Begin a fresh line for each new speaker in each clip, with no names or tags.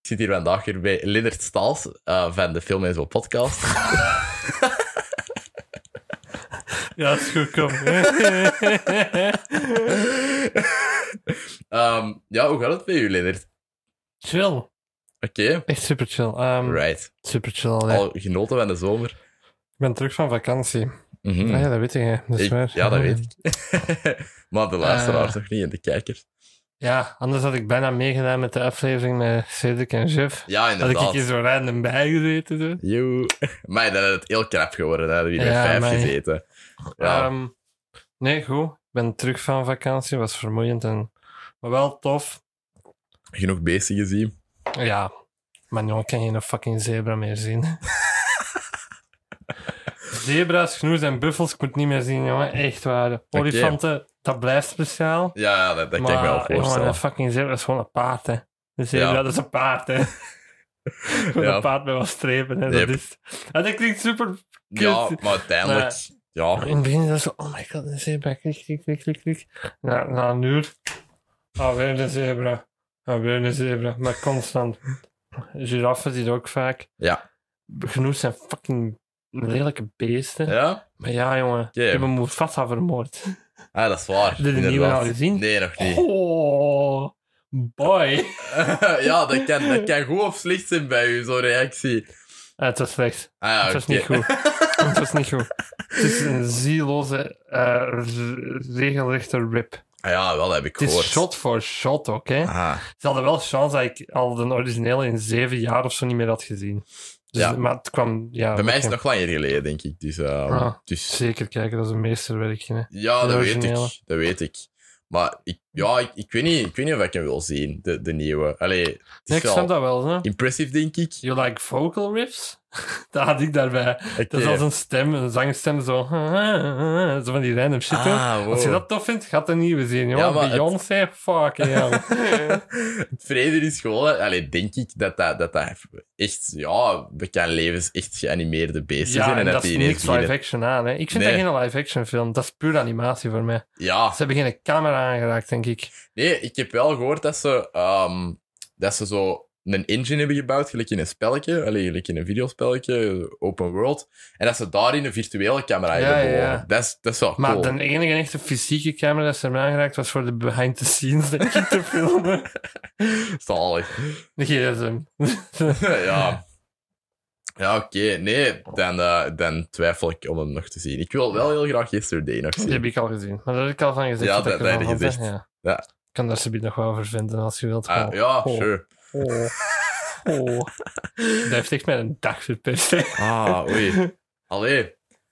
zit hier vandaag weer bij Linnert Staals eh, van de Film en Zo podcast.
Ja, is goed, kom.
Ehm, ja, hoe gaat het bij u, Linnert?
chill.
Oké,
Echt super chill. Ehm,
right.
Super chill. allee.
Al genoten van de zomer.
Ik ben terug van vakantie.
Mhm.
Ah ja, dat weet je. Dat is
Ik-
waar.
ja, dat weet ik. maar de luisteraar
Eh.
toch niet en de kijker.
Ja, anders had ik bijna meegedaan met de aflevering met Cedric en Jeff.
Ja,
Had ik
inderdaad.
hier zo random bij gezeten. zo.
Joe. Maar dan had het heel krap geworden. Dan hadden we hier
Ja,
bij vijf
amai.
gezeten. Ja.
Ehm, nee, goed. Ik ben terug van vakantie. Was vermoeiend, en... maar wel tof.
Genoeg beesten gezien.
Ja, maar nu kan je een fucking zebra meer zien. Zebra's, genoes en buffels, ik moet niet meer zien, jongen. Echt waar. Olifanten, dat blijft speciaal.
Ja, ja, dat, dat
maar,
kan ik me wel
Jongen,
voorstellen.
een fucking zebra is gewoon een paard, hè. Een zebra,
Ja.
dat is een paard, hè. Gewoon
Ja.
Een paard met wat strepen, hè. Dat,
Yep.
is... en dat klinkt super... kut.
Ja, maar uiteindelijk... Ja,
In het begin was zo, oh my god, een zebra, klik, klik, klik, klik, klik. Na, na een uur, ah, weer een zebra, ah, weer een zebra, maar constant. Giraffen zie je ook vaak.
Ja.
Genoeg zijn fucking lelijke beesten.
ja?
Maar ja, jongen, die hebben Mufasa vermoord.
Ah, dat is waar.
Heb je de
inderdaad.
nieuwe al gezien?
Nee, nog niet.
Oh, boy.
ja, dat kan, dat kan goed of slecht zijn bij u, zo'n reactie.
Ah, het was slecht.
Ah, ja,
het was
oké.
niet goed. het was niet goed. Het is een zieloze, eh, re- regelrechte rip.
Ah, ja, wel, dat heb ik
Het
gehoord.
is shot voor shot ook, hè.
Ah,
Ze hadden wel chance dat ik al de originele in zeven jaar of zo niet meer had gezien. Dus,
Ja.
Maar het kwam... Ja,
bij mij is het
oké.
nog langer geleden, denk ik. Dus, ehm,
Ah.
dus
Zeker kijken, dat is een meesterwerkje. Hè.
Ja, dat
De
weet ik.
originele.
Dat weet ik. Maar ik, ja, ik, ik, weet niet, ik weet niet of ik hem wil zien, de, de nieuwe. Allee, het is
Nee, ik
wel
snap dat wel, hè.
impressive, denk ik.
You like vocal riffs? dat had ik daarbij.
Oké.
Dat is als een stem, een zangstem, zo... zo van die random shit, hoor.
Ah, wow.
Als je dat tof vindt, gaat dat niet meer zien, jongen.
Ja, maar het-
Beyoncé, fucking hell.
het vrede is gewoon... Allee, denk ik dat dat, dat, dat echt... Ja, bekend levens echt geanimeerde beesten
ja,
zijn.
en dat
die
is
ineens
niks live
beginnen-
action aan, hè. Ik vind
Nee.
dat geen live action film. Dat is puur animatie voor mij.
Ja,
Ze hebben geen camera aangeraakt, denk ik.
Nee, ik heb wel gehoord dat ze, ehm, dat ze zo een engine hebben gebouwd, gelijk in een spelletje, allee, gelijk in een videospelletje, open world, en dat ze daarin een virtuele camera
Ja,
hebben.
ja, ja.
bewogen. Dat, is, dat is wel
Maar
cool.
de enige echte fysieke camera die ze hebben aangeraakt was voor de behind the scenes, denk ik, te filmen.
Zalig.
De gsm.
ja. Ja, oké. Nee, dan, eh, dan twijfel ik om hem nog te zien. Ik wil wel heel graag Yesterday nog
Die heb
zien.
ik al gezien. Maar daar heb ik al van gezegd.
Ja, dat-
ik
dat
ervan
heb je
vond, hè.
gezegd.
Ja.
Ja.
Ik kan daar subiet nog wel over vinden als je wilt.
Ah,
Gewoon.
ja,
Oh.
sure.
Oh. Oh. Dat heeft echt mij een dag verpest. hè.
Ah, oei. Allee.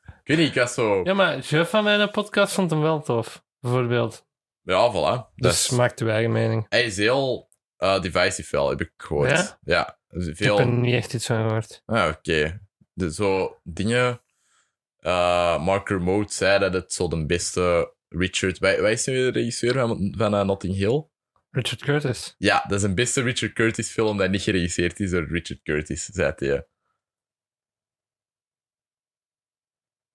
Ik weet niet, ik was zo... Ja,
Ja, maar Jeff van mijn podcast vond hem wel tof. Bijvoorbeeld.
voilà. Dat
Dus
is-
maakt uw eigen mening.
Hij is heel eh, divisive wel, heb ik gehoord.
Ja?
Ja, dus
Ik heb
veel...
er niet echt iets van gehoord.
Ah, oké. Dus zo dingen... eh, Mark Remote zei dat het zo de beste Richard... Wij, wij zijn weer de regisseur van, van eh, Notting Hill.
Richard Curtis.
Ja, dat is een beste Richard Curtis film dat niet geregisseerd is door Richard Curtis, zei hij.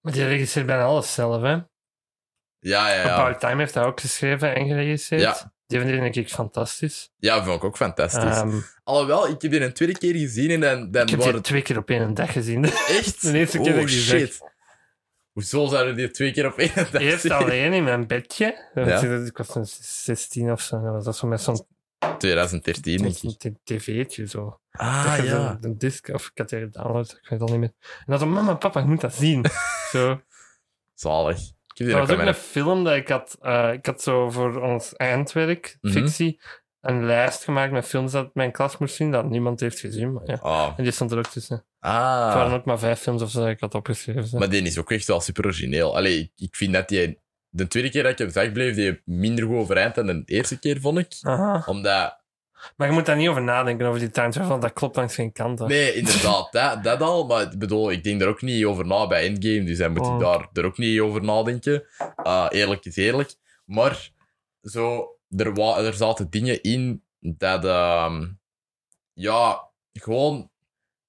Maar die regisseert bijna alles zelf, hè?
Ja, ja,
Ja.
ja.
Time heeft hij ook geschreven en geregisseerd.
Ja.
Die vind ik denk ik fantastisch.
Ja, vond ik ook fantastisch.
Ehm,
Alhoewel, ik heb die een tweede keer gezien en dan, dan
ik heb
waren
die
het
twee keer op één dag gezien. De
echt...
eerste keer
oh,
dat ik die zag.
shit. Hoezo zouden die twee keer op één dag
eerst
zien?
alleen in mijn bedje.
Ja.
Ik was toen 16 of zo. en Dat was zo met zo'n
2013, denk ik.
zo'n tv'tje zo. Dat
Ah,
je
ja.
zo'n- Een disc, of ik had die gedownload, ik weet het al niet meer. En dan zo, mama, papa, ik moet dat zien. zo.
Zalig. Ik heb die
Dat
nog
was
aan
ook
mijn...
een film dat ik had. eh, ik had zo voor ons eindwerk,
Mhm.
fictie, een lijst gemaakt met films dat mijn klas moest zien, dat niemand heeft gezien. Maar ja.
Ah.
En die stond er ook tussen. Het
ah.
waren ook maar vijf films of zo dat ik had opgeschreven. zo.
Maar die is ook echt wel super origineel. Allee, ik, ik vind dat die... De tweede keer dat ik hem zag, bleef die minder goed overeind dan de eerste keer, vond ik.
Aha.
Omdat...
Maar je moet daar niet over nadenken, over die time travel, want dat klopt langs geen kant. hè.
Nee, inderdaad, dat, dat al. Maar ik bedoel, ik denk er ook niet over na bij Endgame, dus dan moet
Oh.
ik daar er ook niet over nadenken. Eh, eerlijk is eerlijk. Maar zo, er, wa- er zaten dingen in dat, ehm, ja, gewoon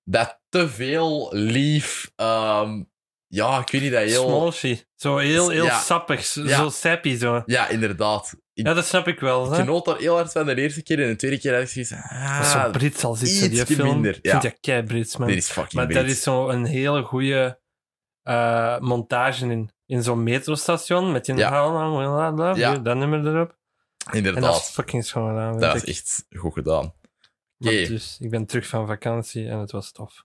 dat te veel lief, ehm, ja, ik weet niet, dat heel.
Small shit. Zo heel, heel
Ja.
sappig, zo,
Ja.
zo sappy zo.
Ja, inderdaad.
Ja, dat snap ik wel.
Ik
Hè?
genoot daar heel hard van de eerste keer en de tweede keer had ik zoiets ah,
Dat is zo Brits als iets, hè, die
ietsje
film.
minder,
Ik
ja.
vind dat kei Brits, man.
dit is fucking
maar daar
Brits.
is zo'n hele goede montage in. In zo'n metrostation met die
Ja.
ja.
Ja.
dat nummer erop. En dat is
Inderdaad,
fucking schoon gedaan. vind
dat
ik.
is echt goed gedaan.
Maar
Oké.
Dus ik ben terug van vakantie en het was tof.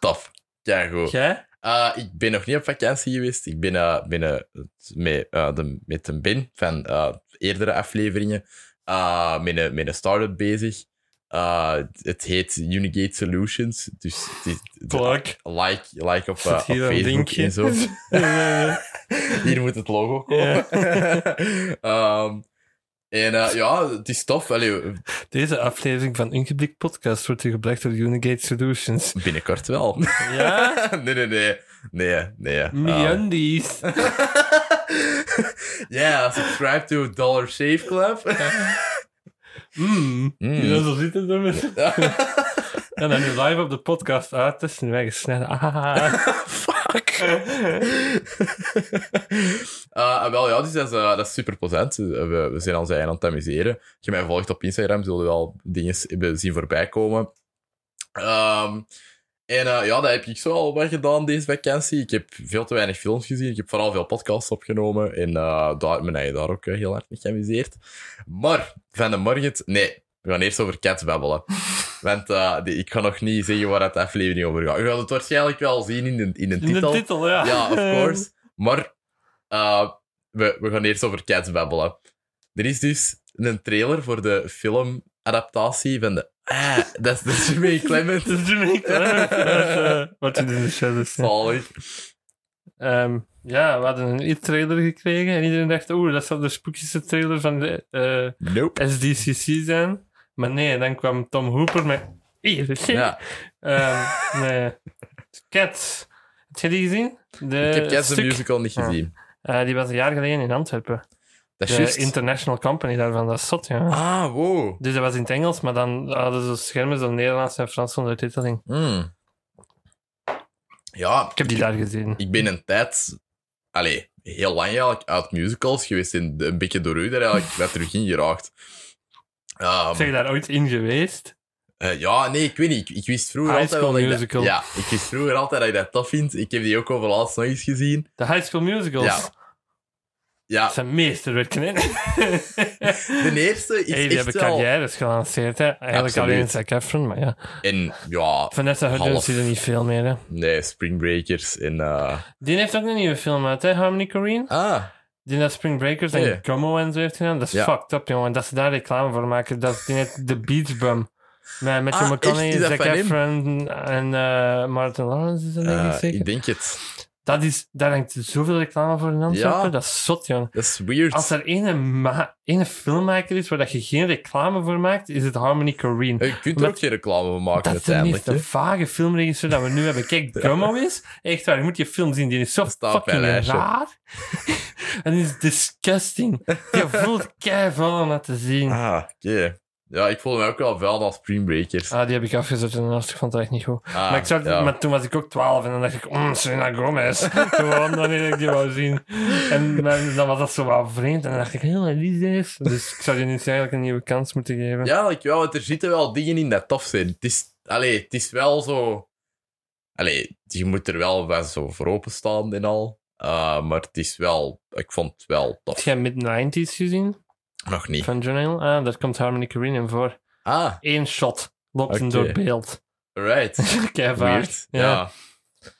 Tof. Keigoed.
Jij?
Eh, ik ben nog niet op vakantie geweest. Ik ben eh, ben, eh, het- met, eh, de, met een bin van eh, eerdere afleveringen eh, met, een, met een start-up bezig. Eh, het heet Unigate Solutions. Dus het is-
Plak.
like, like op, eh,
Zit
op
hier een
Facebook
linkje?
en zo. Hier moet het logo komen.
Ja.
Ehm, en eh, ja, het is tof. Allee,
Deze aflevering van Ungeblik Podcast wordt u gebracht door Unigate Solutions.
binnenkort wel.
Ja?
nee, nee, nee. Nee, nee. ehm.
Meundies.
yeah, subscribe to Dollar Shave Club.
Mm.
Mm.
Ja, zo zit het dan met- En dan nu live op de podcast uittesten en wij gesneden. Ah.
Fuck. Eh, en wel, ja, dus dat is, eh, dat is super plezant. We, we zijn ons eigen aan het amuseren. Als je mij volgt op Instagram, zullen we wel dingen hebben zien voorbij komen. Ehm, en eh, ja, dat heb ik zo al wat gedaan deze vakantie. Ik heb veel te weinig films gezien. Ik heb vooral veel podcasts opgenomen. En eh daar, mijn eigen daar ook eh, heel hard mee geamuseerd. Maar, van de morgen... Nee, we gaan eerst over cats babbelen. Want eh, die- ik ga nog niet zeggen waar het aflevering over gaat. U gaat het waarschijnlijk wel zien in de, in de
In de
titel.
titel, ja.
Ja, of course. Maar eh, we, we gaan eerst over Cats babbelen. Er is dus een trailer voor de filmadaptatie van de... Ah, dat is de Jimmy Clement.
Dat is Jimmy Clement. Dat, eh, Wat je in de shadows. Ja.
Zalig.
Ehm, ja, we hadden een e-trailer gekregen en iedereen dacht, oeh, dat zal de spookjeste trailer van de eh,
Nope.
SDCC zijn. Maar nee, dan kwam Tom Hooper met... Hier,
Ja,
Ehm, nee. Cats. Heb je die gezien? De
ik heb Cats
Eh, stuk.
de Musical niet
Ah.
gezien.
Eh, die was een jaar geleden in Antwerpen.
Dat is
De
juist.
International Company daarvan, dat is zot, ja.
Ah, wow.
Dus dat was in het Engels, maar dan hadden ze schermen zo Nederlands en Frans ondertiteling.
Hmm. Ja,
Ik heb die daar gezien.
ik ben een tijd, allee, heel lang eigenlijk, uit musicals geweest en een beetje door u daar eigenlijk wat terug in geraakt. Ehm,
Zijn je daar ooit in geweest?
eh, ja, nee, ik weet niet. Ik, ik wist vroeger
High
altijd wel dat
School
ik dat,
Musical.
ja, ik wist vroeger altijd dat ik dat tof vind. Ik heb die ook over laatst nog eens gezien.
De High School Musicals.
Ja. Ah. Ja,
Dat zijn meesterwerken, hè?
de eerste is
Hey, die
echt
hebben
wel...
carrières gelanceerd, hè? Eigenlijk
Absoluut.
alleen Zac Efron, maar ja.
En ja,
Vanessa
Half.
Hudgens zie er niet veel meer, hè?
nee, Spring Breakers en... eh,
Die heeft ook een nieuwe film uit, hè? Harmony Corrine?
Ah,
Die dat Spring Breakers
Nee.
en Gummo en zo heeft gedaan. Dat is
Ja.
fucked up, jongen. Dat ze daar reclame voor maken. Dat is die net de Beach Bum. Met Matthew
Ah,
McConaughey,
echt? Is dat
Zac
van hem?
Efron en eh, Martin Lawrence is dat denk ik
eh,
zeker.
ik denk het.
Dat is, daar hangt zoveel reclame voor in Antwerpen.
Ja.
Dat is zot, jongen.
Dat is weird.
Als er ene, ma- ene filmmaker is waar dat je geen reclame voor maakt, is het Harmony Corrine.
Eh, Je kunt er
Met-
ook geen reclame van maken
Dat is de
uiteindelijk.
meest
hè.
vage filmregisseur dat we nu hebben. Kijk, Gummo is. Echt waar, je moet je film zien. Die is zo
Staat op
fucking
mijn lijstje.
raar. en die is disgusting. Je voelt keihard om dat te zien. Ah,
Ah, oké. Ja, ik voelde mij ook wel vuil als Spring Breakers.
Ah, die heb ik afgezet en ik vond het echt niet goed.
Ah,
maar, ik zag,
ja.
maar toen was ik ook 12 en dan dacht ik, mm, Selena Gomez. Gewoon wanneer ik die wou zien. En dan, dan was dat zo wat vreemd en dan dacht ik, heel die is. Dus ik zou je nu eigenlijk een nieuwe kans moeten geven.
Ja, like, ja, want er zitten wel dingen in dat tof zijn. Het is, allee, het is wel zo... Allee, je moet er wel wel zo voor openstaan en al. Eh, maar het is wel... Ik vond het wel
Heb
tof.
jij Mid-90s gezien
Nog niet.
van John Hill? Ah, daar komt Harmony Corrine in voor.
Ah,
Eén shot loopt hem
Oké.
door beeld.
right.
Kei
Weird.
vaak.
Ja.
Ja.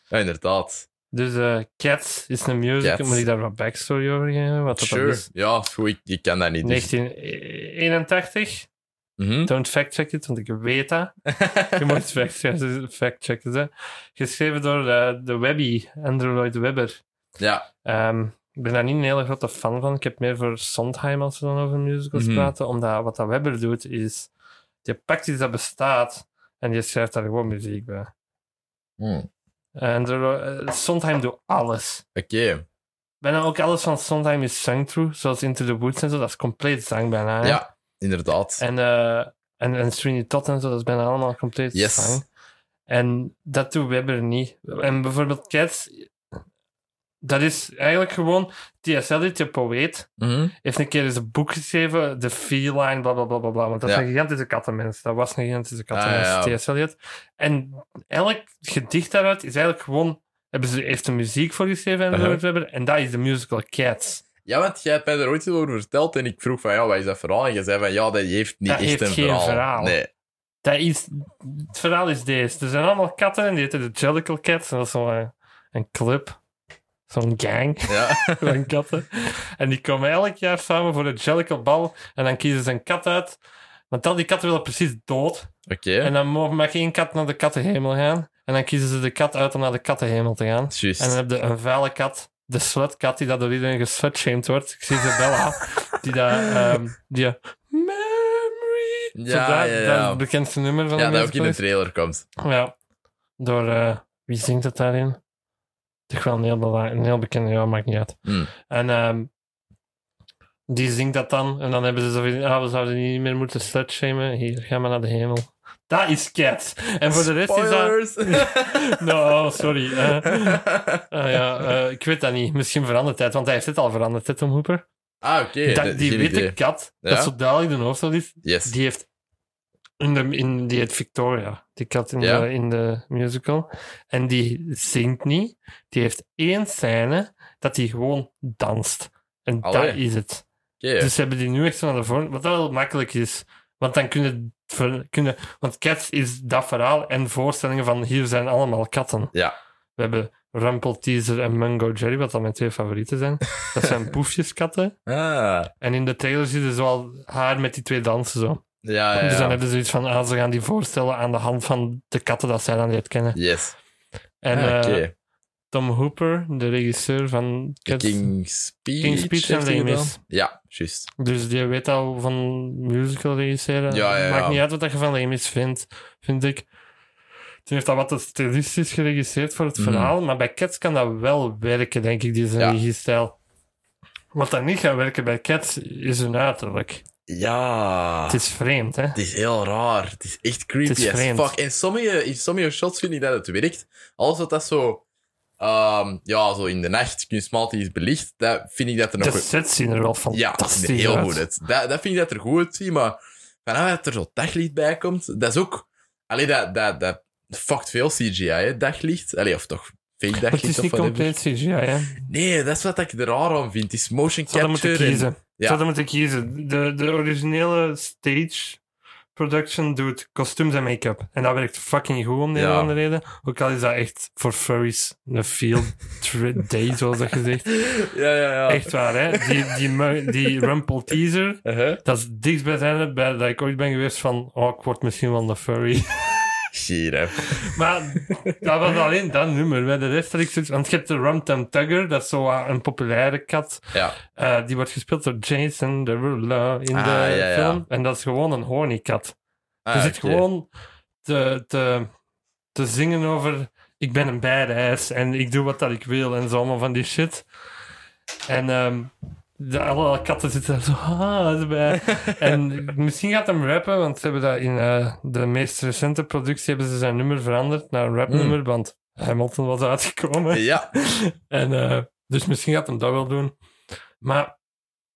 ja. inderdaad.
Dus eh, Cats is een musical.
Cats.
Moet ik daar wat backstory over geven? Wat dat dan
Sure.
is?
Ja, is goed. Ik, ik ken dat niet. Dus.
1981.
Mhm.
Don't fact-check it, want ik weet dat. Je moet fact-checken. fact-checken hè. Geschreven door eh, de Webby, Andrew Lloyd Webber.
ja.
Ehm, ik ben daar niet een hele grote fan van. Ik heb meer voor Sondheim als we dan over musicals
Mhm.
praten. Omdat wat dat Webber doet, is... Je pakt iets dat bestaat en je schrijft daar gewoon muziek bij.
Hm. Oké.
En er, eh, Sondheim doet alles. Bijna ook alles van Sondheim is zang through, zoals Into the Woods en zo, dat is compleet zang bijna. hè.
Ja, inderdaad.
En, eh en, en Sweeney Todd en zo, dat is bijna allemaal compleet
Yes.
zang. En dat doet Webber niet. En bijvoorbeeld Cats, dat is eigenlijk gewoon... TSL, die je poëet,
Mhm.
heeft een keer eens een boek geschreven, The Feline, bla bla bla bla. bla want dat is
Ja.
een gigantische kattenmens. Dat was een gigantische kattenmens,
Ah, ja.
T.S. Eliot. En elk gedicht daaruit is eigenlijk gewoon... Hebben ze, heeft er muziek voor geschreven en
Uh-huh.
zo, whatever. en dat is de musical Cats.
Ja, want jij hebt mij er ooit iets over verteld en ik vroeg van, ja, wat is dat verhaal? En je zei van, ja, dat heeft niet
Dat
echt
heeft
een
geen
verhaal.
verhaal.
Nee.
Dat is, het verhaal is deze. Er zijn allemaal katten en die heten de Jellicle Cats. En dat is zo'n eh, een club. Zo'n gang
Ja.
van katten. En die komen elk jaar samen voor de Jellicle Bal. En dan kiezen ze een kat uit. Want al die katten willen precies dood.
Oké.
En dan mo- mag één kat naar de kattenhemel gaan. En dan kiezen ze de kat uit om naar de kattenhemel te gaan.
Juist.
En dan heb je een vuile kat. De slutkat die dat door iedereen geslutshamed wordt. Ik zie Isabella. die dat... ehm, die... Memory.
Ja,
Zo, dat,
ja, ja.
dat is het bekendste nummer van
Ja,
de
dat ook
musical
in de
is.
trailer komt.
Ja. Door... eh, wie zingt het daarin? Toch wel een heel, bela- een heel bekende. Ja, maakt niet uit.
Hmm.
En ehm, die zingt dat dan. En dan hebben ze zoiets ah, we zouden die niet meer moeten slutshamen. Hier, ga maar naar de hemel. Dat is Cats. En voor de rest is
Spoilers!
dat... No, sorry. eh. Ah ja, eh, ik weet dat niet. Misschien verandert het, want hij heeft het al veranderd, hè, Tom Hooper.
ah, oké.
Dat-
dat-
die
geen
witte
idee.
kat,
Ja?
dat zo duidelijk de hoofdstad is,
Yes.
die heeft... In de, in, die heet Victoria, die kat in,
Ja?
de, in de musical. En die zingt niet. Die heeft één scène dat die gewoon danst. En dat
Allee.
is het.
Oké.
Dus ze hebben die nu echt zo naar de vorm, wat wel makkelijk is. Want dan kunnen... kunnen want Cats is dat verhaal en voorstellingen van hier zijn allemaal katten.
Ja.
We hebben Rumpelteazer en Mungo Jerry, wat dan mijn twee favorieten zijn. Dat zijn poefjeskatten.
Ah.
En in de trailer zie je zoal haar met die twee dansen zo.
Ja, Ah, ja,
Dus dan
ja.
hebben ze zoiets van, ah, ze gaan die voorstellen aan de hand van de katten dat zij dan leert kennen.
Yes.
En
Ah,
eh,
oké.
Tom Hooper, de regisseur van Cats,
King's Speech.
King's Speech
heeft
en
hij
Remis.
gedaan. Ja, juist.
dus die weet al van musical regisseren.
Ja, ja, ja.
Maakt niet uit wat je van Remis vindt, vind ik. Toen heeft dat wat te stilistisch geregisseerd voor het
Mhm.
verhaal, maar bij Cats kan dat wel werken, denk ik, die zijn
Ja.
regiestijl. Wat dat niet gaat werken bij Cats is hun uiterlijk.
Ah. Ja.
Het is vreemd, hè?
Het is heel raar. Het is echt creepy
Het is
as
vreemd.
fuck. In sommige, in sommige shots vind ik dat het werkt. Alles wat dat zo... ehm, ja, zo in de nacht kunstmatig is belicht, dat vind ik dat er nog...
De sets zien er wel fantastisch
Ja, heel
uit.
goed uit. Dat, dat vind ik dat er goed uitziet, maar vanaf dat er zo daglicht bij komt, dat is ook... Allee, dat, dat, dat fuckt veel CGI, hè, daglicht. Allee, of toch fake
Maar het
daglicht
is
of
niet
whatever.
compleet CGI, hè?
Nee, dat is wat ik er raar aan vind. Het is motion
Ze hadden
capture.
moeten
en-
kiezen.
ja.
Ze hadden moeten kiezen. De, de originele stage production doet kostuums en make-up. En dat werkt fucking goed om de
Ja.
hele andere reden. Ook al is dat echt voor furries een field tri- day, zoals dat gezegd.
Ja, ja, ja.
Echt waar, hè? Die, die, mu- die Rumple teaser,
Uh-huh.
dat is dichtstbijzijnde bij dat ik ooit ben geweest van, oh, ik word misschien wel een furry.
Shit, hè.
Maar dat was alleen dat nummer. Bij de rest had ik zoiets... Want je hebt de Rum Tum Tugger, dat is zo eh, een populaire kat.
Ja.
Eh, die wordt gespeeld door Jason Derulo in
Ah,
de
ja, ja.
film. En dat is gewoon een honeykat.
Ah,
die zit
oké.
gewoon te, te, te zingen over... Ik ben een badass en ik doe wat dat ik wil en zo, allemaal van die shit. En ehm, de, alle katten zitten daar zo... Ah, bij. En misschien gaat hem rappen, want ze hebben dat in eh, de meest recente productie hebben ze zijn nummer veranderd naar een rapnummer, want Hamilton was uitgekomen.
Hmm. Ja.
En, eh, dus misschien gaat hem dat wel doen. Maar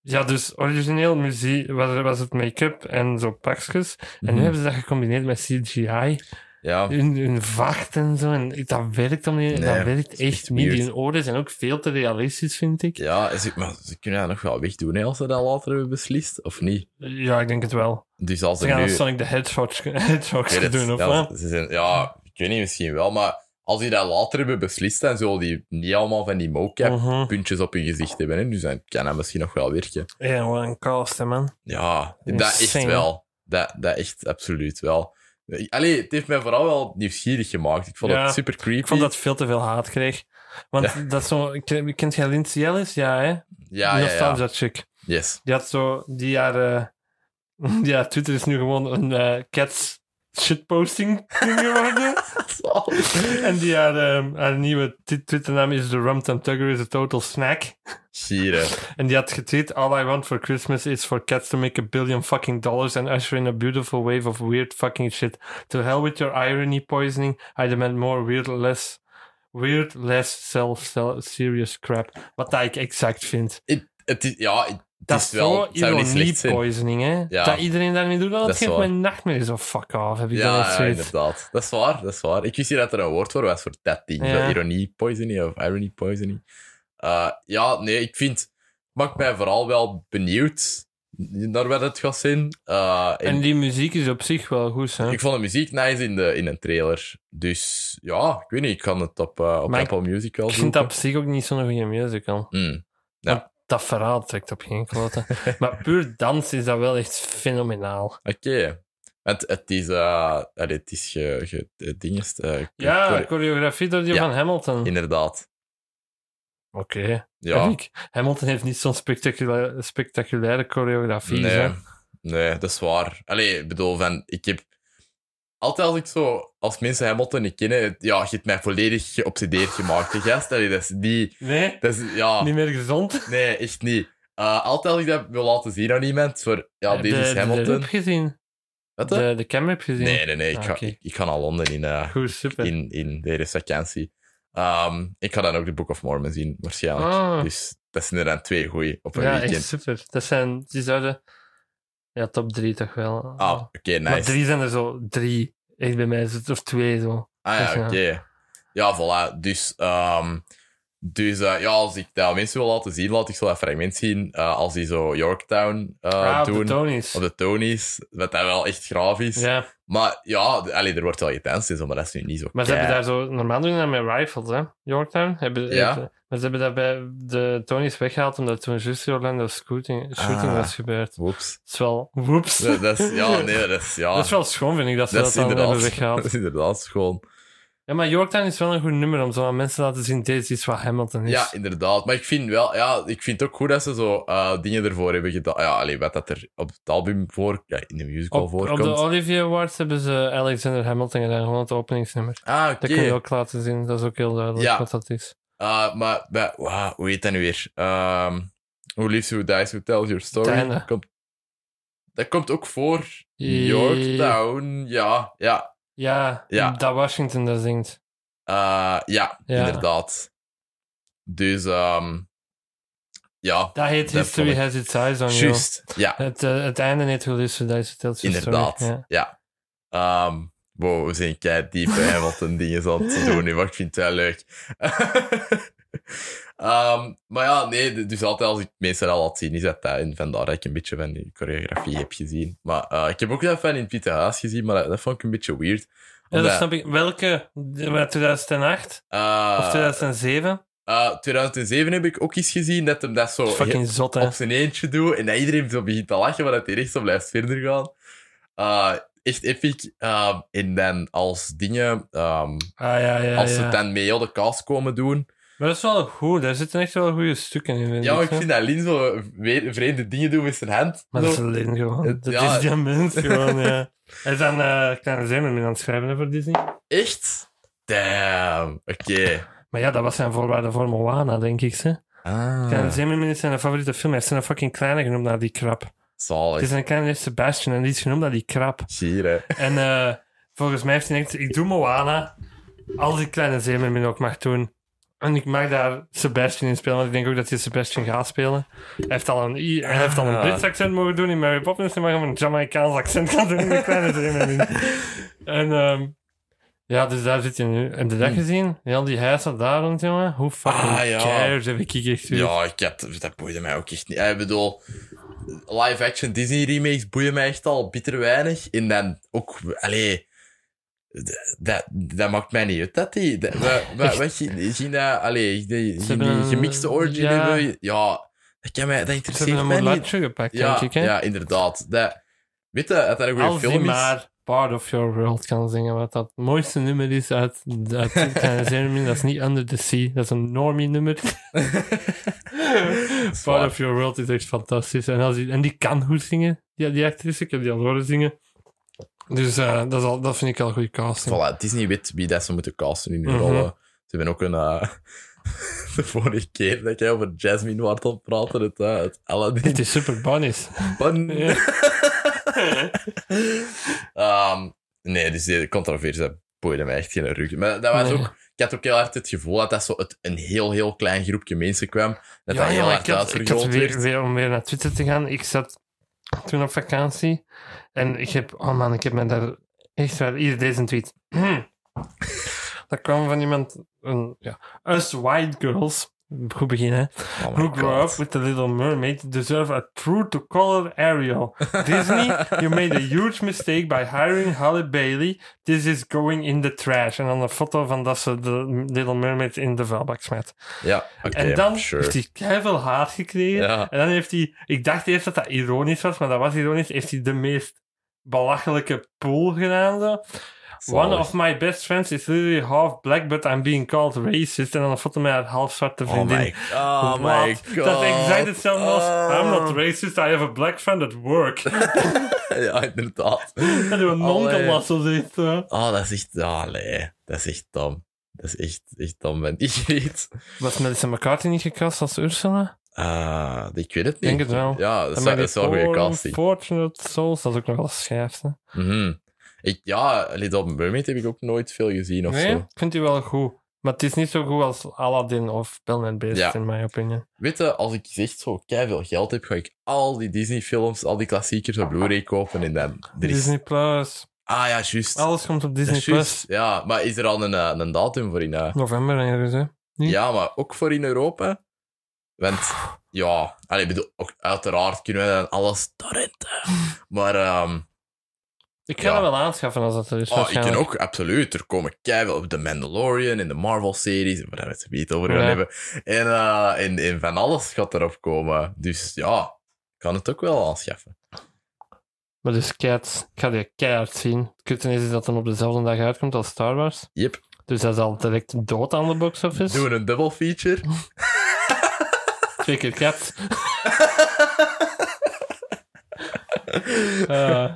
ja, dus origineel muziek was, was het make-up en zo pakjes. En nu
Mhm.
hebben ze dat gecombineerd met CGI.
Ja.
Hun, hun vacht en zo. En dat werkt, om die,
Nee,
dat werkt
is echt
echt niet.
weird.
Die hun oren zijn ook veel te realistisch, vind ik.
Ja, ze, maar ze kunnen dat nog wel wegdoen hè, als ze dat later hebben beslist, of niet?
Ja, ik denk het wel.
Dus als
Ze
ze
gaan
nu...
dat Sonic the Hedgehog, Hedgehog
Ik weet het,
doen, of
ja,
wat?
ze zijn, ja, ik weet niet, misschien wel, maar als die dat later hebben beslist, dan zullen die niet allemaal van die mocap
Mhm.
puntjes op hun gezicht hebben, hè. dus dan kan dat misschien nog wel werken.
Ja, wat een cast, hè, man.
Ja, dat echt
Insane.
wel. Dat, dat echt absoluut wel. Allee, het heeft mij vooral wel nieuwsgierig gemaakt. Ik vond
Ja,
het super creepy.
Ik vond dat veel te veel haat kreeg. Want dat is zo... Ken kent jij Lindsay Ellis? Ja, hè?
Ja, ja, ja.
Nostalgia chick.
Yes.
Die had zo... Die haar... eh, ja, Twitter is nu gewoon een eh, cats shitposting ding geworden. en die haar, eh, haar nieuwe t- Twitternaam is The Rum Tum Tugger is a total snack.
Gieren.
En die had getweet... All I want for Christmas is for cats to make a billion fucking dollars and usher in a beautiful wave of weird fucking shit. To hell with your irony poisoning. I demand more, weird, less... weird, less self-serious crap. Wat dat ik exact vind.
Het- Het is, ja, het
Dat
is
is
wel...
zo
Het zou niet
ironie
slecht zijn.
poisoning, hè?
Ja.
Dat iedereen dat nu doet, dat
Dat is
geeft
waar.
mijn nachtmerrie zo fuck off. Heb ik dan
Ja,
echt
ja,
zoiets.
inderdaad. Dat is waar, dat is waar. Ik wist niet dat er een woord voor was voor dat ding.
Ja.
Zo ironie poisoning of irony poisoning. Eh, ja, nee, ik vind... het maakt mij vooral wel benieuwd naar wat het gaat zijn. Eh, en
En die muziek is op zich wel goed, hè?
ik vond de muziek nice in, de, in een trailer. Dus ja, ik weet niet, ik kan het op, eh, op
Maar ik-
Apple Music wel
Ik vind
zoeken.
dat op zich ook niet zo'n goede musical.
Mm.
Dat verhaal trekt op geen klote. maar puur dans is dat wel echt fenomenaal.
Oké. Het, het is... eh, allee, het is ge, ge, het ding is, eh,
Ja,
chore-
de choreografie door die
Ja.
van Hamilton.
Inderdaad.
Oké.
Ja.
Heb ik. Hamilton heeft niet zo'n spectaculaire, spectaculaire choreografie.
Nee,
hè.
nee, dat is waar. Allee, ik bedoel, van, ik heb... Altijd als ik zo... Als mensen Hamilton niet kennen, het- ja, je hebt mij volledig geobsedeerd gemaakt. De gast, allee, dat is niet...
Nee?
Dat is, ja,
Niet meer gezond?
nee, echt niet. Eh, altijd als ik dat wil laten zien aan iemand, voor... Ja,
De-
deze is
De
Hamilton.
heb gezien.
Wat, hè?
De, de camera heb gezien.
Nee, nee, nee. Ik
Ah,
ga,
oké.
ik, ik ga naar Londen in, eh,
Goed, super.
in, in deze vakantie. Ehm, ik ga dan ook de Book of Mormon zien, waarschijnlijk.
Ah.
Dus dat zijn er dan twee goeie op een
ja, echt
weekend.
super. Dat zijn, die zouden... Ja, top drie toch wel.
Ah, oké,
Maar
nice.
drie zijn er zo. Drie. Echt bij mij is het of twee zo.
Ah ja,
Dus, ja.
oké. Ja, voilà. Dus, ehm, dus eh, ja, als ik dat mensen wil laten zien, laat ik zo dat fragment zien. eh, als die zo Yorktown eh,
ah, op
doen.
de Tonys.
op de Tonys. Wat dat wel echt graaf is.
Ja,
Maar ja, d- allee, er wordt wel gedanst, en zo, maar dat is nu niet zo
maar ze
kei-
hebben daar zo... Normaal doen ze dat met rifles, hè. Yorktown. Hebben,
Ja.
hebben- maar ze hebben dat bij de Tonys weggehaald, omdat toen juist in Orlando shooting, shooting
Ah.
was gebeurd.
Woeps.
Het is wel... Whoops.
Dat, dat is, ja, nee, dat is... Ja.
Dat is wel schoon, vind ik, dat ze
Dat
dat,
is
dan hebben
inderdaad, dat
weggehaald.
is inderdaad schoon.
Ja, maar Yorktown is wel een goed nummer om zo aan mensen te laten zien, dit is iets wat Hamilton is.
Ja, inderdaad. Maar ik vind, wel, ja, ik vind het ook goed dat ze zo eh, dingen ervoor hebben gedaan. Ja, allee, wat dat er op het album voor... Ja, in de musical
op, op
voorkomt.
de Olivier Awards hebben ze Alexander Hamilton gedaan, gewoon het openingsnummer.
Ah, oké.
Dat kun je ook laten zien, dat is ook heel duidelijk
Ja.
wat dat is.
Ah, maar, bij- wauw, hoe heet dat nu weer? Ehm who lives, who dies, who tells your story.
Tijne.
Komt, dat komt ook voor
I-
Yorktown. Ja, ja.
Ja,
Ja.
dat Washington dat zingt.
Eh, ja,
Ja.
inderdaad. Dus, ehm, ja,
Dat heet
Dat
History
vond ik-
Has Its Eyes On You.
juist. Ja,
Het, eh, het einde net hoe is, dat is verteld.
inderdaad.
Ja.
Ja. Ehm, wow, we zijn kei diep bij Hamilton dingen aan het doen nu, maar ik vind het wel leuk. Ehm, maar ja, nee, dus altijd als ik mensen al had zien, is dat dat. En vandaar dat ik een beetje van die choreografie heb gezien. Maar eh, ik heb ook dat van in het Witte Huis gezien, maar dat, dat vond ik een beetje weird.
Ja, dat
Omdat,
snap ik. Welke? De- wat, 2008
eh,
of 2007?
eh, 2007 heb ik ook eens gezien dat hem dat zo
Dat is fucking zot, hè.
op zijn eentje doet en dat iedereen zo begint te lachen, maar dat hij rechts zo blijft verder gaan. Eh, echt epic. Ehm, en dan als dingen, ehm,
Ah, ja, ja,
als ze
ja.
dan met heel de cast komen doen,
Maar dat is wel goed. Daar zitten echt wel goede stukken in.
Ja, maar ik
hè.
vind dat Lin zo weer vreemde dingen doet met zijn hand.
Maar dat is
Zo.
alleen gewoon.
Het-
Dat
ja.
is die mens gewoon, ja. Hij is aan eh Kleine Zeeman mee aan het schrijven hè, voor Disney.
Echt? Damn. Oké.
Maar ja, dat was zijn voorwaarde voor Moana, denk ik. Hè. Kleine
Ah.
Zeeman is zijn favoriete film. Hij heeft zijn fucking kleine genoemd naar die krab. Het
Zalig.
is een kleine Sebastian en die is genoemd naar die krab.
Hier, hè.
En eh, volgens mij heeft hij echt, ik doe Moana als ik Kleine Zeemermin ook mag doen. En ik mag daar Sebastian in spelen, want ik denk ook dat hij Sebastian gaat spelen. Hij heeft al een, I- hij heeft al een
Ah.
Brits accent mogen doen in Mary Poppins, hij mag hem een Jamaicaans accent gaan doen in de Kleine Zeemermin. en ehm, ja, dus daar zit hij nu. Heb je dat
Hmm.
gezien? Ja, die huizen daar rond, jongen. Hoe fucking
Ah, ja.
cares heb ik hier echt zoiets.
Ja, ik had, dat boeide mij ook echt niet. Ik bedoel, live-action Disney remakes boeien mij echt al bitter weinig. En dan ook, allee, d- dat, dat maakt mij niet uit. Dat die, dat, wat, wat, wat ging- ging dat, allee, die, ging die
hebben een-
gemixte origin
ja.
hebben? Ja, dat, kan mij, dat
Ze hebben
interesseert
een
mij niet.
mulatje gepakt,
Ja,
denk ik. Hè?
ja, inderdaad. Dat, weet je, dat dat een goede
Als die
film is.
maar Part of Your World kan zingen, wat dat mooiste nummer is uit, uit Kleine Zeemermin. Dat is niet Under the Sea, dat is een normie nummer. Part
waar.
of Your World is echt fantastisch. En, als die, en die kan goed zingen, die, die actrice. Ik heb die al horen zingen. Dus eh, dat, is al, dat vind ik al goede casting.
Voilà, Disney weet wie dat ze moeten casten in hun
Mhm.
rollen. Ze hebben ook een... eh, de vorige keer dat jij over Jasmine was aan het praten, het, eh, het Aladdin
Het is super bonus.
Bun.
Ja.
Ehm, nee, dus die controverse dat boeide mij echt geen ruk. Maar dat was
Nee.
ook... Ik had ook heel hard het gevoel dat dat zo uit een heel, heel klein groepje mensen kwam. Dat
ja,
dat heel
jongen,
hard
ik had, ik had
uitvergroot
weer,
werd.
weer om weer naar Twitter te gaan. Ik zat toen op vakantie en ik heb, oh man, ik heb me daar echt waar, hier deze tweet. dat kwam van iemand, een, ja, us white girls, goed beginnen,
Oh my
who grew
God.
up with the Little Mermaid deserve a true to color Ariel. Disney, you made a huge mistake by hiring Halle Bailey. This is going in the trash. En dan een foto van dat ze de Little Mermaid in de vuilbak smet.
Ja, oké,
En dan
sure.
heeft hij keiveel haat gekregen.
Ja.
En dan heeft hij... Ik dacht eerst dat dat ironisch was, maar dat was ironisch. Heeft hij de meest belachelijke pool gedaan. Zo. One
Zalig.
of my best friends is literally half black, but I'm being called racist. En dan een foto met haar half zwarte
Oh
vriendin.
my, oh my
Wat?
god.
Dat is exact hetzelfde als...
Oh.
I'm not racist, I have a black friend at work.
ja, inderdaad.
dat is een nonkel
Allee.
was, zo zegt ze.
Oh, dat is echt... Oh, nee. Dat is echt dom. Dat is echt, echt dom, ben ik niet.
Was Melissa McCarthy niet gekast als Ursula?
Ah, ik weet het niet.
Denk het wel.
Ja, dat is, dat is wel een goede casting.
Fortunate Souls, dat is ook nog wel schijf. hè.
Mhm. ik, ja, Little Mermaid heb ik ook nooit veel gezien of
nee,
zo.
ik vind die wel goed. Maar het is niet zo goed als Aladdin of Bell and Beast,
Ja.
in mijn opinion.
Weet je, als ik echt zo veel geld heb, ga ik al die Disney-films, al die klassiekers op Blu-ray kopen en dan... Er is...
Disney Plus.
Ah ja, juist.
Alles komt op
Dat
Disney
is
Plus.
juist. Ja, maar is er al een, eh, een datum voor in... eh,
November ergens, hè. Hm?
Ja, maar ook voor in Europa. Want ja, allee, ik bedoel, ook, uiteraard kunnen we dan alles torrenten. Maar ehm,
Ik ga
Ja.
dat wel aanschaffen als dat er is.
oh, ik
waarschijnlijk.
kan ook, absoluut. Er komen keihard op de Mandalorian en de Marvel-series, waar we het niet over gaan
Ja.
hebben. En, eh, en, en van alles gaat erop komen. Dus ja, ik kan het ook wel aanschaffen.
Maar dus Cats, ik ga die keihard zien. Het kutte is dat dan op dezelfde dag uitkomt als Star Wars.
Yep.
Dus dat is al direct dood aan de box-office.
Doen we een double feature?
Twee keer Cats. Eh,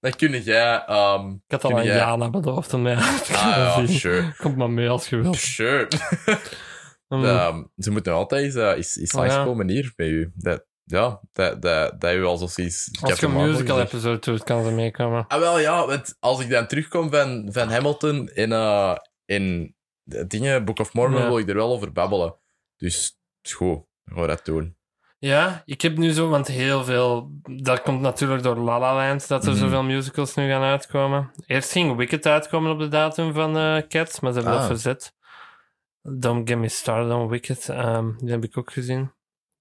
Dan kun jij... ehm
ik had al
kun
aan
jij-
Jana beloofd om mij uit te
Ah ja,
zien.
sure.
Komt maar mee als je wilt.
Sure.
Mm.
Ehm, ze moeten altijd eens, eh, eens, eens
Oh, ja.
langskomen hier bij u. Dat, ja, dat, dat, dat u al zo zoiets...
Als je
Captain
een
Marvel
musical
gezien.
episode doet, kan ze meekomen.
Ah, wel ja, want als ik dan terugkom van, van Hamilton in, eh, in de dingen, Book of Mormon,
Ja.
wil ik er wel over babbelen. Dus het is goed, dan gaan we dat doen.
Ja, ik heb nu zo, want heel veel... Dat komt natuurlijk door La La Land, dat er
Mhm.
zoveel musicals nu gaan uitkomen. Eerst ging Wicked uitkomen op de datum van eh, Cats, maar ze
Ah.
hebben dat verzet. Don't Get Me Started on Wicked, ehm, die heb ik ook gezien.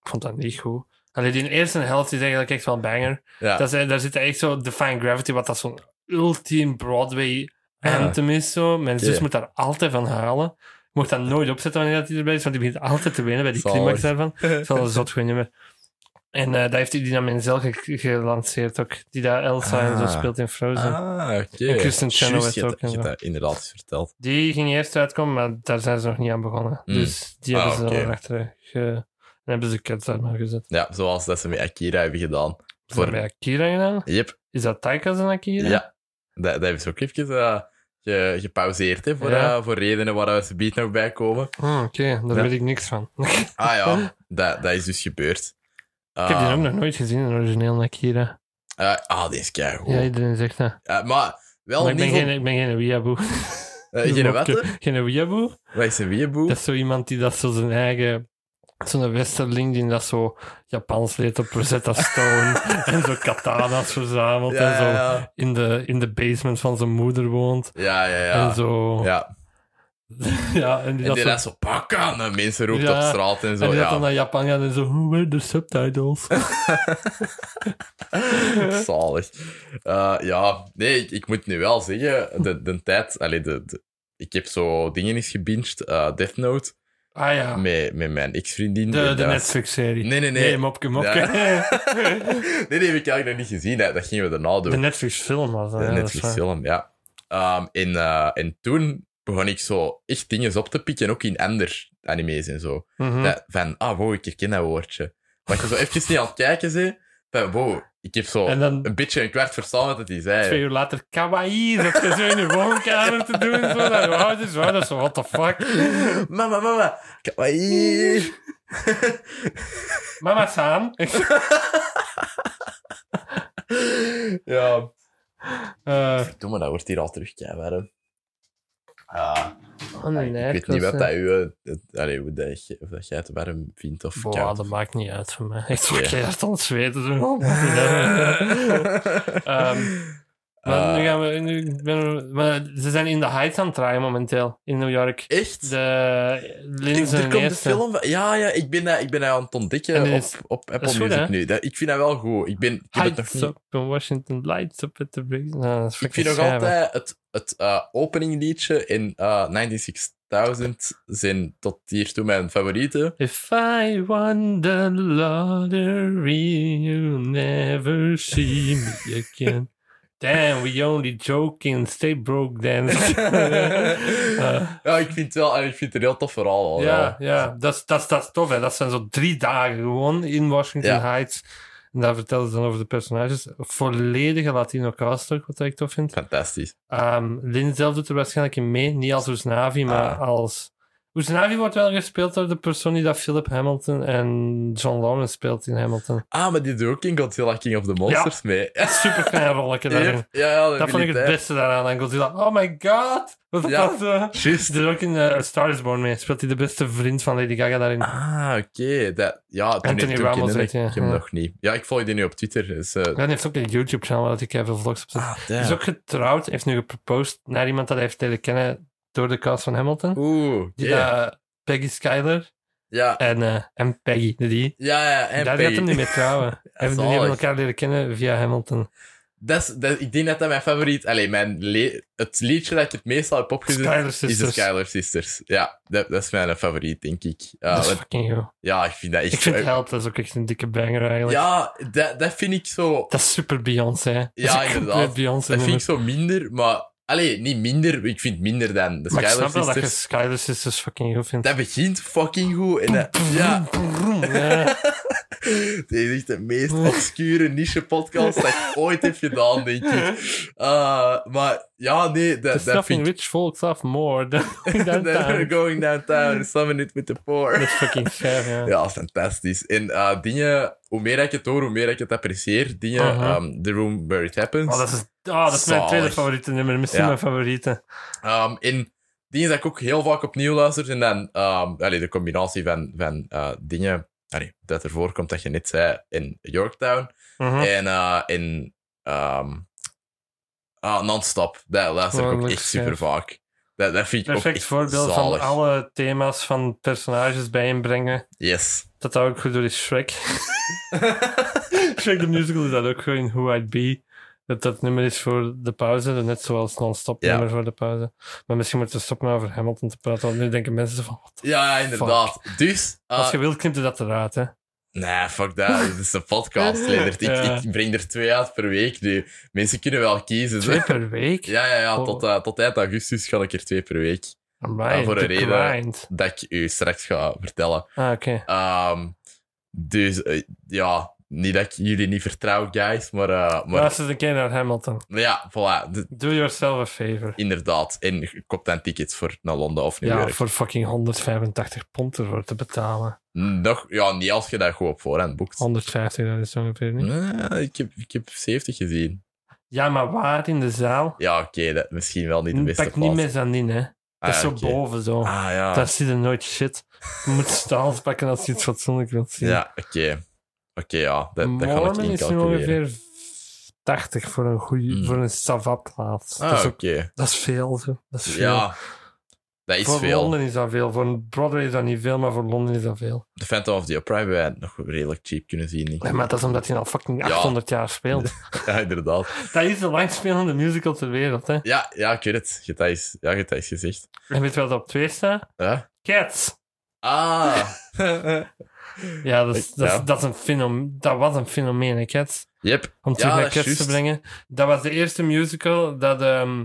Ik vond dat niet goed. Alleen die eerste helft is eigenlijk echt wel banger.
Ja,
Dat is, eh, daar zit echt zo Define Gravity, wat dat zo'n ultiem Broadway
Ah.
anthem is. Zo. Mijn zus
Oké.
moet daar altijd van halen. Ik mocht dat nooit opzetten wanneer dat hij erbij is, want die begint altijd te winnen bij die
Zalig.
climax daarvan. Dat is wel een zot goed nummer. En eh daar heeft hij die dan Menzel ge- gelanceerd ook. Die daar Elsa en zo
Ah.
speelt in Frozen.
ah, oké.
En Kristen
Juist,
Chenoweth
je hebt-
ook en
je
zo.
hebt dat inderdaad eens verteld.
Die ging eerst uitkomen, maar daar zijn ze nog niet aan begonnen.
Mm.
Dus die
Ah,
hebben ze
oké.
dan achter eh, ge... Dan hebben ze Cats daar maar gezet.
Ja, zoals dat ze met Akira hebben gedaan.
Is dat
Voor-
bij Akira gedaan?
Yep,
Is dat Taika's en Akira?
ja. Dat, dat hebben ze ook even eh, ge- gepauzeerd, hè, voor,
Ja.
eh, voor redenen waar we ze biedt nog bij komen.
Hmm, Oké, daar
Ja.
weet ik niks van.
Ah ja, dat, dat is dus gebeurd.
Ik
Ah.
heb die ook nog nooit gezien, een origineel Akira.
Eh, ah, die is keigoed.
Ja, iedereen zegt dat.
Eh, maar wel
maar ik
niet...
ben,
zo-
geen, ik ben geen weeaboe.
eh, geen wat? hè?
Geen weeaboe.
Wat is een weeaboe?
Dat is zo iemand die dat zo zijn eigen... Zo'n westerling die dat zo Japans leert op Rosetta Stone. en zo katana's verzamelt.
ja,
en zo
ja,
In, de, in de basement van zijn moeder woont.
ja. ja,
En
ja.
zo... Ja,
Ja.
en die
En
dat,
die
zo,
dat zo pakken, de mensen roept
Ja.
op straat en
en
zo.
die dat dan
Ja.
naar Japan gaat en zo... Who were the subtitles?
Zalig. Eh, ja, nee, ik, ik moet nu wel zeggen, de, de tijd... Allee, de, de- ik heb zo dingen eens gebinged, eh, Death Note,
ah ja,
met, met mijn ex-vriendin. En
de,
dat
de
was-
Netflix-serie.
Nee, nee, nee.
Nee, mopke, mopke.
nee, die heb ik eigenlijk nog niet gezien. Dat, dat gingen we daarna doen.
De Netflix-film was dat.
De
ja, dat is waar.
Netflix-film, ja. Ehm, en, eh, en toen begon ik zo echt dingen op te pikken, ook in ander anime's en zo.
Mhm.
Dat- van, ah, wow, ik herken dat woordje. Maar als je zo eventjes niet aan het kijken bent, van, wow, ik heb zo
En dan
een beetje een kwart verstaan wat het is.
twee uur later, kawaii, dat je zo in je woonkamer te doen. Zo, dat je ouders waren, dat is zo, what the fuck.
Mama, mama, kawaii.
Mama Saan.
ja.
Eh, Eh,
Doe maar, dat wordt hier al terug, ja, waarom? Ah, oké.
Aan
Ik
een
weet niet
nergens,
wat
hè.
dat u, eh, het- allee, hoe dat, je- of dat jij het warm vindt of
Boah,
koud.
dat maakt niet uit voor mij. Ik
Oké.
zit keihard aan het zweten. Zo.
Oh,
Ehm, maar nu
Eh,
gaan we... Nu ben we- maar ze zijn in de Heights aan het draaien momenteel. In New York.
Echt?
De
Ik,
Linzen
er
en
komt een
Eerste.
film van... Ja, ja, ik ben dat, ik ben dat aan het ontdekken
En die
op,
is-
op Apple
is goed,
Music
hè?
nu. Dat, ik vind dat wel goed. Ik, ben, ik heb het nog
Heights
niet...
up in Washington. Lights up at the bridge.
Ik vind nog altijd het, het eh, openingliedje in eh 96000 zijn tot hiertoe mijn favorieten.
If I won the lottery, you'll never see me again. Damn, we only joking. Stay broke, then. Eh,
ja, ik vind het wel, en ik vind het een heel tof verhaal. al,
ja,
ja.
ja. Dat, is- dat, is- dat is tof. Hè. Dat zijn zo drie dagen gewoon in Washington
Ja.
Heights. En daar vertelden ze dan over de personages. Volledige Latino cast ook, wat ik tof vind.
Fantastisch.
Ehm Lin zelf doet er waarschijnlijk in mee. Niet als Oesnavi, maar
Ah.
als... Oesnavi wordt wel gespeeld door de persoon die dat Philip Hamilton en John Lawrence speelt in Hamilton.
Ah, maar die doet ook in Godzilla King of the Monsters mee. Ja,
Super klein rolletje daarin.
ja, ja,
Dat vond ik het beste daaraan. aan Godzilla. Oh my god! Wat
Ja.
was dat?
Just.
Er is ook in eh, A Star is Born mee. Speelt hij de beste vriend van Lady Gaga daarin.
Ah, oké. dat Ja, toen
Anthony
toen ik
Ramos
herinner
heet hij,
ik hem
ja.
nog niet. Ja, ik volg die nu op Twitter. Dus, eh,
Dan heeft ook een YouTube-channel waar ik heel veel vlogs op zet.
ah,
Hij
damn.
is dus ook getrouwd. heeft nu geproposed naar iemand dat hij heeft leren kennen door de cast van Hamilton.
Oeh,
Die,
yeah.
eh, Peggy Skyler.
ja.
En, eh, en Peggy, die.
Ja, ja, en
Daar
Peggy.
gaat hem niet mee trouwen. en die
zalig.
hebben elkaar leren kennen via Hamilton.
Dat is, dat, ik denk dat dat mijn favoriet... Allee, mijn le- het liedje dat ik het meest heb opgezet
Skyler
is de
Sisters.
Skylar Sisters. Ja, dat, dat is mijn favoriet, denk ik. Ja,
dat is
want-
fucking goed.
ja, ik vind dat echt...
Ik vind Help, dat is ook echt een dikke banger eigenlijk.
ja, dat, dat vind ik zo...
Dat is super Beyoncé. hè. Dat is
Ja,
een compleet
inderdaad.
Beyoncé
Dat vind ik
nummer.
zo minder, maar... Allee, niet minder. Ik vind minder dan de
Maar ik
Skylar
snap wel dat je
Sisters.
Skyler Sisters fucking goed vindt.
Dat begint fucking goed. En dat, ja,
Ja.
dit is echt de meest obscure niche-podcast dat ik ooit heb gedaan, denk ik. Uh, maar ja, nee, dat, dat
There's
vind
nothing
ik...
rich folks love more than
Then we're
downtown.
going downtown and summon it with the
Dat
poor.
is fucking scherp, ja.
Ja, fantastisch. En eh, dingen, hoe meer ik het hoor, hoe meer ik het apprecieer. Dingen,
Mhm.
ehm, The Room Where It Happens.
Oh, dat is, oh, dat is mijn
Zalig.
tweede favoriete nummer. Misschien
Ja.
mijn favoriete.
Ehm, en dingen dat ik ook heel vaak opnieuw luister. En dan ehm, allee, de combinatie van, van eh, dingen allee, dat ervoor komt dat je net zei in Yorktown.
Mhm.
En eh, in ehm, ah, Non-Stop. Dat luister ik
Oh,
ook
leuk,
echt super vaak. Dat, dat vind ik ook
Perfect
echt
voorbeeld van
zalig.
alle thema's van personages bijeenbrengen.
Yes.
Dat dat ook goed door is Shrek. Shrek the Musical is dat ook gewoon in Who I'd Be. Dat dat nummer is voor de pauze. dat Net zoals non-stop
Ja.
nummer voor de pauze. Maar misschien moeten we stoppen met over Hamilton te praten. Want nu denken mensen van... wat-
ja, inderdaad. Dus... eh,
Als je wilt, knipt u dat eruit, hè.
Nee, fuck dat. Dit is een podcast, Leonard. Ik,
Ja.
ik breng er twee uit per week nu. Mensen kunnen wel kiezen.
Twee
Zo.
per week?
Ja, ja, ja.
Oh.
Tot, eh, tot eind augustus ga ik er twee per week.
Alright,
Ja, Ah, voor
de
een reden.
grind.
Dat ik u straks ga vertellen.
Ah, oké.
Ehm, dus eh, ja, niet dat ik jullie niet vertrouw, guys. Maar, eh, maar
Luister eens een keer naar Hamilton.
maar ja, voilà. D-
Do yourself a favor.
inderdaad. En koop dan tickets voor naar Londen of New
Ja,
York.
voor fucking 185 pond ervoor te betalen.
Nog, ja, niet als je dat gewoon op voorhand boekt.
150, dat is ongeveer
Hm?
niet.
Nee, ik, heb, ik heb 70 gezien.
Ja, maar waar in de zaal?
Ja, oké. dat misschien wel niet de beste
Mm, Pak niet
plaats.
mezzanine, hè. Dat is
Ah,
zo
oké.
boven, zo.
Ah ja.
Daar zie je nooit shit. Je moet staals pakken als je iets fatsoenlijk wilt zien.
Ja, oké. Oké, ja, dat, dat kan ik
Mormon is nu
incalculeren.
ongeveer 80 voor een, goeie,
Hmm.
voor een savatplaats.
Ah,
dat, is
oké.
ook- dat is veel, zo. Dat is veel.
Ja, dat is
voor
veel.
Londen is dat veel. Voor een Broadway is dat niet veel, maar voor Londen is dat veel.
The Phantom of the Opera hebben wij nog redelijk cheap kunnen zien. denk ik.
Ja, maar dat is omdat hij al fucking
Ja.
800 jaar speelt.
Ja, inderdaad.
dat is de langstspelende musical ter wereld, hè.
Ja, ja, ik weet het. Je hebt dat eens- ja, je hebt dat eens gezegd.
En weet je wat op twee staat?
Ja.
Cats!
Ah.
Ja, dat, is, dat, is-
Ja.
dat, is een fenom- dat was een fenomeen, hè, Cats.
yep.
om terug
Ja,
naar
dat is
Cats te
juist.
brengen. Dat was de eerste musical dat... ehm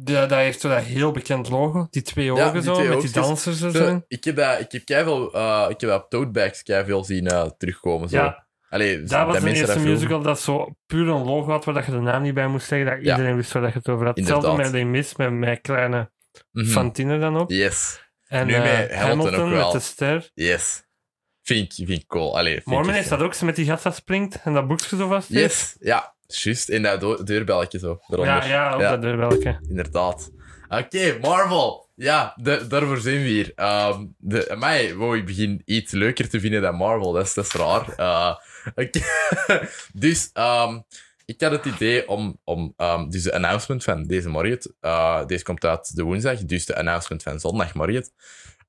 dat, dat heeft zo dat heel bekend logo. Die twee ogen
die
zo,
twee
met die
oogjes.
dansers en
Zo,
zo.
ik heb dat, ik heb keiveel, eh, ik heb dat op Toadbags veel zien eh, terugkomen. Zo.
Ja,
Allee,
dat was de
mensen
eerste
vroegen.
musical dat zo puur een logo had waar dat je de naam niet bij moest zeggen. Dat
Ja.
iedereen wist waar dat je het over had. Hetzelfde
Inderdaad.
met Les Mis, met mijn kleine
Mhm.
Fantine dan op.
Yes,
En
Nu
eh,
met Hamilton ook wel.
met de ster.
yes. Vind ik, vind ik cool. Allee, vind
Mormon
ik
heeft
echt-
dat ook, ze met die gat dat springt en dat boekje zo vast. heeft.
Yes, ja. Juist, in dat do- deurbelletje zo. eronder.
Ja, ja, op
Ja.
dat deur welke.
Inderdaad. Oké, Marvel. Ja, da- daarvoor zijn we hier. Ehm de, mij, wow, ik begin iets leuker te vinden dan Marvel. Dat is, dat is raar. Eh, oké. dus, ehm, ik had het idee om... om ehm, dus de announcement van deze morgen... eh, deze komt uit de woensdag, dus de announcement van zondagmorgen.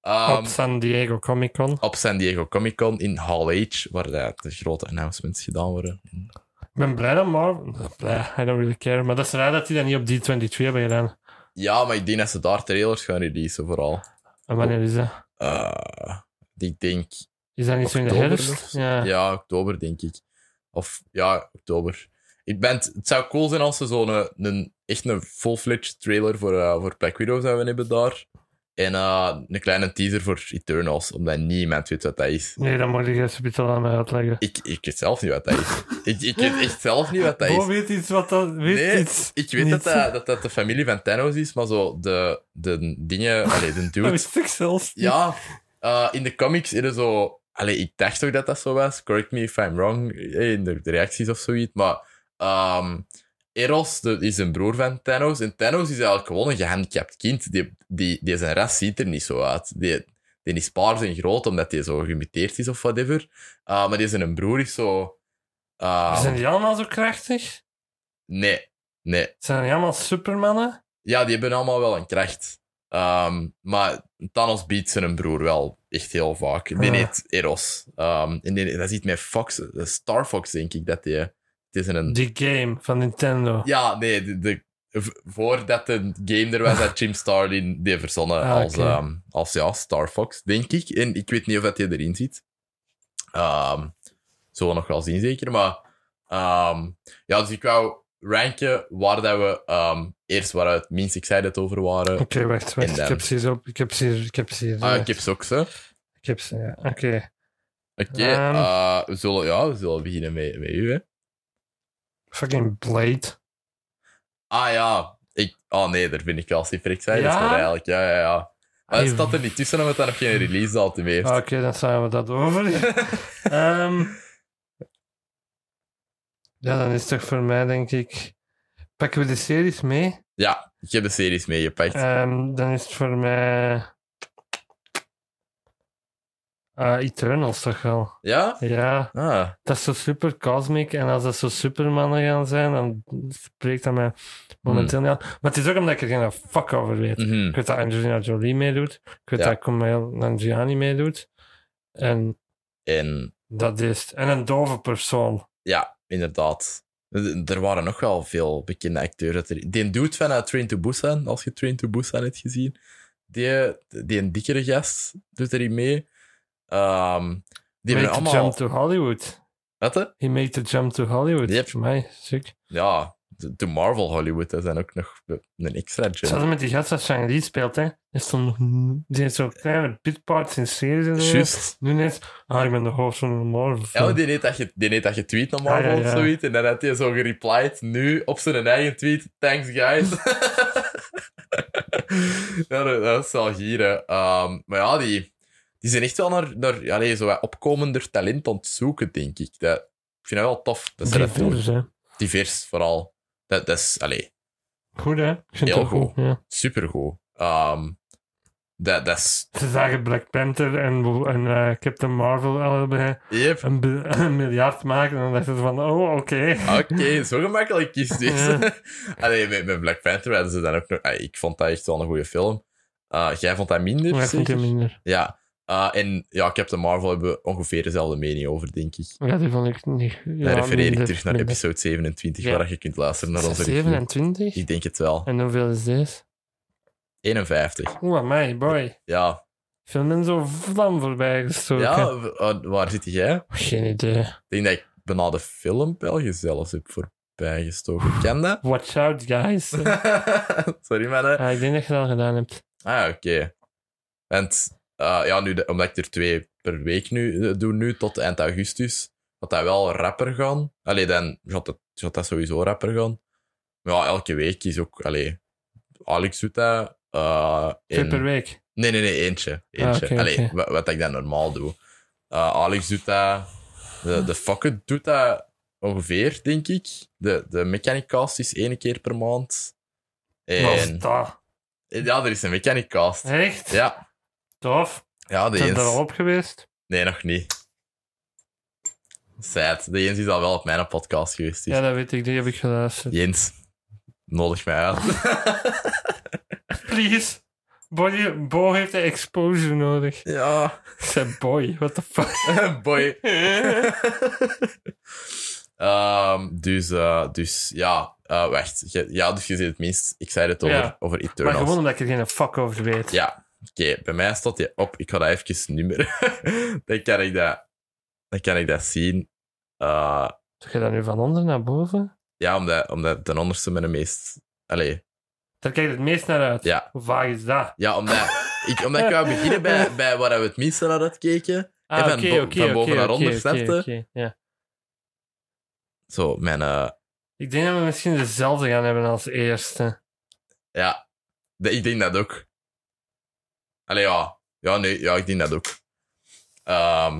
Ehm,
op San Diego Comic Con.
op San Diego Comic-Con in Hall H, waar eh, de grote announcements gedaan worden.
Ik ben blij dat Marvel... Blij, I don't really care. Maar dat is raar dat die dat niet op D23 hebben gedaan.
Ja, maar ik denk dat ze daar trailers gaan releasen, vooral.
En wanneer is dat?
Eh, ik denk
Is dat niet zo in de
Oktober
herfst?
of-
Ja.
Ja, oktober, denk ik. Of ja, oktober. Ik ben, het zou cool zijn als ze zo'n eh, een, echt een full-fledged trailer voor, eh, voor Black Widow zouden hebben daar. En eh, een kleine teaser voor Eternals, omdat niemand weet wat dat is.
Nee, dan moet ik het een beetje aan mij uitleggen.
Ik, ik weet zelf niet wat dat is. ik, ik weet echt zelf niet wat dat
Bo
is.
weet iets wat dat... Weet
Nee,
iets.
ik weet
niet.
dat dat, dat dat de familie van Thanos is, maar zo de, de dingen... Allee, de
Dat
dude
wist ik zelfs niet.
Ja, eh, in de comics is er zo. Allee, ik dacht ook dat dat zo was. Correct me if I'm wrong eh, in de, de reacties of zoiets. Maar ehm, Eros de- is een broer van Thanos. En Thanos is eigenlijk gewoon een gehandicapt kind. Die, die, die zijn ras ziet er niet zo uit. Die, die is paars en groot omdat hij zo gemuteerd is of whatever. Eh, maar die zijn broer is zo. ehm,
Zijn die allemaal zo krachtig?
Nee, nee.
Zijn die allemaal supermannen?
Ja, die hebben allemaal wel een kracht. Ehm, maar Thanos biedt zijn broer wel echt heel vaak. Die
Ja.
heet Eros. Ehm, en die, dat ziet mij Fox, eh, Star Fox, denk ik, dat die... Het is een...
Die game van Nintendo.
Hm. Ja, nee, de, de- v- voordat de game er was, had Jim Starr die, die verzonnen
Ah,
als,
oké.
ehm, als ja, Star Fox, denk ik. En ik weet niet of dat hij erin zit. Ehm zullen we nog wel zien, zeker. Maar ehm, ja, dus ik wou ranken waar dat we ehm, eerst waar we het minst excited over waren.
Oké, wacht, wacht.
En dan-
Ik heb ze hier op. Ik heb ze hier. Ik heb ze hier.
Ah,
eh,
ik heb ze ook zo.
ik heb ze, ja. Oké.
Oké,
Ehm.
eh, we, zullen, ja, we zullen beginnen met, met u, hè.
Fucking Blade.
Ah ja, ik... Oh nee, daar ben ik wel super excited
Ja?
voor eigenlijk. Ja, ja, ja. Maar het
Hey,
staat er niet tussen omdat Ah, dat nog geen release datum heeft.
Hmm. Ah, Oké, dan zijn we dat over. Ehm, ja, dan is het toch voor mij, denk ik. Pakken we de series mee?
Ja, ik heb de series meegepakt.
Ehm, dan is het voor mij. eh, Eternals toch wel.
Ja?
Ja,
Ah,
dat is zo super cosmic. En als dat zo supermannen gaan zijn, dan spreekt dat mij momenteel niet aan. Maar het is ook omdat ik er geen fuck over weet.
mhm.
Ik weet dat Angelina Jolie meedoet. Ik weet
Ja.
dat Kumail Nanjiani meedoet. En
En
dat is het. En een dove persoon.
ja, inderdaad. Er- Er waren nog wel veel bekende acteurs. dat er- Die dude van eh, Train to Busan, als je Train to Busan hebt gezien, die, die een dikkere gast doet erin mee. Ehm, die
Made
hebben
the
allemaal...
jump to Hollywood.
Wat, hè?
He made the jump to Hollywood.
Yep.
Voor mij, sick.
ja, de, de Marvel Hollywood, dat zijn ook nog een extra
Zelfs
gem.
met die gast dat Shang-Li speelt, hè. Die heeft zo'n- die heeft zo'n kleine bitparts in series en zo.
Juist.
Nu net, ah, ik ben de hoofd van de Marvel.
Ja,
film.
want die heeft dat, ge- die heeft dat getweet naar
Ja, ja,
Marvel
ja.
of zoiets. En dan had hij zo gereplied, nu, op zijn eigen tweet. Thanks, guys. ja, dat, dat is wel hier, hè. Ehm, maar ja, die, die zijn echt wel naar, naar allee, zo wat opkomender talent aan het zoeken, denk ik. Dat, ik vind dat wel tof. Dat ze dat doen.
Divers, hè.
Divers, vooral. Dat, dat is, allee,
Goed, hè. Ik vind
Heel
het wel goed. Ja.
supergoed. Ehm, dat, dat is...
Ze zagen Black Panther en, en eh, Captain Marvel allebei
Yep.
een, bil- een miljard maken. En dan dachten ze van, oh, oké.
Oké, zo gemakkelijk is dit.
Ja.
Allee, met, met Black Panther hadden ze dan ook nog... ah, ik vond dat echt wel een goede film. Eh, jij vond dat minder?
Maar ik vind
zeker?
het minder.
Ja. Eh, en ja, Captain Marvel hebben we ongeveer dezelfde mening over, denk ik.
Ja, die vond ik niet. Ja,
Dan refereer ik
minder,
terug naar
minder.
episode 27,
Ja.
waar je kunt luisteren naar onze review.
27?
Ik denk het wel.
En hoeveel is deze?
51.
Oeh, mij, boy.
Ja.
Veel mensen zo vlam voorbij gestoken.
Ja, w- eh, waar zit jij? Ik
Geen idee.
denk dat ik bijna de film België zelfs heb voorbij gestoken. Ken dat?
Watch out, guys.
Sorry, mannen.
Ah, ik denk dat je dat al gedaan hebt.
Ah, oké. Want, eh, ja, nu, de- omdat ik er twee per week nu, eh, doe nu, tot eind augustus, gaat dat wel rapper gaan. Allee, dan gaat dat, gaat dat sowieso rapper gaan. Maar ja, elke week is ook... Allee, Alex doet dat. eh,
Twee
en-
per week. Ah,
Nee, nee, nee, eentje. eentje.
oké,
allee,
oké.
wa- Wat, ik dan normaal doe. Eh, Alex doet dat. De, de Fokker doet dat ongeveer, denk ik. De, de Mechanic Cast is één keer per maand.
Wat
En...
is dat?
Ja, er is een mechanic cast.
Echt?
Ja,
Tof.
ja de
Zijn er al
eens.
op geweest?
Nee, nog niet. Sad. De Jens is al wel op mijn podcast geweest. dus-
Ja, dat weet ik. Die heb ik geluisterd.
Jens, nodig mij uit.
Please. Boy, Bo heeft de exposure nodig.
ja,
Ik zei, boy, what the fuck?
boy. Ehm, dus, eh, dus ja, eh, wacht. Je- ja, dus je ziet het minst. Ik zei het over,
Ja.
over
maar
Eternals.
gewoon omdat ik er geen fuck over weet.
Ja, oké. Bij mij staat die op. Ik ga dat even nummeren. dan, kan ik dat, dan kan ik dat zien. Eh,
Doe je dat nu van onder naar boven?
ja, omdat, omdat de onderste met de meest... Allee,
Daar kijk ik het meest naar uit.
ja.
Hoe vaag is dat?
Ja, omdat ik, omdat ik wou beginnen bij, bij waar we het minste naar uitkeken.
Ah,
En
oké,
van
oké,
bo-
oké,
van boven
oké,
naar onder,
oké,
snap je?
oké, oké, ja.
Zo, mijn... eh,
Ik denk dat we misschien dezelfde gaan hebben als eerste.
ja, de- ik denk dat ook. Allee, ja. Ja, nee, ja, ik denk dat ook. Ehm,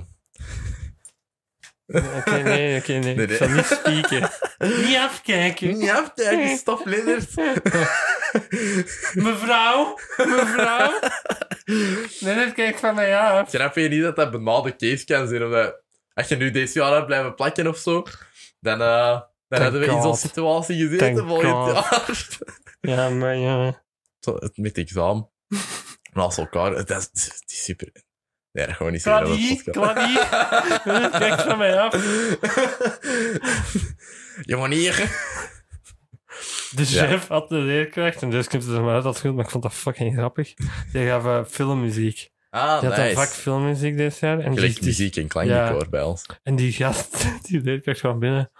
Oké, nee, oké, nee.
nee.
Ik zal niet spieken. niet afkijken.
niet aftijgen, stop, Lennart.
Mevrouw, mevrouw. Nee, dat kijkt van mij af.
Snap je niet dat dat benaalde case kan zijn? Omdat, als je nu deze jaar had blijven plakken of zo, dan, eh, dan
Thank
hadden we in zo'n
God.
situatie gezeten
Thank
volgend
God.
jaar.
Ja, maar ja.
Zo, het met examen. Naast elkaar. Dat is, het is super. Nee, dat gaan we niet zeggen. dat
Kladie,
we een
kladie. Dat kijkt van mij af.
podcast- Je manier.
De chef had de leerkracht, en dus komt het er maar uit dat goed, maar ik vond dat fucking grappig. Die gaf eh, filmmuziek.
Ah,
Die had een vak
nice.
filmmuziek dit jaar. En die,
Gelijk
die,
muziek en klankdecor bij ons.
En die gast, die leerkracht kwam binnen.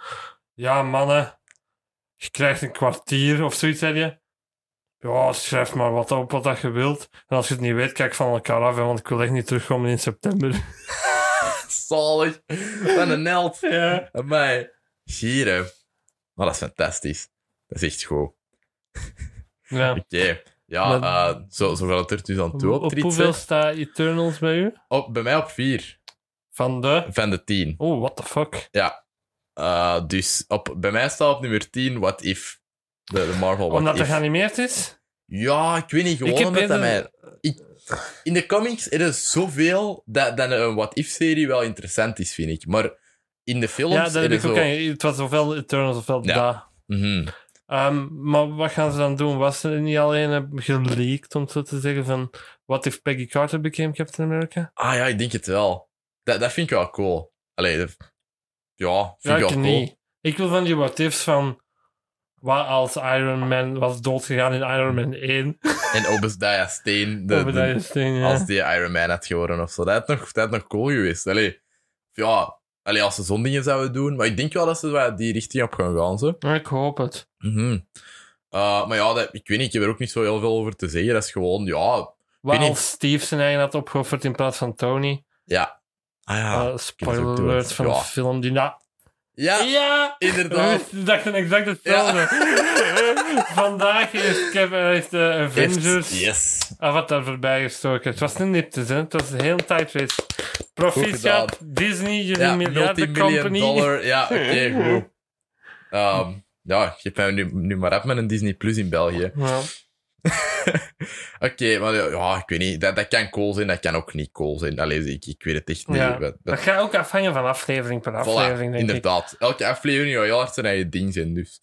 Ja, mannen, je krijgt een kwartier of zoiets, zei je. Ja, schrijf maar wat op wat dat je wilt. En als je het niet weet, kijk van elkaar af, hè, want ik wil echt niet terugkomen in september.
Zalig. Van een held.
Ja.
Amai. Hier, hè. Maar dat is fantastisch. Dat is echt goed.
ja.
Oké. Ja,
Maar-
eh, zo, zo gaat het er dus aan toe op,
Op
Trietse.
hoeveel staat Eternals bij u?
Op- Bij mij op vier.
Van de...
Van de tien.
Oh, what the fuck.
Eh, dus op, bij mij staat op nummer 10 What If. De, de Marvel What
Omdat
If.
er geanimeerd is?
Ja, ik weet niet, gewoon
Ik heb
omdat dat mij...
eerder-
Ik, in de comics er is zoveel dat, dat een What If-serie wel interessant is, vind ik. Maar in de films
Ja, dat
er
heb
is
ik
zo...
ook aan. Het was ofwel Eternals ofwel
Ja.
da.
Mhm.
Ehm, maar wat gaan ze dan doen? Was er niet alleen eh, geleakt, om zo te zeggen, van... What if Peggy Carter became Captain America?
Ah ja, ik denk het wel. Dat, dat vind ik wel cool. Allee, dat- ja, vind
Ja,
ik wel
ik
cool.
niet. Ik wil van die what-ifs van... Wat als Iron Man was doodgegaan in Iron Man 1?
En Obadiah Stane, de,
Over dat
de-
is ding, ja.
als die Iron Man had geworden of zo, dat had nog, dat had nog cool geweest. Allee, ja, allee, als ze zo'n dingen zouden doen. Maar ik denk wel dat ze wel die richting op gaan gaan, zo.
Maar Ik hoop het.
Mhm. Eh, maar ja, dat, ik weet niet, ik heb er ook niet zo heel veel over te zeggen. Dat is gewoon, ja...
Wat
niet.
als Steve zijn eigen had opgeofferd in plaats van Tony?
Ah ja.
Eh, spoiler
ook doen.
alert van
Ja.
de film die na...
ja,
Ja!
inderdaad.
We dachten exact hetzelfde. Vandaag heeft, Cap- heeft de Avengers
Yes.
Avatar voorbij gestoken. Het was een niptes, hè. Het was een heel tight race. Proficiat, Disney, jullie
Ja,
miljardencompany.
multimillion dollar. Ja, oké, goed. Ehm, ja, geef mij nu, nu maar af met een Disney Plus in België.
Ja.
Oké, maar ja, ja, ik weet niet. Dat, dat kan cool zijn, dat kan ook niet cool zijn. Allee, ik, ik weet het echt niet.
Ja,
Wat-
Dat
wat-
gaat ook afhangen van aflevering per
voilà,
aflevering, denk ik.
inderdaad. Elke aflevering gaat heel hard zijn eigen ding zijn, dus...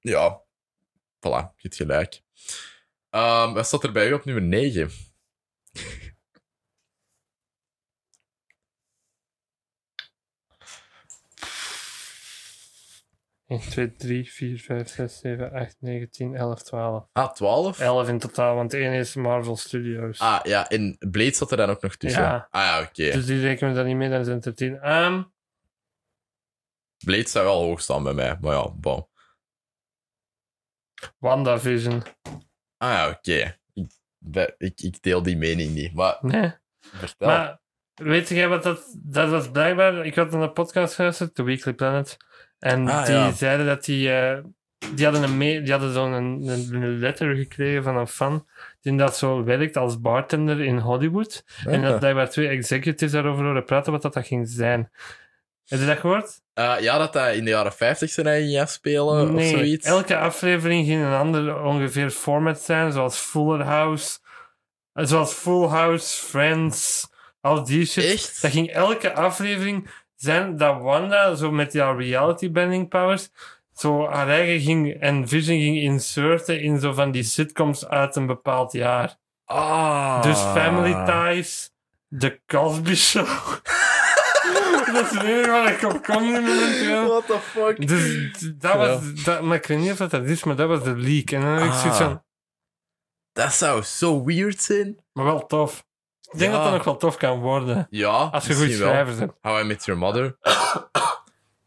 Ja. Voilà, je hebt gelijk. Ehm, wat staat er bij u op nummer 9?
Eén, 2, 3, 4, 5, 6, 7, 8, 9, 10, 11, 12.
Ah, 12?
11 in totaal, want één is Marvel Studios.
Ah, ja, en Blade zat er dan ook nog tussen.
Ja.
Ah ja, oké.
Dus die rekenen we dan niet mee, dan zijn het er 10. Ehm,
Blade zou wel hoog staan bij mij, maar ja, bon.
WandaVision.
Ah ja, oké. Ik, dat- ik, ik deel die mening niet, maar
Nee.
vertel.
Maar weet jij wat dat... Dat was blijkbaar... Ik had een podcast geluisterd, The Weekly Planet. En
Ah,
die
ja.
zeiden dat die... eh, die hadden, een me- die hadden zo'n een, een letter gekregen van een fan die dat zo werkt als
Eh,
bartender in Hollywood. En dat blijkbaar twee executives daarover horen praten wat dat, dat ging zijn. Heb je dat gehoord?
Eh, ja, dat hij in de jaren 50 zijn eigen ging afspelen of zoiets.
elke aflevering ging een ander ongeveer format zijn, zoals Fuller House, eh, zoals Full House, Friends, al die shit.
Echt?
Dat ging elke aflevering zijn dat Wanda, zo met die haar reality bending powers, zo haar eigen ging en Vision ging inserten in zo van die sitcoms uit een bepaald jaar.
Ah.
Dus Family Ties, The Cosby Show. dat is het enige waar ik op kom nu momenteel.
What the fuck?
Dus d- dat was, dat, maar ik weet niet of dat dat is, maar dat was de leak. En dan heb ik zoiets
Ah.
van,
Dat zou zo weird zijn.
maar wel tof. Ik denk
Ja.
dat dat nog wel tof kan worden.
Ja,
Als je
misschien
goed
wel.
schrijvers hebt.
How I Met Your Mother.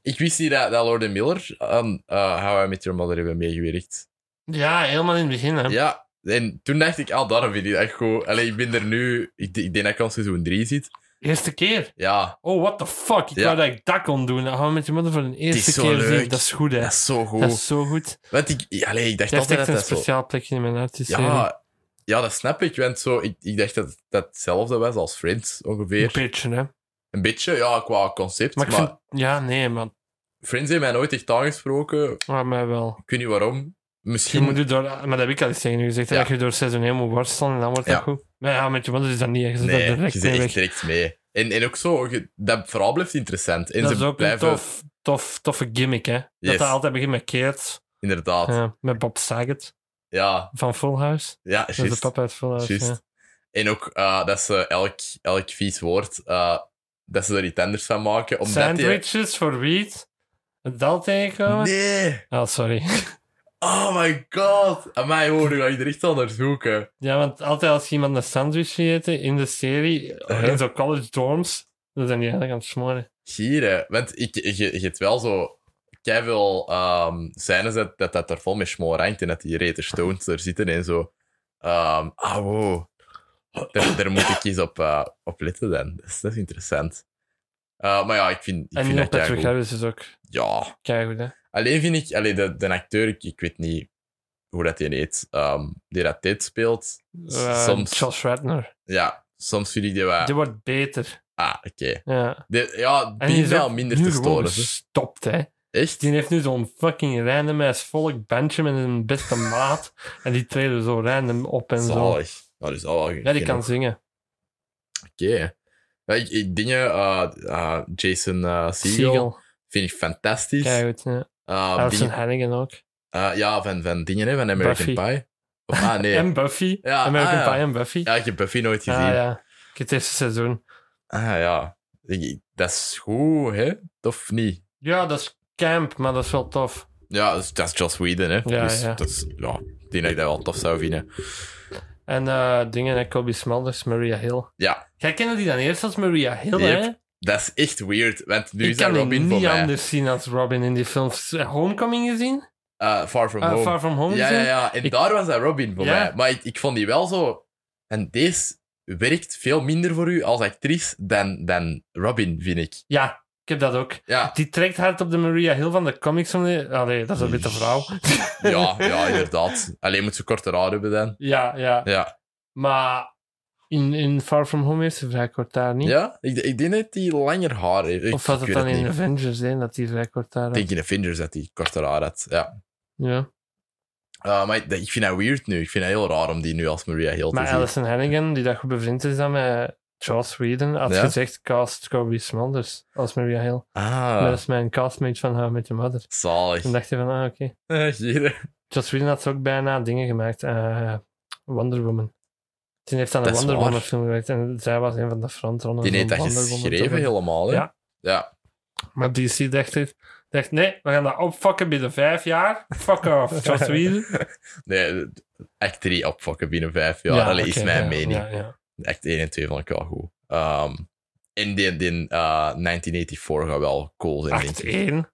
ik wist niet dat, dat Lord Miller aan eh, How I Met Your Mother hebben meegewerkt.
Ja, helemaal in het begin. Hè.
Ja, en toen dacht ik, ah, daarom vind ik dat goed. Allee, ik ben er nu... Ik, d- ik denk dat ik aan seizoen 3 zit.
Eerste keer.
Ja,
Oh, what the fuck. Ik
Ja.
wou dat ik dat kon doen. Dan gaan we met je moeder voor de eerste
zo
keer
leuk.
zien. Dat is goed, hè.
dat is zo goed.
Dat is zo goed.
Want ik... Allee, ik dacht
Dat heeft
altijd
echt
dat
een
dat zo...
speciaal plekje in mijn hart. dus, eh, die serie.
Ja, ja, dat snap ik. Want zo, ik, ik dacht dat dat hetzelfde was als Friends,
Een
ongeveer.
beetje, hè.
Een beetje, ja, qua concept.
Maar
Maar,
ik vind... Ja, nee, man.
Friends heeft mij nooit echt aangesproken.
Maar mij wel.
Ik weet niet waarom.
Je
Misschien...
moet je door... Maar dat heb ik al eens tegen u gezegd. hè,
Ja.
Dat je door seizoen 1 moet worstelen en dan wordt dat
Ja.
goed. Maar ja, met je moeder is dat niet. Je zit
Nee,
daar
je
direct
zit
mee
echt
weg.
direct mee. En, en ook zo, je- dat verhaal blijft interessant. En
dat
ze
is ook
blijven...
een tof, tof, toffe gimmick, hè?
Yes.
Dat hij altijd begint met Keert,
Inderdaad. Ja,
ja, met Bob Saget
ja,
van Full House. Dat is de
juist.
papa uit Full House.
juist.
Ja.
En ook eh, dat ze elk, elk vies woord, eh, dat ze er iets anders van maken. Omdat
Sandwiches voor wiet. Het dal
Die...
tegenkomen.
Nee!
Oh, sorry.
Oh my god! Amai, hoor, nu ga ik er echt al naar zoeken.
Ja, want altijd als iemand een sandwich wil eten in de serie,
Uh-huh.
in zo'n college dorms, dan zijn die eigenlijk aan het smoren.
Gieren. Want ik, je, je hebt wel zo... Jij wil ehm scènes dat, dat dat er vol met schmoor hangt en dat die Rater Stones er zitten en zo. Ehm ah, wow. Daar, daar moet ik eens op, eh, op letten dan. Dat is, dat is interessant. Eh, maar ja, ik vind, ik
En
vind
Neil
dat
Patrick
keigoed.
Harris is ook
Ja.
keigoed, hè.
Alleen vind ik... Allee, de, de acteur, ik, ik weet niet hoe dat die heet. ehm, die dat dit speelt.
Eh,
Soms. Ah.
Josh Radner.
Ja, soms vind ik die wel...
Die wordt beter.
Ah, oké.
Ja.
De- Ja,
En die
die
is
is wel
ook
minder
nu
te
gewoon
storen. hè.
gestopt, hè.
Echt?
Die heeft nu zo'n fucking random ass volk bandje met een beste maat. En die treden zo random op en zo.
Zalig. Nou, dat is al wel
Ja, die
genoeg.
kan zingen.
Oké. Ja, ik, ik dingen, eh, eh, Jason eh Segel,
Siegel.
vind ik fantastisch.
Kijk, ja. Ah,
Eh,
Alison
dingen-
Hannigan ook.
eh, ja, van, van dingen, hè, van American
Buffy.
Pie. Of, ah, nee.
En Buffy.
Ja,
American
ah, ja.
Pie en Buffy.
ja, ik heb Buffy nooit gezien.
ah, ja. Ik heb het eerste seizoen.
Ah, ja. Ik- ik- dat is goed, hè? Of niet?
Ja, dat is camp, maar dat is wel tof.
Ja, dat is- dat is Joss Whedon, hè?
Ja,
dus
ja.
dat is... Ja, ik denk dat ik dat wel tof zou vinden.
En eh, dingen, hè, Kobe Smulders, Maria Hill.
Ja,
Jij kende die dan eerst als Maria Hill,
Yep.
hè?
dat is echt weird, want nu
Ik
is dat
kan die
Robin voor
niet
mij.
anders zien als Robin in die films. Homecoming gezien?
Eh, far From
Eh,
Home.
Far From Home
Ja,
gezien?
ja, ja. En
Ik-
daar was dat Robin voor
Ja.
mij. Maar ik, ik vond die wel zo... En deze werkt veel minder voor u als actrice dan, dan Robin, vind ik.
Ja, ik heb dat ook.
Ja,
Die trekt hard op de Maria Hill van de comics. Van de... Allee, dat is een witte vrouw.
ja, ja inderdaad. Alleen moet ze korter haar hebben dan.
Ja, ja.
Ja,
Maar in, in Far From Home heeft ze vrij kort haar niet.
ja ik, ik denk dat die langer haar heeft. Ik,
of was
ik
het
weet
dan in
niet.
Avengers, hè, dat die vrij kort haar
Ik
had?
denk in Avengers dat die korter haar had. Ja.
Ja.
Eh, maar ik, ik vind dat weird nu. Ik vind dat heel raar om die nu als Maria Hill te
Maar
zien.
Alison Hannigan, die dat goed bevriend is dan met Joss Whedon, had
Ja?
gezegd cast Kobe Smulders als Maria Hill.
Ah,
Dat is mijn castmate van How I Met Your Mother.
zalig.
Toen dacht hij van, ah, oké.
Eh, hier.
Joss Whedon had ook bijna dingen gemaakt. eh, Wonder Woman. Die heeft aan de
Dat is
Wonder
waar.
Woman film gewerkt en zij was een van de frontrunners.
Die heeft
om
dat
Wonder Woman te
geschreven
maken.
helemaal, hè?
Ja.
Ja.
Maar DC dacht, dit- dacht nee, we gaan dat opfokken binnen vijf jaar. Fuck off, Joss Whedon.
Nee, act 3 opfokken binnen vijf jaar. Allee, is
oké,
mijn
ja,
mening.
Ja, ja.
Act 1 en 2 vond ik wel goed. Ehm, en die, die eh, 1984 gaat wel cool zijn,
Act
denk ik.
1.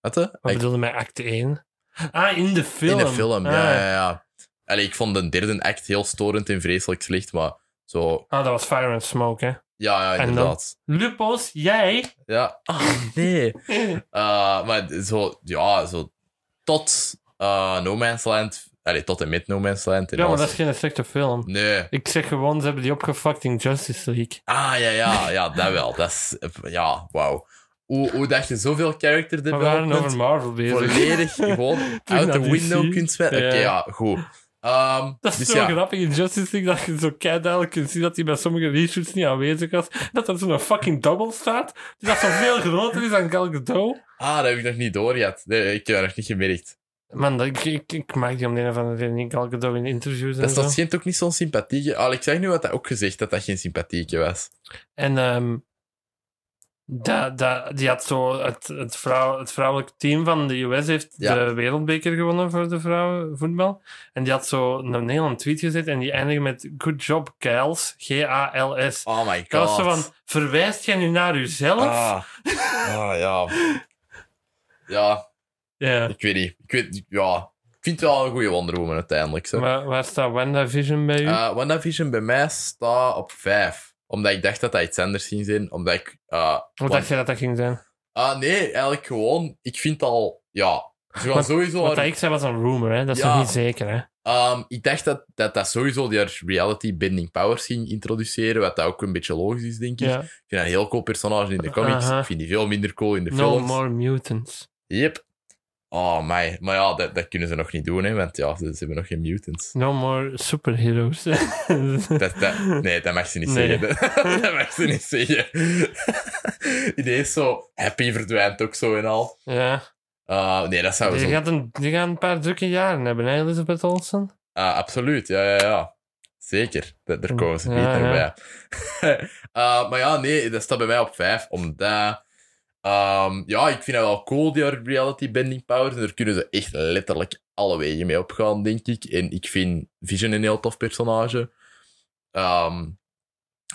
Wat, hè?
Wat
Act-
bedoelde mij act 1? Ah, in de film.
in de film,
ah.
ja, ja, ja. Allee, ik vond de derde act heel storend en vreselijk slecht, maar zo...
Ah, dat was Fire and Smoke, hè.
Ja, ja,
En dan?
inderdaad.
Lupos, jij?
Ja. Ah, nee. Eh, maar zo, ja, zo tot eh, No Man's Land... Allee, tot en met No Man's Land. En
Ja, maar
alles.
dat is geen slechte film.
Nee.
Ik zeg gewoon, ze hebben die opgefuckt in Justice League.
Ah, ja, ja, ja, dat wel. Dat is... Ja, wauw. hoe, hoe dat je zoveel character
We waren over
development
Marvel bezig.
volledig gewoon out
naar
the
DC.
window kunt zetten. Oké,
Ja.
ja, goed. Ehm,
Dat is
dus
zo
ja,
grappig in Justice League dat je zo kei duidelijk kunt zien dat hij bij sommige reshoots niet aanwezig was. Dat er zo'n fucking double staat. Die dat zo veel groter is dan Gal Gadot.
ah, dat heb ik nog niet door gehad. Nee, ik heb dat nog niet gemerkt.
Man, dat, ik, ik, ik maak die om de een of andere reden niet Gal Gadot in interviews en
Dat,
zo.
dat schijnt ook niet zo'n sympathieke... Al, ik zeg nu wat dat ook gezegd, dat dat geen sympathieke was.
En ehm, dat- dat- die had zo het, het, vrouw, het vrouwelijke team van de US heeft
Ja.
de wereldbeker gewonnen voor de vrouwenvoetbal. En die had zo een Nederland tweet gezet en die eindigde met Good job, Gals. G-A-L-S.
Oh my god.
Dat was zo van, verwijst jij nu naar uzelf?
Ah, ah ja. Ja,
Ja.
ik weet niet. Ik, weet, ja. ik vind het wel een goede Wonder Woman uiteindelijk. Zo.
Waar, waar staat WandaVision bij u?
Eh, WandaVision bij mij staat op 5. Omdat ik dacht dat dat iets anders ging zijn. Omdat ik... eh,
Hoe dacht je dat dat ging zijn?
ah, nee, eigenlijk gewoon... Ik vind al... Ja, ze gaan
Wat-
sowieso...
Wat
haar-
dat ik zei was een rumor, hè? dat is
Ja.
nog niet zeker. Hè?
Ehm, ik dacht dat, dat dat sowieso die haar reality bending powers ging introduceren. Wat dat ook een beetje logisch is, denk ik.
Ja.
Ik vind dat een heel cool personage in de comics.
Aha.
Ik vind die veel minder cool in de
No
films.
more mutants.
Yep. Oh, my. Maar ja, dat, dat kunnen ze nog niet doen, hè, want ja, ze, ze hebben nog geen mutants.
No more superheroes.
Dat, dat, nee, dat mag ze niet
Nee.
zeggen. Dat, dat mag ze niet zeggen. Ineens zo, Happy verdwijnt ook zo en al.
ja.
Eh, nee, dat zou
Die
zo...
gaat, een, die gaat een paar drukke jaren hebben, hè, Elizabeth Olsen?
Ah, absoluut, ja, ja, ja. Zeker, dat, daar komen ze
Ja,
beter
ja.
bij. Eh, maar ja, nee, dat staat bij mij op 5, omdat... ehm, ja, ik vind dat wel cool, die reality bending powers. En daar kunnen ze echt letterlijk alle wegen mee opgaan, denk ik. En ik vind Vision een heel tof personage. Ehm,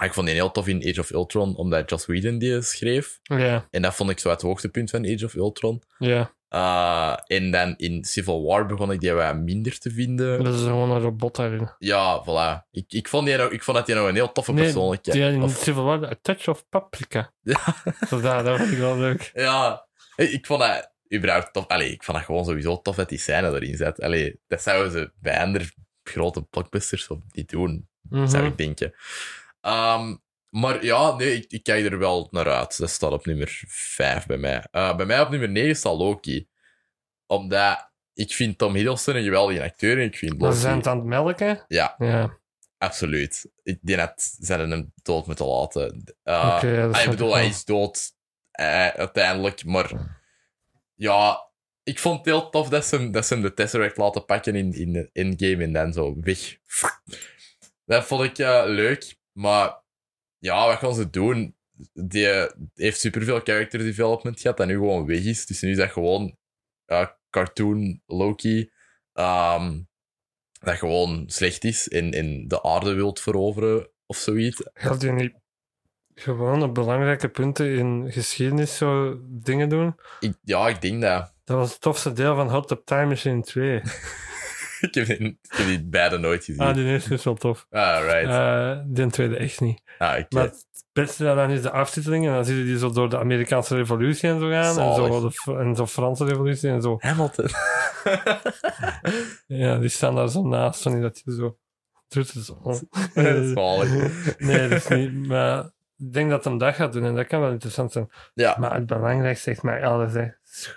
ik vond die heel tof in Age of Ultron, omdat Joss Whedon die schreef.
Ja,
En dat vond ik zo het hoogtepunt van Age of Ultron.
ja.
Eh, en dan in Civil War begon ik die wat minder te vinden.
Dat is gewoon een robot daarin.
Ja, voilà. Ik, ik, vond die nog, ik vond dat hij nog een heel toffe
Nee,
persoonlijkheid
Die had in
of-
Civil War A Touch of Paprika.
Ja.
Zo daar, dat vond ik wel leuk.
Ja, ik ik vond dat überhaupt tof. Allee, ik vond dat gewoon sowieso tof dat die scène erin zat. Allee, dat zouden ze bij andere grote blockbusters of niet doen,
Mhm.
zou ik denken. Ehm, maar ja, nee, ik, ik kijk er wel naar uit. Dat staat op nummer 5 bij mij. Eh, bij mij op nummer 9 staat Loki. Omdat ik vind Tom Hiddleston een geweldige acteur en ik vind
Maar
Loki...
ze zijn het aan het melken.
Ja.
Ja,
Absoluut. Ik denk dat ze hem dood moeten laten. Eh,
oké. ja, dat
Ah, ik
snap
bedoel,
wel.
hij is dood eh, uiteindelijk, maar ja, ik vond het heel tof dat ze hem, dat ze hem de Tesseract laten pakken in, in de endgame en dan zo weg. Dat vond ik eh, leuk, maar ja, wat gaan ze doen? Die eh, heeft superveel character development gehad dat nu gewoon weg is. Dus nu is dat gewoon eh, cartoon Loki ehm, dat gewoon slecht is en, en de aarde wilt veroveren of zoiets.
Gaat je niet gewoon op belangrijke punten in geschiedenis zo dingen doen?
Ik, ja, ik denk dat.
Dat was het tofste deel van Hot Top Time Machine 2.
ik, heb die, ik heb die beide nooit gezien.
ah, die eerste is wel tof.
Ah, right.
Eh die tweede echt niet.
ah, oké.
Maar het beste daaraan is de aftiteling. En dan zie je die zo door de Amerikaanse revolutie en zo gaan. En zo,
Zalig.
de, F- en zo Franse revolutie en zo.
Hamilton.
Ja, die staan daar zo naast. Van die dat je zo... Doet het zo.
Zalig.
nee, dat is niet... Maar ik denk dat hem dat gaat doen. En dat kan wel interessant zijn.
Ja.
Maar het belangrijkste is mij alles. Hè.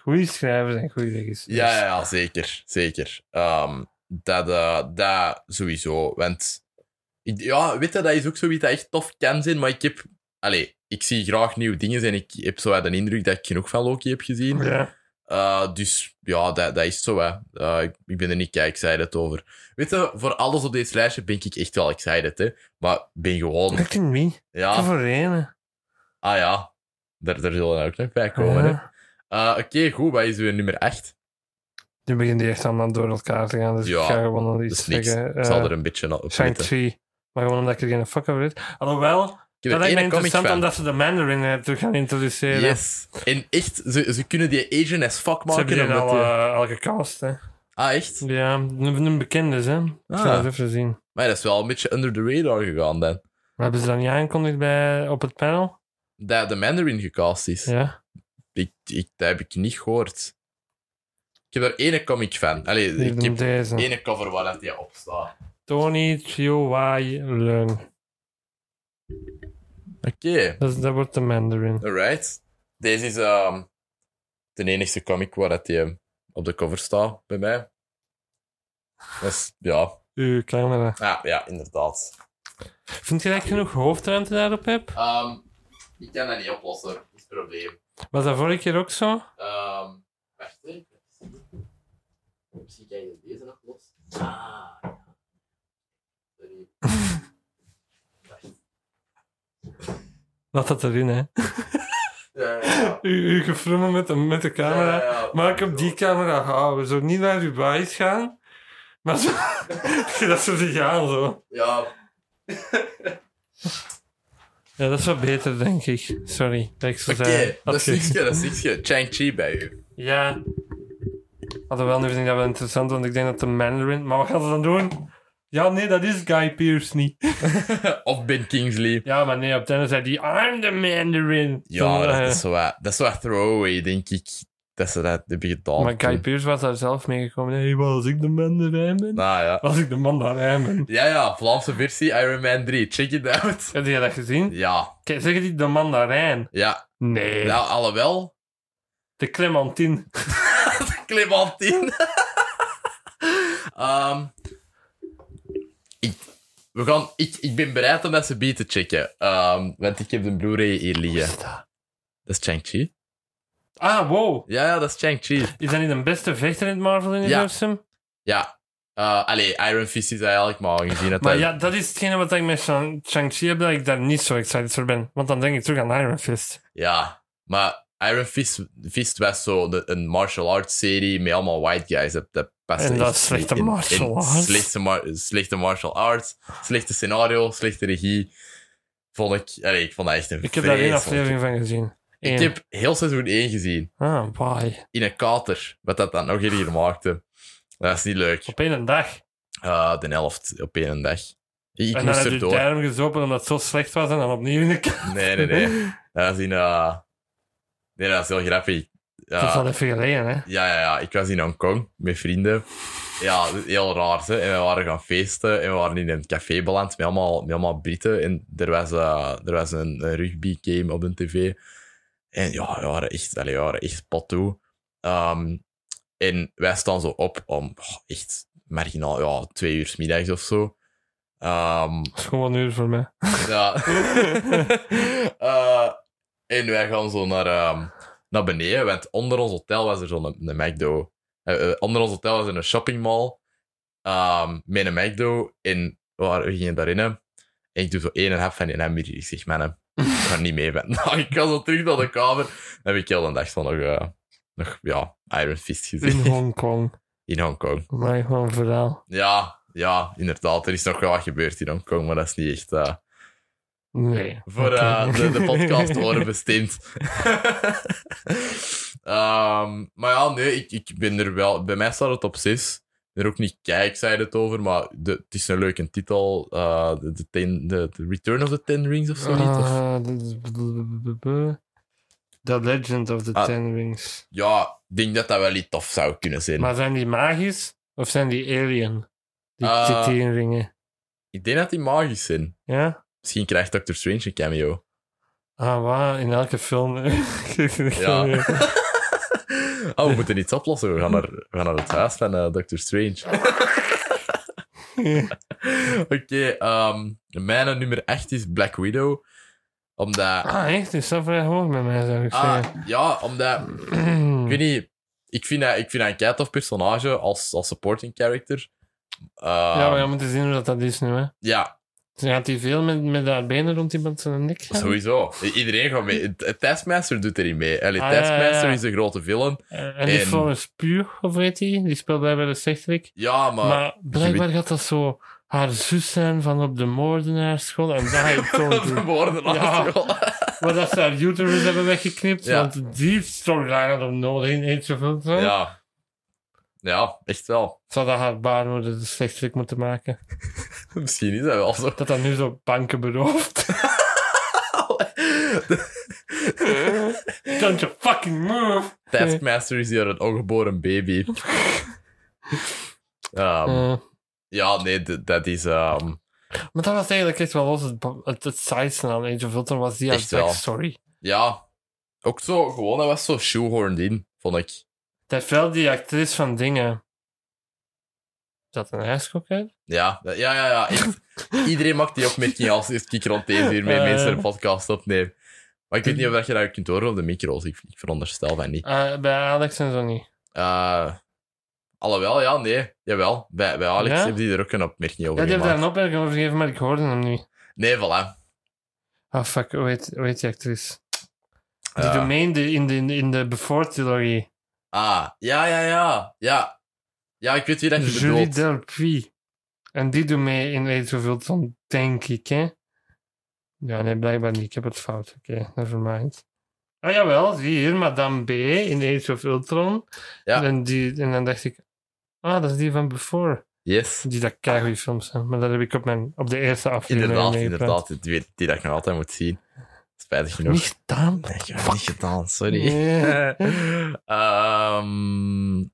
Goeie schrijvers en goede regisseurs.
Ja, ja, ja, zeker. Zeker. Ehm, dat, eh, dat sowieso. Want, ik- ja, weet je, dat is ook zoiets dat echt tof kan zijn, maar ik heb... Allee, ik zie graag nieuwe dingen en ik heb zo wat een indruk dat ik genoeg van Loki heb gezien.
Ja.
Eh, dus ja, dat, dat is zo. Hè. Eh, ik, ik ben er niet kijk excited over. Weet je, voor alles op deze lijstje ben ik echt wel excited, hè. Maar ben gewoon...
Fucking me.
Ja.
Ah. Voor één.
Ah ja, daar, daar zullen we ook nog bij komen.
Ah.
hè. Eh, Oké, goed. Wat is uw nummer 8?
Nu begint die echt allemaal door elkaar te gaan. Dus
Ja,
ik ga gewoon nog
Dat
iets
is niks.
zeggen.
ik zal
Eh,
er een beetje op
Shang
letten.
3. Maar gewoon omdat ik er geen fuck over weet. Alhoewel,
Ik
dat
heb
lijkt
er
me
één comic
interessant
van.
omdat ze de Mandarin eh, terug gaan introduceren.
Yes. En echt, ze, ze kunnen die Asian as fuck
Ze hebben
maken.
die
omdat
al
die-
eh, al gecast, hè.
Ah, echt?
Ja, een, een bekende, hè. Ik zal
Ah.
het even zien.
Maar dat is wel een beetje under the radar gegaan dan.
Maar hebben ze dat niet aangekondigd bij, op het panel?
Dat de Mandarin gecast is.
Ja.
Ik, ik, dat heb ik niet gehoord. Ik heb er één comic van. Allee,
Die
ik
doen
heb
deze.
één cover waar dat die op staat.
Tony Chiowai Leung.
Oké,
Dat, is- dat wordt de Mandarin.
alright. Deze is ehm, de enige comic waar dat die ehm, op de cover staat bij mij. Dus ja,
Uw camera.
ja, ja inderdaad.
Vind je dat ik genoeg hoofdruimte daarop heb?
Ehm, ik kan dat niet oplossen, dat is het probleem.
Was dat vorige keer ook zo?
Ehm, wacht even. Misschien kan je deze nog los. Ah, ja. Sorry.
Laat dat erin, hè.
Ja, ja, ja.
U, u gefrummen met de, met de camera.
Ja, ja, ja.
Maar ik op die camera houden. Zo niet naar uw baas gaan. Maar zo... dat ze zich gaan, zo.
Ja,
Ja, dat is wat beter, denk ik. Sorry, dat eh, ik zo
oké,
zei.
dat
Had
is
je-
niks, dat is niks. Chang-Chi bij u.
Ja. Alhoewel, nu vind ik dat wel interessant, want ik denk dat de Mandarin... Maar wat gaan ze dan doen? Ja, nee, dat is Guy Pearce niet.
of Ben Kingsley.
Ja, maar nee, op het einde zei hij... I'm the Mandarin.
Ja,
Zo, eh,
dat is zo wat- dat is wel throwaway, denk ik. Dat ze dat hebben gedaan.
Maar Guy Pearce was daar zelf mee gekomen. Hé, hey, wat als ik de Mandarijn ben?
Nou ja.
Als ik de Mandarijn ben.
Ja, ja, Vlaamse versie Iron Man 3. Check it out.
Heb je dat gezien?
Ja,
Kijk, zeggen die de Mandarijn?
ja.
Nee.
Nou, alhoewel.
De Clementine.
Clementine. Ehm, ik, we gaan, ik, ik ben bereid om dat ze beat te checken. Ehm, want ik heb de Blu-ray hier liggen. Dat is Chang-Chi.
Ah, wow.
Ja, ja, dat is Chang-Chi.
Is dat niet de beste vechter in het Marvel-universum?
Ja. Eh allee, Iron Fist is dat eigenlijk maar gezien. Dat
Maar
hij-
ja, dat is hetgene wat ik met Shang- Shang-Chi heb, dat ik daar niet zo excited voor ben. Want dan denk ik terug aan Iron Fist.
Ja, maar Iron Fist, Fist was zo de- een martial arts serie met allemaal white guys. Dat, dat past
En dat
echt
is slechte
niet in-
martial
in
arts.
Slechte, mar- slechte martial arts, slechte scenario, slechte regie. Vond ik, allee, ik vond dat echt een
Ik heb daar één
vreselijk-
aflevering van gezien. Eén.
Ik heb heel seizoen 1 gezien,
Ah, why?
in een kater, wat dat dan nog erger maakte. Dat is niet leuk.
Op één dag.
Ah, de helft op één dag. Ik
en dan
moest
heb je
er
de
door.
duim gezopen omdat het zo slecht was en dan opnieuw in de kamer.
Nee, nee, nee. Dat is in... eh, Nee, dat is heel grappig.
Dat is
Ja.
al even geleden, hè.
Ja, ja, ja, ik was in Hongkong met vrienden. Ja, dat is heel raar. Hè? En we waren gaan feesten en we waren in een café beland met allemaal, met allemaal Britten. En er was, eh, er was een, een rugby game op de tv. En ja, we waren echt, allee, we waren echt pot toe. Ehm, en wij staan zo op om oh, echt marginaal, ja, twee uur 's middags of zo. Ehm,
Dat is gewoon een uur voor mij.
ja. Eh, en wij gaan zo naar, ehm, naar beneden, want onder ons hotel was er zo'n een McDo. Eh, eh, onder ons hotel was er een shoppingmall ehm, met een McDo. En waar, we gingen daarin. hè. En ik doe zo één en half van die hamburger. Ik zeg, man, ik ga niet mee vandaag. Ik ga zo terug naar de kamer. Dan heb ik heel de dag zo nog, eh, nog ja, Iron Fist
In
gezien.
Hongkong.
In Hongkong.
Maar gewoon een verhaal.
Ja, ja, inderdaad. Er is nog wel wat gebeurd in Hongkong, maar dat is niet echt... eh,
Nee.
voor
Oké.
eh, de, de podcast te worden bestemd. Ehm, maar ja, nee, ik, ik ben er wel... Bij mij staat het op 6. Ik ben er ook niet kijk, zei het over, maar de, het is een leuke titel. eh, de, de, ten, de, de Return of the Ten Rings of zo niet? Of-
Ah, de- The Legend of the
Ah.
Ten Rings.
Ja, ik denk dat dat wel iets tof zou kunnen zijn.
Maar zijn die magisch of zijn die alien? Die
Eh.
uh, ringen.
Ik denk dat die magisch zijn.
Ja?
Misschien krijgt Doctor Strange een cameo.
Ah, waar? In elke film.
Ja. oh, we moeten iets oplossen. We gaan naar, we gaan naar het huis van eh, Doctor Strange. Oké, ehm mijn nummer 8 is Black Widow. Omdat. Ah,
ah, echt? Is dat vrij hoog met mij, zou ik zeggen.
ja, omdat. Ah. Ik weet niet. Ik vind dat, ik vind dat een kei tof personage als, als supporting character. Ehm,
ja, maar we moeten zien hoe dat, dat is nu, hè.
ja,
Dus gaat hij veel met, met haar benen rond iemand zijn nek gaan?
sowieso. I- Iedereen gaat mee. T- Taskmaster doet erin mee. Allee,
Ah, ja, ja,
Taskmaster
ja.
is een grote villain.
Eh, En die
En-
Florence Pugh, of weet die? Die speelt blijkbaar de slechterik.
Ja, maar.
maar blijkbaar gaat dat zo haar zus zijn van op de moordenaarsschool. En daar heeft
de
Thornton-
woorden
Ja. Maar dat ze haar uterus hebben weggeknipt.
Ja.
Want die storyline had hem nodig in Age of Ultron.
ja. Ja, echt wel.
Zou dat haar baarmoeder de slechterik moeten maken?
Misschien is dat wel zo.
Dat dat nu zo banken berooft. Don't you fucking move!
Taskmaster is hier een ongeboren baby. Ehm,
Eh,
Ja, nee, d- dat is. ehm,
maar dat was eigenlijk echt wel los. Het, het, het saaiste aan Age of Ultron was die haar
Echt wel.
backstory.
ja, Ook zo, gewoon, dat was zo shoehorned in, vond ik.
Dat wel die actrice van dingen. Is dat een ijskok uit?
Ja, dat- ja, ja, ja. echt. Iedereen maakt die opmerking als eerst ik rond deze uur mee
Eh.
mensen een podcast opnemen. Maar ik weet niet of dat je dat kunt horen op de micro's. Ik, ik veronderstel van niet.
Ah, bij Alex en zo niet.
Eh, alhoewel, ja, nee. Jawel. Bij, bij Alex
Ja?
heeft hij er ook een opmerking
Ja,
over
die heeft daar
gemaakt.
een opmerking over gegeven, maar ik hoorde hem niet.
Nee, voilà.
Oh fuck, hoe heet, hoe heet die actrice? Die
Eh,
domein die in de, in de, in de Before-trilogie.
ah, ja, ja, ja. Ja, ja ik weet wie dat je
Julie
bedoelt.
Delpuy. En die doet mee in Age of Ultron, denk ik, hè? Ja, nee, blijkbaar niet. Ik heb het fout. Oké, nevermind. Ah, jawel, zie hier, Madame B in Age of Ultron.
Ja.
En, die, en dan dacht ik, ah, dat is die van Before.
Yes.
Die dat keigoede films zijn. Maar dat heb ik op, mijn, op de eerste aflevering
Inderdaad,
meegepraat.
inderdaad. Die, die, die dat ik nog altijd moet zien. Spijtig genoeg.
Niet gedaan.
Nee, ik heb het niet gedaan, sorry.
Nee.
Ehm,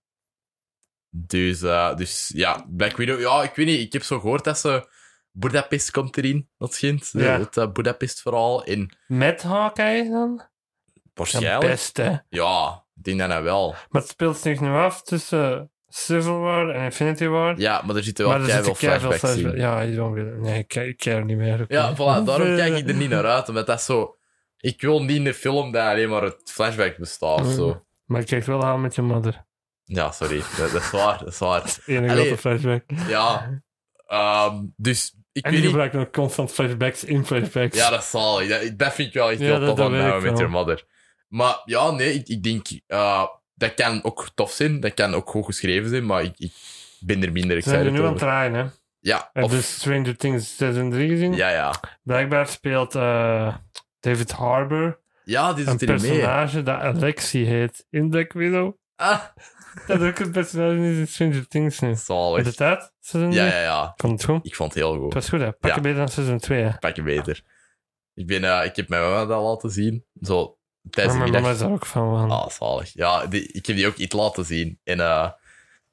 dus, eh, dus ja, Black Widow. Ja, ik weet niet. Ik heb zo gehoord dat ze. Budapest komt erin, dat schijnt.
Ja.
Het eh, Budapest vooral. En
Met Hawkeye dan? Ja,
waarschijnlijk.
best, hè.
Ja, ik denk dat nou wel.
Maar het speelt zich nu af tussen Civil War en Infinity War.
Ja, maar er zitten wel
maar er
keiveel
zitten keiveel
flashbacks
flashbacks.
in.
Ja, ik don't really- Nee, ik, ik care niet meer. oké.
Ja, voilà, daarom kijk ik er niet naar uit. Omdat dat zo... Ik wil niet in de film dat alleen maar het flashback bestaat. of Zo.
Maar ik kijk wel aan met je mother.
Ja, sorry. Dat, dat is waar, dat is waar.
Enige
Allee.
grote flashback.
Ja. ehm, dus, ik
En
weet
die
niet...
gebruikt ook constant flashbacks in flashbacks.
Ja, dat is zalig. Dat, dat vind ik wel echt
Ja,
heel
dat-
tof
dat
aan
weet
Now
ik
met
wel.
Your Mother. Maar ja, nee, ik, ik denk... eh, dat kan ook tof zijn. Dat kan ook goed geschreven zijn. Maar ik, ik ben er minder
Ze zijn er
excited
nu aan het dus-
over.
draaien, hè.
Ja,
Heb
of-
je Stranger Things seizoen 3 gezien?
ja, ja.
Blijkbaar speelt eh, David Harbour
Ja, die
een
zit erin mee.
personage dat Alexi heet in Black Widow.
Ah,
Dat ook het personage is in Stranger Things nu. Is
zalig.
het uit? Seizoen
Ja,
3?
ja, ja.
Komt goed.
Ik vond het heel goed.
Het was goed, hè. Pak
Ja.
je beter dan seizoen 2, hè.
Pak je beter. Ik, ben, eh, ik heb mijn mama dat laten zien. Zo tijdens
Maar
de
mijn mama
middag.
is daar ook van, man.
Ah, zalig. Ja, die- ik heb die ook iets laten zien. En, eh,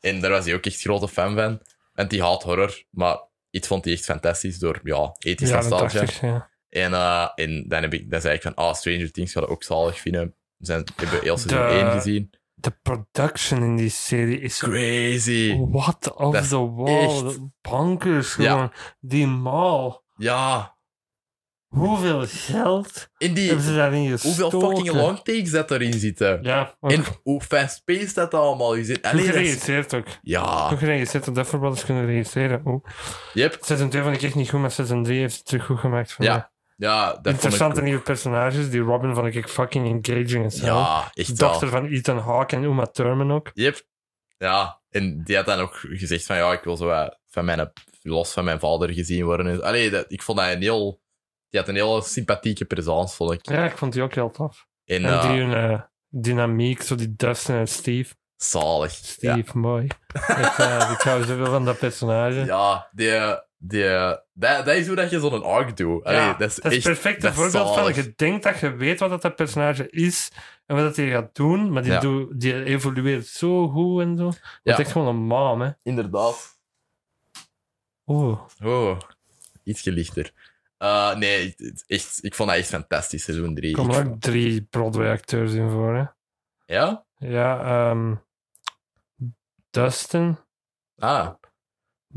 en daar was hij ook echt grote fan van. En die haat horror, maar iets vond hij echt fantastisch door ja, ethisch
ja,
nostalgia.
80, ja.
En, eh, en dan heb ik, dan zei ik van, ah, Stranger Things gaat ook zalig vinden. We zijn, hebben heel seizoen
De-
1 gezien.
De production in die serie is
Crazy.
what of
Dat is
the wall.
echt-
Bankers
Ja.
gewoon. Die mall.
Ja.
Hoeveel geld
En die,
hebben ze daarin gestoken?
hoeveel fucking long takes dat erin zitten.
Ja, ook
En hoe fast-paced dat allemaal is.
goed
Allee, dat is- Ah.
geregistreerd ook.
Ja,
Goed geregistreerd, op dat verband is kunnen registreren. Oeh.
yep.
Seizoen 2 vond ik echt niet goed, maar seizoen 3 heeft het terug goed gemaakt voor
Ja,
mij.
Ja, dat
Interessante
vond ik
nieuwe personages. Die Robin vond ik echt fucking engaging en
ook-
zo.
Ja,
de
echt
dochter
wel.
van Ethan Hawke en Uma Thurman ook.
Yep. Ja, en die had dan ook gezegd van, ja, ik wil zo wat van mijn, los van mijn vader gezien worden. En- Allee, dat, ik vond dat een heel... Die had een heel sympathieke presence, vond ik.
Ja, ik vond die ook heel tof.
En
En
eh,
die hun eh, dynamiek, zo die Dustin en Steve.
zalig.
Steve, mooi. ik, eh, ik hou zoveel van dat personage.
Ja, ja die, die, dat, dat is hoe dat je zo'n arc doet. Allee,
Ja,
dat is
het
echt,
perfecte
dat is
voorbeeld van,
zalig.
je denkt dat je weet wat dat, dat personage is en wat dat hij gaat doen, maar die,
Ja.
doe- die evolueert zo goed en zo. Wordt
Ja.
echt gewoon een mom, hè.
Inderdaad.
Oeh.
Oh, iets lichter. Eh, nee, het- het- echt, ik vond dat echt fantastisch, seizoen 3.
Er komen ook drie Broadway-acteurs in voor, hè.
Ja?
Ja, ehm, Dustin,
Ah,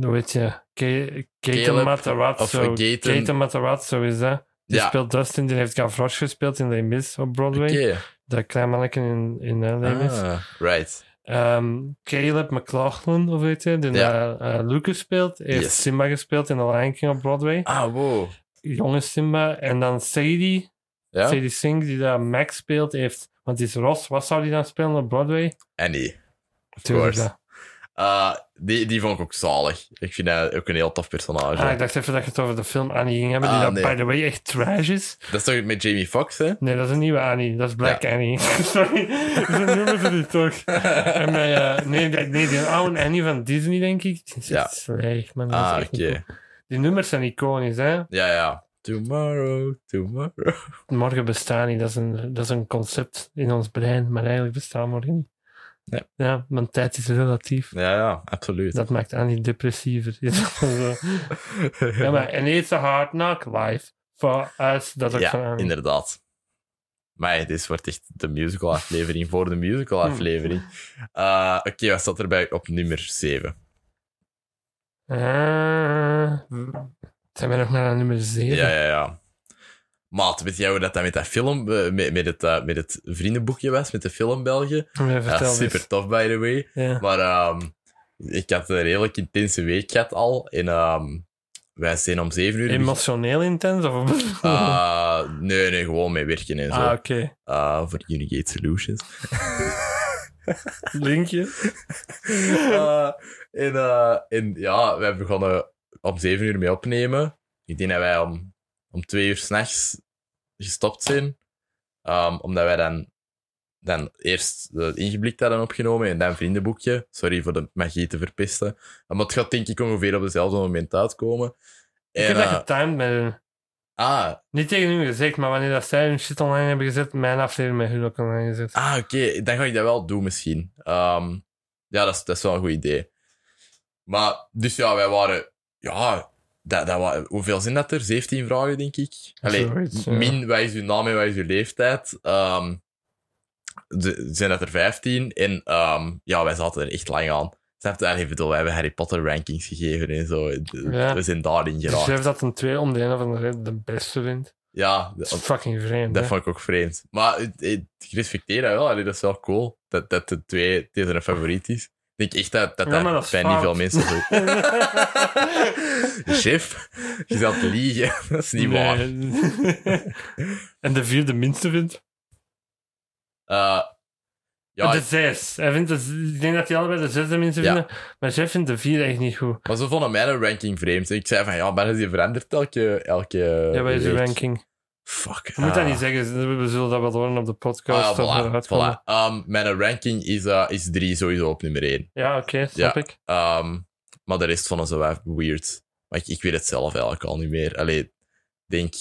hoe heet je? Ke- Keaton
Caleb,
Matarazzo.
of Keaton.
Keaton Matarazzo is dat. Die
ja.
speelt Dustin, die heeft Gavroche gespeeld in Les Mis op
Oké.
Broadway. Dat klein mannetje in, in eh, Les Mis.
Ah, right.
Ehm, Caleb McLaughlin, of weet je, die
Ja.
eh, eh, Lucas speelt. Heeft
Yes.
Simba gespeeld in The Lion King op Broadway.
Ah, wow.
Jonge Simba. En dan Sadie,
Ja?
Sadie Singh, die daar Max speelt. Heeft, want die is Ross. Wat zou die dan spelen op Broadway?
Annie. Of
Tuurlijk Ah,
course.
dat.
Eh, die, die vond ik ook zalig. Ik vind dat ook een heel tof personage.
Ah, ik dacht even dat je het over de film Annie ging hebben, die
Ah,
dat,
nee.
by the way, echt trash is.
Dat is toch met Jamie Foxx, hè?
Nee, dat is een nieuwe Annie. Dat is Black Annie. Sorry, ze noemen ze die toch. En bij, eh, nee, die- nee, die oude Annie van Disney, denk ik. Die is
Ja.
echt slecht, man. Dat is
Ah,
echt
oké.
niet goed. Die nummers zijn iconisch, hè.
Ja, ja. Tomorrow, tomorrow.
Morgen bestaan niet. Dat is, een, dat is een concept in ons brein, maar eigenlijk bestaan morgen niet.
Nee.
Ja, want tijd is relatief.
Ja, ja, absoluut.
Dat maakt Annie depressiever. Zo. ja, maar, en it's a hard knock life for us. Dat is ook
Ja,
eh, van Annie.
inderdaad. Maar dit wordt echt de musical-aflevering voor de
Hmm.
musical-aflevering. Eh, Oké, wat staat erbij op nummer 7?
Eh, zijn we nog maar aan nummer 7?
Ja, ja, ja. Maat, weet jij hoe dat, dat met dat film, eh, met, met, het, eh, met het vriendenboekje was, met de film België? Ja, super tof, by the way.
Ja.
Maar ehm, ik had een redelijk intense week gehad al. En ehm, wij zijn om zeven uur... begin-
Emotioneel intens? Of...
Ah, nee, nee, gewoon mee werken en zo.
ah, oké.
Ah, voor Unigate Solutions.
Linkje.
Eh, en, eh, en ja, wij begonnen om zeven uur mee opnemen. Ik denk dat wij om, om twee uur s'nachts gestopt zijn. Ehm, omdat wij dan, dan eerst de ingeblikt hadden opgenomen en dan vriendenboekje. Sorry voor de magie te verpesten. Maar het gaat denk ik ongeveer op dezelfde moment uitkomen.
Ik
En,
heb dat
eh,
getimed met hun.
ah,
Niet tegen hun gezegd, maar wanneer dat zij hun shit online hebben gezet, mijn aflevering met hun ook online gezet.
Ah, oké. Dan ga ik dat wel doen misschien. Ehm, ja, dat is, dat is wel een goed idee. Maar, dus ja, wij waren... Ja, dat, dat wa- hoeveel zijn dat er? 17 vragen, denk ik. Allee,
Zoiets, ja.
min, wat is uw naam en wat is uw leeftijd? Ehm, de- zijn dat er 15? En ehm, ja, wij zaten er echt lang aan. Snap je? Allee, ik bedoel, wij hebben Harry Potter rankings gegeven en zo.
Ja.
We zijn daarin
Ik
geraakt.
schrijf dat Dus een 2 om de ene of andere reden de beste vindt.
Ja,
Dat is fucking vreemd.
Dat
hè.
vond ik ook vreemd. Maar het- het- ik respecteer dat wel. Allee, dat is wel cool. Dat, dat de twee, deze een favoriet is. Ik denk echt dat dat,
Ja,
dat
maar dat is
bij niet
fout.
veel mensen zo... Chef, je zou het liegen. Dat is niet
Nee.
waar.
en de vier de minste vindt?
Eh, ja,
Ah, de zes. Hij vindt de z- ik denk dat die allebei de zes de minste
Ja.
vinden. Maar Jeff vindt de vier echt niet goed.
maar ze vonden mijn ranking vreemd. Ik zei van, ja, maar die verandert elke... elke
ja, bij zijn
week.
ranking.
Fuck.
Je moet dat
Eh, ah.
niet zeggen. We zullen dat wel horen op de podcast.
Ah,
dat we
ja, voilà,
eruit komen.
voilà. Ehm, mijn ranking is, eh, is drie sowieso op nummer één.
Ja, oké, snap ik.
Ehm, maar de rest vonden ze wel weird. Maar ik, ik weet het zelf eigenlijk al niet meer. Allee, ik denk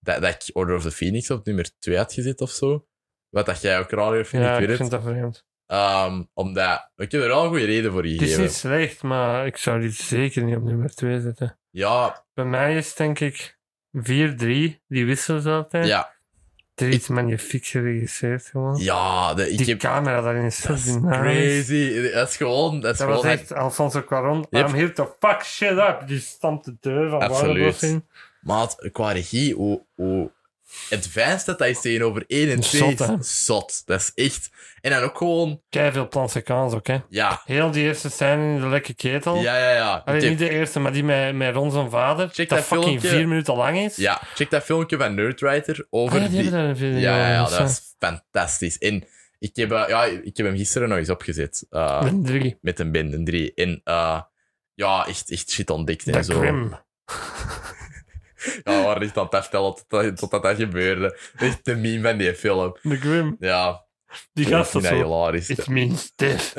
dat, dat ik Order of the Phoenix op nummer 2 had gezet of zo. Wat dat jij ook raar weer vindt,
ja,
ik
ik
weet
vind
het.
dat vreemd.
Ehm, omdat, ik heb er wel een goede reden voor
Het is
gegeven.
niet slecht, maar ik zou die zeker niet op nummer 2 zetten.
Ja,
Bij mij is denk ik 4-3, die wisselen ze altijd.
ja,
Er is magnifiek geregisseerd gewoon.
ja. de- ik
die
heb,
camera daarin is zo
dat is
dynamisch.
crazy. Dat is gewoon... Dat is
Dat
gewoon
was echt Alfonso Cuarón.
Yep.
I'm here to fuck shit up. Die stamt de deur van
Absoluut.
Warner in.
Maat, qua regie, hoe, hoe advanced dat dat is tegenover 1 en
Dat is
2
zot, hè?
is zot. Dat is echt... En dan ook gewoon...
Kei veel plansekans ook, hè.
Ja,
Heel die eerste scène in de lekke ketel.
ja, ja. ja. Ik
Oh. Allee,
heb-
niet de eerste, maar die met, met Ron zijn vader.
Check
dat
dat
fucking
filmpje.
vier minuten lang is.
Ja, check dat filmpje van Nerdwriter
Ah,
over
ja, die
die...
hebben daar een video
Ja, ja, ja,
over, dus,
dat was fantastisch. En ik heb, eh, ja, ik heb hem gisteren nog eens opgezet. eh,
Met drie.
Met een band, een drie. En eh, ja, echt, echt shit ontdekt en
Dat
zo.
grim.
Ja, we waren echt aan het aftellen totdat, totdat dat gebeurde. Echt de meme van die film.
De grim.
Ja,
Die
ik
gast
vind
dat
dat
zo.
hilarisch.
It means death.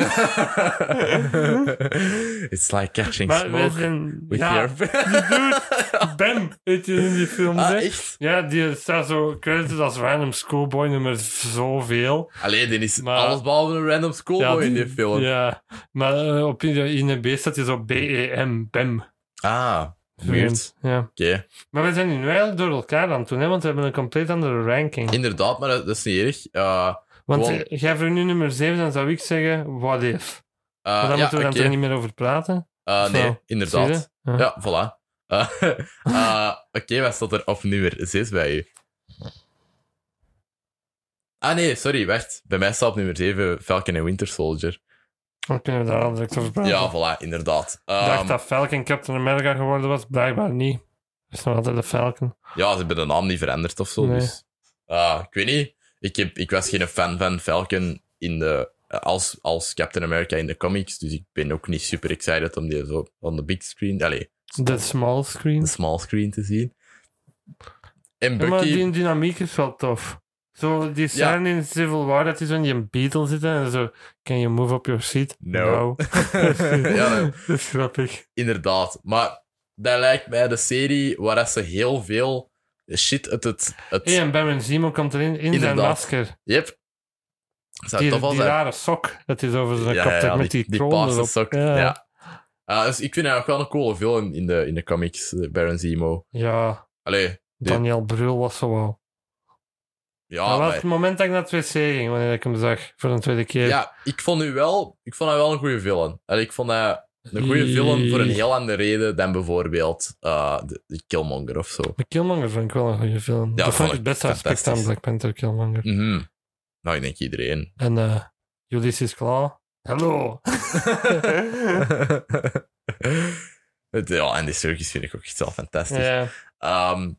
It's like catching
maar we
smoke
zijn...
with
Ja,
your...
die dude. Ben heet hij in die film.
Ah,
hè?
echt?
ja, die staat zo credited als random schoolboy nummer zoveel.
Alleen, dit is
Maar-
alles behalve een random schoolboy
ja,
in die film.
Ja, maar eh, op INB staat hij zo BEM, BEM.
Ah, weird.
Ja.
Oké.
Maar we zijn nu wel door elkaar aan het doen, hè, want we hebben een compleet andere ranking.
Inderdaad, maar dat, dat is niet erg. Eh,
Want
Gewoon-
eh, jij voor nu nummer 7, dan zou ik zeggen, what if?
eh,
Maar daar
ja,
moeten we dan
oké.
toch niet meer over praten?
Eh,
Zo.
nee, inderdaad.
Zie je? Ja.
Ja, voilà. Eh, eh, oké, wat staat er op nummer 6 bij u? Ah nee, sorry, wacht. Bij mij staat op nummer 7 Falcon en Winter Soldier.
Dan kunnen we daar al direct over praten.
Ja, voilà, inderdaad.
Ik Ah. dacht
Ehm,
dat Falcon Captain America geworden was, blijkbaar niet. Dat is nog altijd de Falcon.
ja, ze hebben de naam niet veranderd of zo.
Nee.
Dus, eh, ik weet niet. Ik, heb, ik was geen fan van Falcon in de, eh, als, als Captain America in de comics. Dus ik ben ook niet super excited om die zo on de big screen. Allee,
De small
een
screen.
small screen te zien. En
Ja, maar
Bucky,
die dynamiek is wel tof. Zo, die scène in Civil War, dat is zo in je Beatle zitten en zo... Can you move up your seat?
No. Ja,
ja,
nee.
dat is grappig.
inderdaad. Maar dat lijkt mij de serie waar dat ze heel veel shit uit het. het
Hey, en Baron Zemo komt erin, in zijn
Inderdaad.
masker.
Yep. Zou
Die,
tof al
die
zijn.
rare sok, dat is over zijn
Ja,
kop,
ja, ja,
met die,
die, die
kroon
paarse
erop.
sok. Ja.
Ja.
Ah, dus ik vind eigenlijk wel een coole film in de, in de comics, eh, Baron Zemo.
Ja,
Allee,
Daniel Brühl was zo wel.
Ja,
dat was
maar-
het moment dat ik naar het wc ging, wanneer ik hem zag, voor een tweede keer.
ja, ik vond u wel, ik vond hij wel een goede villain. En ik vond hij een goede villain voor een heel andere reden dan bijvoorbeeld eh, de, de Killmonger of zo.
De Killmonger vond ik wel een goede film. dat
vond
vond ik
ik
het beste aspect aan
fantastisch.
Black Panther Killmonger.
Mhm. Nou, ik denk iedereen.
En eh Ulysses Claw. Hallo!
Het- ja, en die circus vind ik ook echt wel fantastisch.
Ja,
Ehm,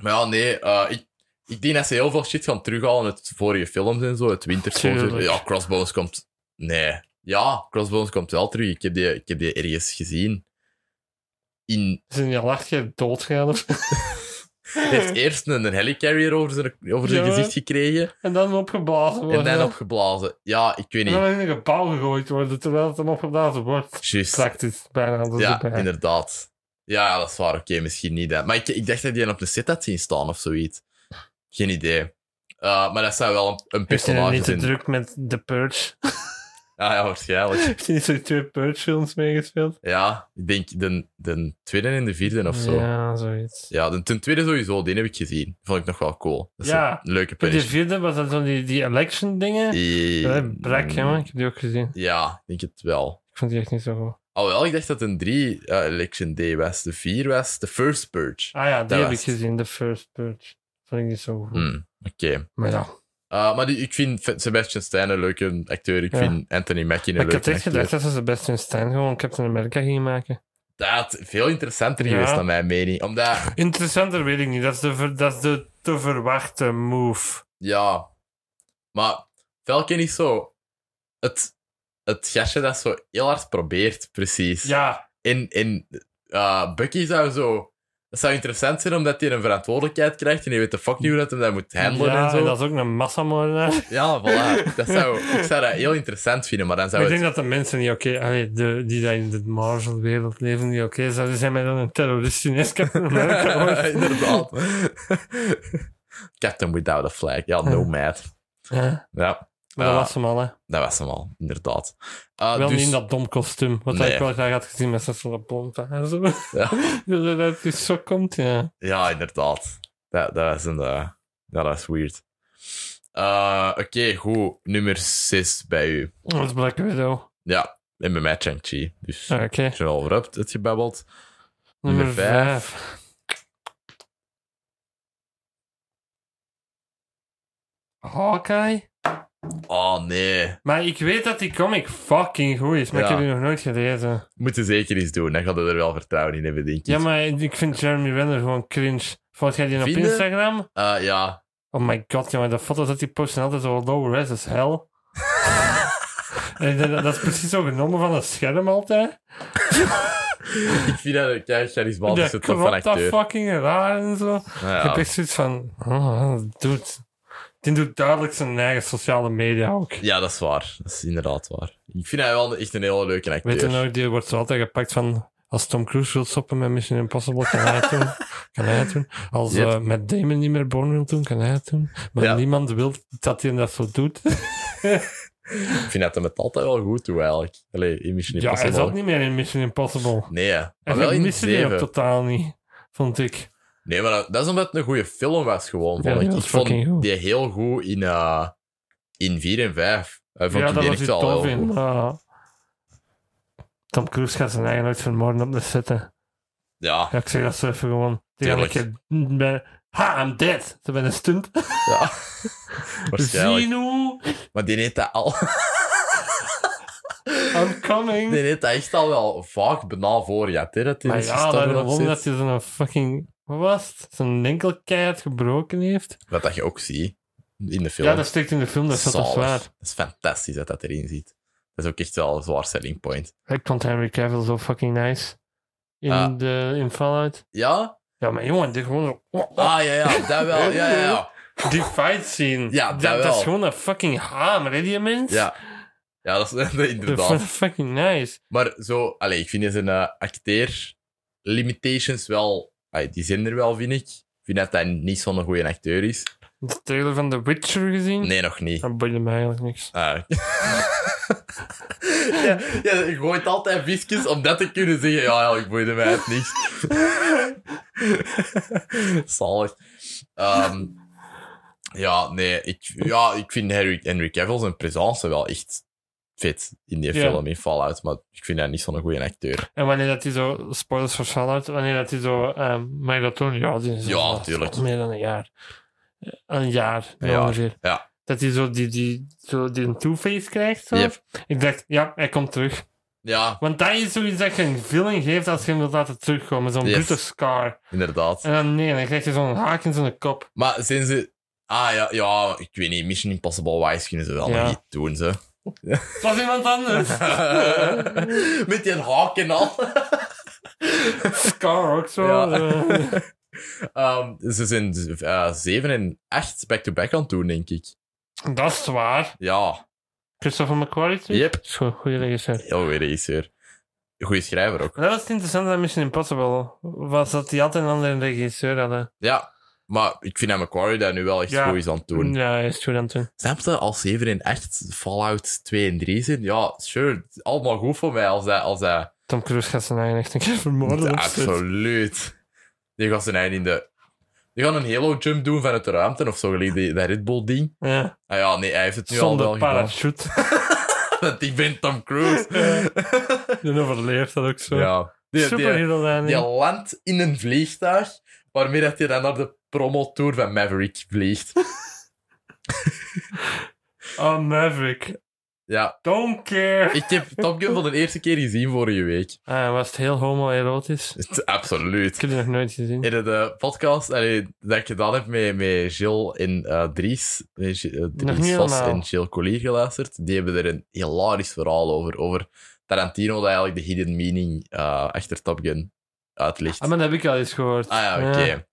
maar ja, nee, eh, ik, ik denk dat ze heel veel shit gaan terughalen uit vorige films en zo, het wintersoldier.
Tuurlijk.
Ja, Crossbones komt... Nee. Ja, Crossbones komt wel terug. Ik heb die, ik heb die ergens gezien. In,
zijn die al acht keer doodgegaan? of-
hij heeft eerst een, een helicarrier over zijn, over zijn
Ja.
gezicht gekregen
en dan opgeblazen worden.
en dan opgeblazen. Ja, ik weet
En dan
niet.
in een gebouw gegooid worden, terwijl het hem opgeblazen wordt.
Juist.
Praktisch, bijna. Dat is
Ja,
erbij.
inderdaad. Ja, dat is waar. Oké, misschien niet. Hè. Maar ik, ik dacht dat die op de set had zien staan of zoiets. Geen idee. Eh, maar dat zou wel een, een
Heeft hij
personage
niet te
zijn.
druk met The Purge?
Ah, ja, waarschijnlijk.
Heeft hij niet zo twee Purge-films meegespeeld?
Ja, ik denk de, de tweede en de vierde of zo. Ja,
Ja, zoiets.
de, de tweede sowieso, die heb ik gezien. Vond ik nog wel cool. Dat is
Ja.
een leuke
Bij de
punishment.
vierde was dat dan die, die election-dingen. Ja,
Eh,
brak, jongen. Ik heb die ook gezien.
Ja, ik denk het wel.
Ik vond die echt niet zo goed.
Alhoewel, ik dacht dat een 3 Election Day was. De 4 was de First Purge.
Ah ja, die
Dat
heb
was
ik
het.
gezien. The First Purge. Vond ik niet zo goed.
Hmm, Oké.
Maar ja,
Eh, maar die, ik vind Fe- Sebastian Stein een leuke acteur. Ik
Ja.
vind Anthony Mackie een
maar ik
leuke
had echt
acteur.
gedacht dat ze ze best hun stand gewoon Captain America gingen maken.
Dat had veel interessanter
Ja.
geweest, naar mijn mening. Omdat,
Interessanter weet ik niet. Dat is de, ver- dat is de te verwachte move.
ja... Maar Falcon is zo... Het, het gastje dat zo heel hard probeert, precies.
Ja,
En, en eh, Bucky zou zo... Dat zou interessant zijn, omdat hij een verantwoordelijkheid krijgt en hij weet de fuck niet hoe dat hij dat moet handelen
ja,
en zo.
dat is ook een massamoordenaar.
Ja, voilà. Dat zou, ik zou dat heel interessant vinden, maar dan
Maar
zou
ik
het...
denk dat de mensen die oké, allee, de- die daar in de Marvel-wereld leven, die oké zouden zijn met een terrorist in Captain America. wordt.
Inderdaad. Captain Without a Flag. Ja, Nomad.
Ja,
Ja,
maar
Ja.
dat was hem al, hè.
dat was hem al, inderdaad. Eh,
wel
dus-
niet in dat dom kostuum. Wat
Nee.
ik wel graag had gezien met zo'n blond haar. Zo. Dus
Ja.
Dat het uit die sok komt, ja.
Ja, inderdaad. Dat, dat is een... eh, ja, dat is weird. Eh, Oké, goed. Nummer 6 bij u.
Dat is Black Widow. Ah,
Ja, en bij mij Chang-Chi. Dus
Oké.
als je al over hebt, het gebabbeld.
Nummer
Nummer vijf.
5. Hawkeye?
Oh nee,
Maar ik weet dat die comic fucking goed is, maar ik
Ja.
heb die nog nooit gelezen.
moet je zeker iets doen. Dan gaat je er wel vertrouwen in hebben, denk ik.
Ja, maar ik vind Jeremy Renner gewoon cringe. Volg jij die op
Vind je?
Instagram?
Eh, ja.
Oh my god, jongen, de foto's dat die posten altijd zo low res as hell. En ik denk dat- dat is precies zo genomen van het scherm altijd.
ik vind dat een kei charismatische
Dat
top van
klopt dat
acteur.
fucking raar en zo.
Ja,
Ik heb echt zoiets van, oh, doet. Die doet duidelijk zijn eigen sociale media ook.
Ja, dat is waar. Dat is inderdaad waar. Ik vind hij wel echt een hele leuke acteur.
Weet je nou, die wordt zo altijd gepakt van, als Tom Cruise wil stoppen met Mission Impossible, kan hij het doen. Kan hij het doen. Als
Yep.
eh, Matt Damon niet meer Born wil doen, kan hij het doen. Maar
Ja.
niemand wil dat hij dat zo doet.
Ik vind dat hem het altijd wel goed doet, eigenlijk. Allee, in Mission
ja, hij
Impossible.
zat niet meer in Mission Impossible.
Nee, hè. maar
En
wel
ik
in
miste die ook
zeven.
totaal niet, vond ik.
Nee, maar dat, dat is omdat het een goede film was, gewoon.
Ja,
vond
die
ik.
was
ik vond
fucking goed.
die heel goed in, eh in 4 en 5. Hij vond
Ja,
ik
dat
die
was
echt
hij
wel
tof
heel
in.
goed.
maar Tom Cruise gaat zijn eigen nooit vermoorden op de zetten.
Ja,
Ja, ik zeg dat zo even gewoon. Die
Tuurlijk.
had ik heb- ben, ha, I'm dead. Toen ben een stunt.
ja. waarschijnlijk.
Zinu,
Maar die heeft dat al...
I'm coming.
die heeft dat echt al wel vaak bijna voor gehad, hè. Dat hij
maar
is
ja,
gestorven
dat
op
gewoon
zit.
dat hij zo'n fucking... Wat was het? Zijn enkel keihard gebroken heeft.
Wat dat je ook ziet in de film.
Ja, dat steekt in de film. Dat is wel toch
Zalig.
zwaar.
Dat is fantastisch dat dat erin zit. Dat is ook echt wel een zwaar selling point.
Ik vond Henry Cavill zo fucking nice. In,
Ah.
de, in Fallout.
Ja?
Ja, maar jongen, die gewoon zo...
Ah, ja, ja, dat wel. Ja, ja, ja.
Die fight scene.
Ja,
dat,
dat
dat
wel.
is gewoon een fucking hamer, hè, die mens?
Ja, ja dat is
Dat vond ik
inderdaad.
fucking nice.
Maar zo, allee, ik vind zijn eh acteer-limitations wel... allee, die zijn er wel, vind ik. Ik vind dat hij niet zo'n goede acteur is.
De trailer van The Witcher gezien?
Nee, nog niet.
Dat boeide mij eigenlijk niks.
Ah. ja, ja, je gooit altijd visjes om dat te kunnen zeggen. Ja, eigenlijk boeide mij het niks. Zalig. Ehm, Ja, nee, ik, ja, ik vind Henry, Henry Cavill zijn presence wel echt vet in die
Ja.
film in Fallout, maar ik vind hij niet zo'n goede acteur.
En wanneer dat hij zo, spoilers voor Fallout, wanneer dat hij zo, ehm mag ik dat doen? Ja, die is
Ja,
al
tuurlijk.
Meer dan een jaar. Eh, Een jaar,
Een jaar,
ongeveer.
ja.
Dat hij zo die, die, zo die een two-face krijgt. Zo.
Yep.
Ik dacht, ja, hij komt terug.
Ja,
Want dat is zoiets dat je een villain geeft als je hem wilt laten terugkomen. Zo'n
Yes.
brute scar.
inderdaad.
En dan nee, dan krijg je zo'n haak in zijn kop.
Maar zijn ze... Ah ja, ja, ik weet niet. Mission Impossible Wise kunnen ze wel
Ja.
nog niet doen, ze.
Het was iemand anders.
Met die haak en al.
scar ook zo.
Ja.
eh.
Ehm, ze zijn 7 en 8 back-to-back aan het doen, denk ik.
dat is waar.
Ja,
Christopher McQuarrie terug.
Yep.
Is gewoon een goede regisseur.
heel goede regisseur. Goeie schrijver ook.
Dat was het interessante aan Mission Impossible. Was dat die altijd een andere regisseur hadden.
Ja, maar ik vind dat Macquarie daar nu wel echt
Ja.
goed is aan het doen.
Ja, hij is goed aan het doen.
Snap je, als 7 en 8 Fallout 2 en 3 zijn, ja, sure, het is allemaal goed voor mij als hij... Als hij
Tom Cruise gaat zijn eigen echt een keer vermoorden. of zo.
absoluut. Die gaat zijn eind in de... Die gaan een Halo-jump doen vanuit de ruimte of zo, gelijk die- dat Red Bull-ding.
Ja.
Ah ja, nee, hij heeft het nu al
Zonder
wel gedaan.
parachute.
Dat ik ben Tom Cruise.
Dan overleeft dat ook zo.
ja. Die, die, die,
Superhero landing.
landt in een vliegtuig, waarmee dat hij dan naar de promotour van Maverick vliegt.
Oh, Maverick.
ja.
Don't care.
Ik heb Top Gun voor de eerste keer gezien vorige week.
Ah, was het heel homoerotisch?
Het is Absoluut.
Ik heb die nog nooit gezien.
In de podcast allee, dat ik gedaan heb met, met Gilles en eh, Dries, met Gi- eh,
niet
Dries Vos
helemaal.
en Gilles Collier geluisterd, die hebben er een hilarisch verhaal over. Over Tarantino, dat eigenlijk de hidden meaning eh, achter Top Gun uitlegt.
Ah, maar dat heb ik al eens gehoord.
Ah ja, oké.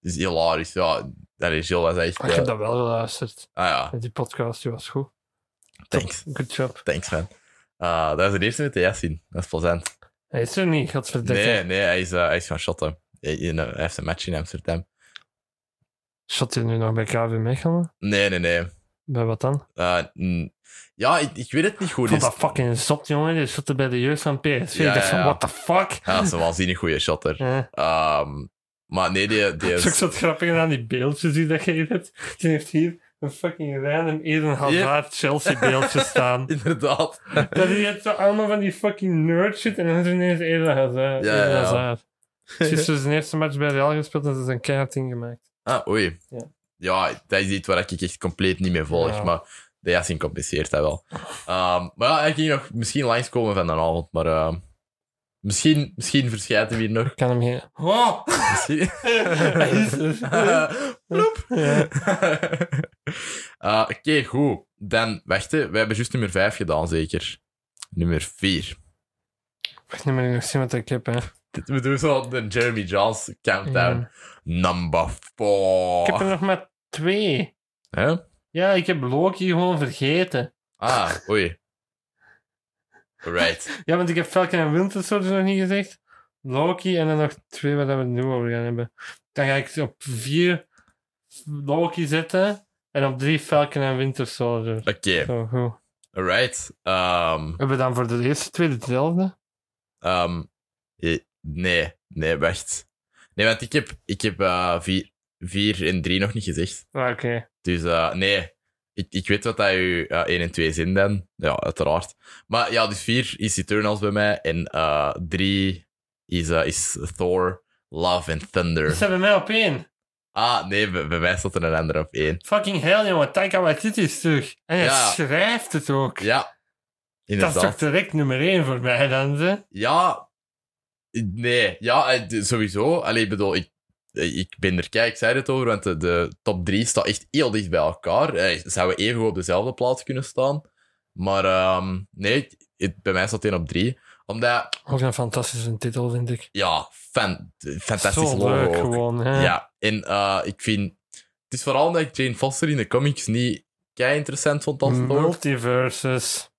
Dat is hilarisch. Ja, dat is Jill was echt...
Ik
eh,
heb dat wel geluisterd.
Ah ja,
Die podcast die was goed.
thanks.
Good job.
Thanks, man. Ah, dat is de eerste met de Yassin. Dat is plezant.
Hij is er niet, godverdikke.
Nee, nee, hij is, eh, hij is gaan shotten. Hij, in, eh, hij heeft een match in Amsterdam.
Zat hij nu nog bij KV Mechelen?
Nee, nee, nee.
Bij wat dan?
Eh, mm, ja, ik, ik weet het niet goed.
Ik vond
Dus,
dat fucking zot, jongen. Die zat er bij de jeugd van PSV.
Ja,
ik dacht van,
ja.
what the fuck?
ja, dat is een waanzinnig goede shotter.
Eh.
Ehm, maar nee, die, die
Dat is ook
is...
zo grappig aan die beeldjes die dat je hier hebt. Die heeft hier een fucking random Eden Hazard Chelsea beeldje staan.
Inderdaad.
Dat die heeft zo allemaal van die fucking nerd shit en dan is er ineens Eden Hazard.
Ja, ja,
Eden
ja.
Hazard. Ze is dus zijn eerste match bij Real gespeeld en ze is een keihard ingemaakt.
Ah, oei.
Ja.
Ja, dat is iets waar ik echt compleet niet mee volg,
Ja.
maar de Yassin compenseert dat wel. Ehm, maar ja, hij ging nog misschien langskomen van de avond, maar ehm, misschien, misschien verschijnt hij hier nog.
Ik kan hem hier... Oh!
Misschien...
Hij is dus- er.
Eh,
Ja.
Ah, Oké, goed. Dan, wacht, hè. we hebben juist nummer 5 gedaan, zeker. Nummer 4.
Wacht, nu moet ik nog zien wat ik heb, hè.
We doen zo de Jeremy Johns countdown.
Ja.
Number
Ik heb er
4.
nog maar twee. Ja, ik heb Loki gewoon vergeten.
Ah, oei. Right.
Ja, want ik heb Falcon en Winter Soldier nog niet gezegd. Loki en dan nog twee waar we het nu over gaan hebben. Dan ga ik op vier Loki zetten en op drie Falcon en Winter Soldier.
Oké,
Zo, goed.
alright. Ehm,
Hebben we dan voor de eerste twee hetzelfde?
ehm, eh, nee, nee, wacht. Nee, want ik heb, ik heb eh, vier, vier en drie nog niet gezegd.
Ah, Oké.
Dus eh, nee, ik, ik weet wat dat je eh 1 en 2 zijn dan. Ja, uiteraard. Maar ja, dus 4 is Eternals bij mij. En 3 is, eh, is Thor, Love and
Die
Thunder.
staat bij mij op één.
Ah, nee, bij, bij mij staat er een ander op 1.
Fucking hell, jongen. Taika Waititi is terug. En hij
Ja.
schrijft het ook.
Ja,
Dat is
inderdaad.
toch direct nummer één voor mij dan, ze?
Ja, nee, ja, eh, d- sowieso. Allee, ik bedoel, ik, eh, ik ben er, kijk, ik zei het over, want de, de top 3 staat echt heel dicht bij elkaar. Eh, Zouden we even goed op dezelfde plaats kunnen staan. Maar ehm, nee, ik- het- bij mij staat één op 3. Omdat
Ook een fantastische titel, vind ik.
ja, fan, fantastisch
Zo
logo.
leuk
ook.
gewoon, hè.
Ja, en eh, ik vind... Het is vooral omdat ik Jane Foster in de comics niet kei interessant vond
Mm,
als Thor.
Multiverses.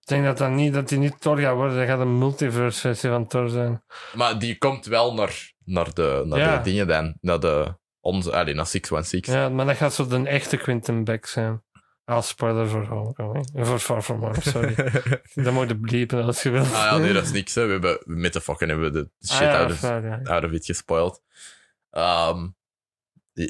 Ik denk dat, dat, niet, dat die niet Thor gaat worden. Dat gaat een multiverse versie van Thor zijn.
Maar die komt wel naar, naar, de, naar
Ja.
de dingen dan. Naar de... Onze, allee, naar 616.
Ja, maar dat gaat zo de echte Quentin Beck zijn. Als spoiler voor Homecoming. Eh, Voor Far From Home, sorry. dat moet je bliepen als je wilt.
Ah ja, nee, dat is niks. Hè. We hebben, met de fucking hebben we de shit dus.
Ah ja,
out,
dat is
of,
waar, ja.
out of it gespoild. Ehm,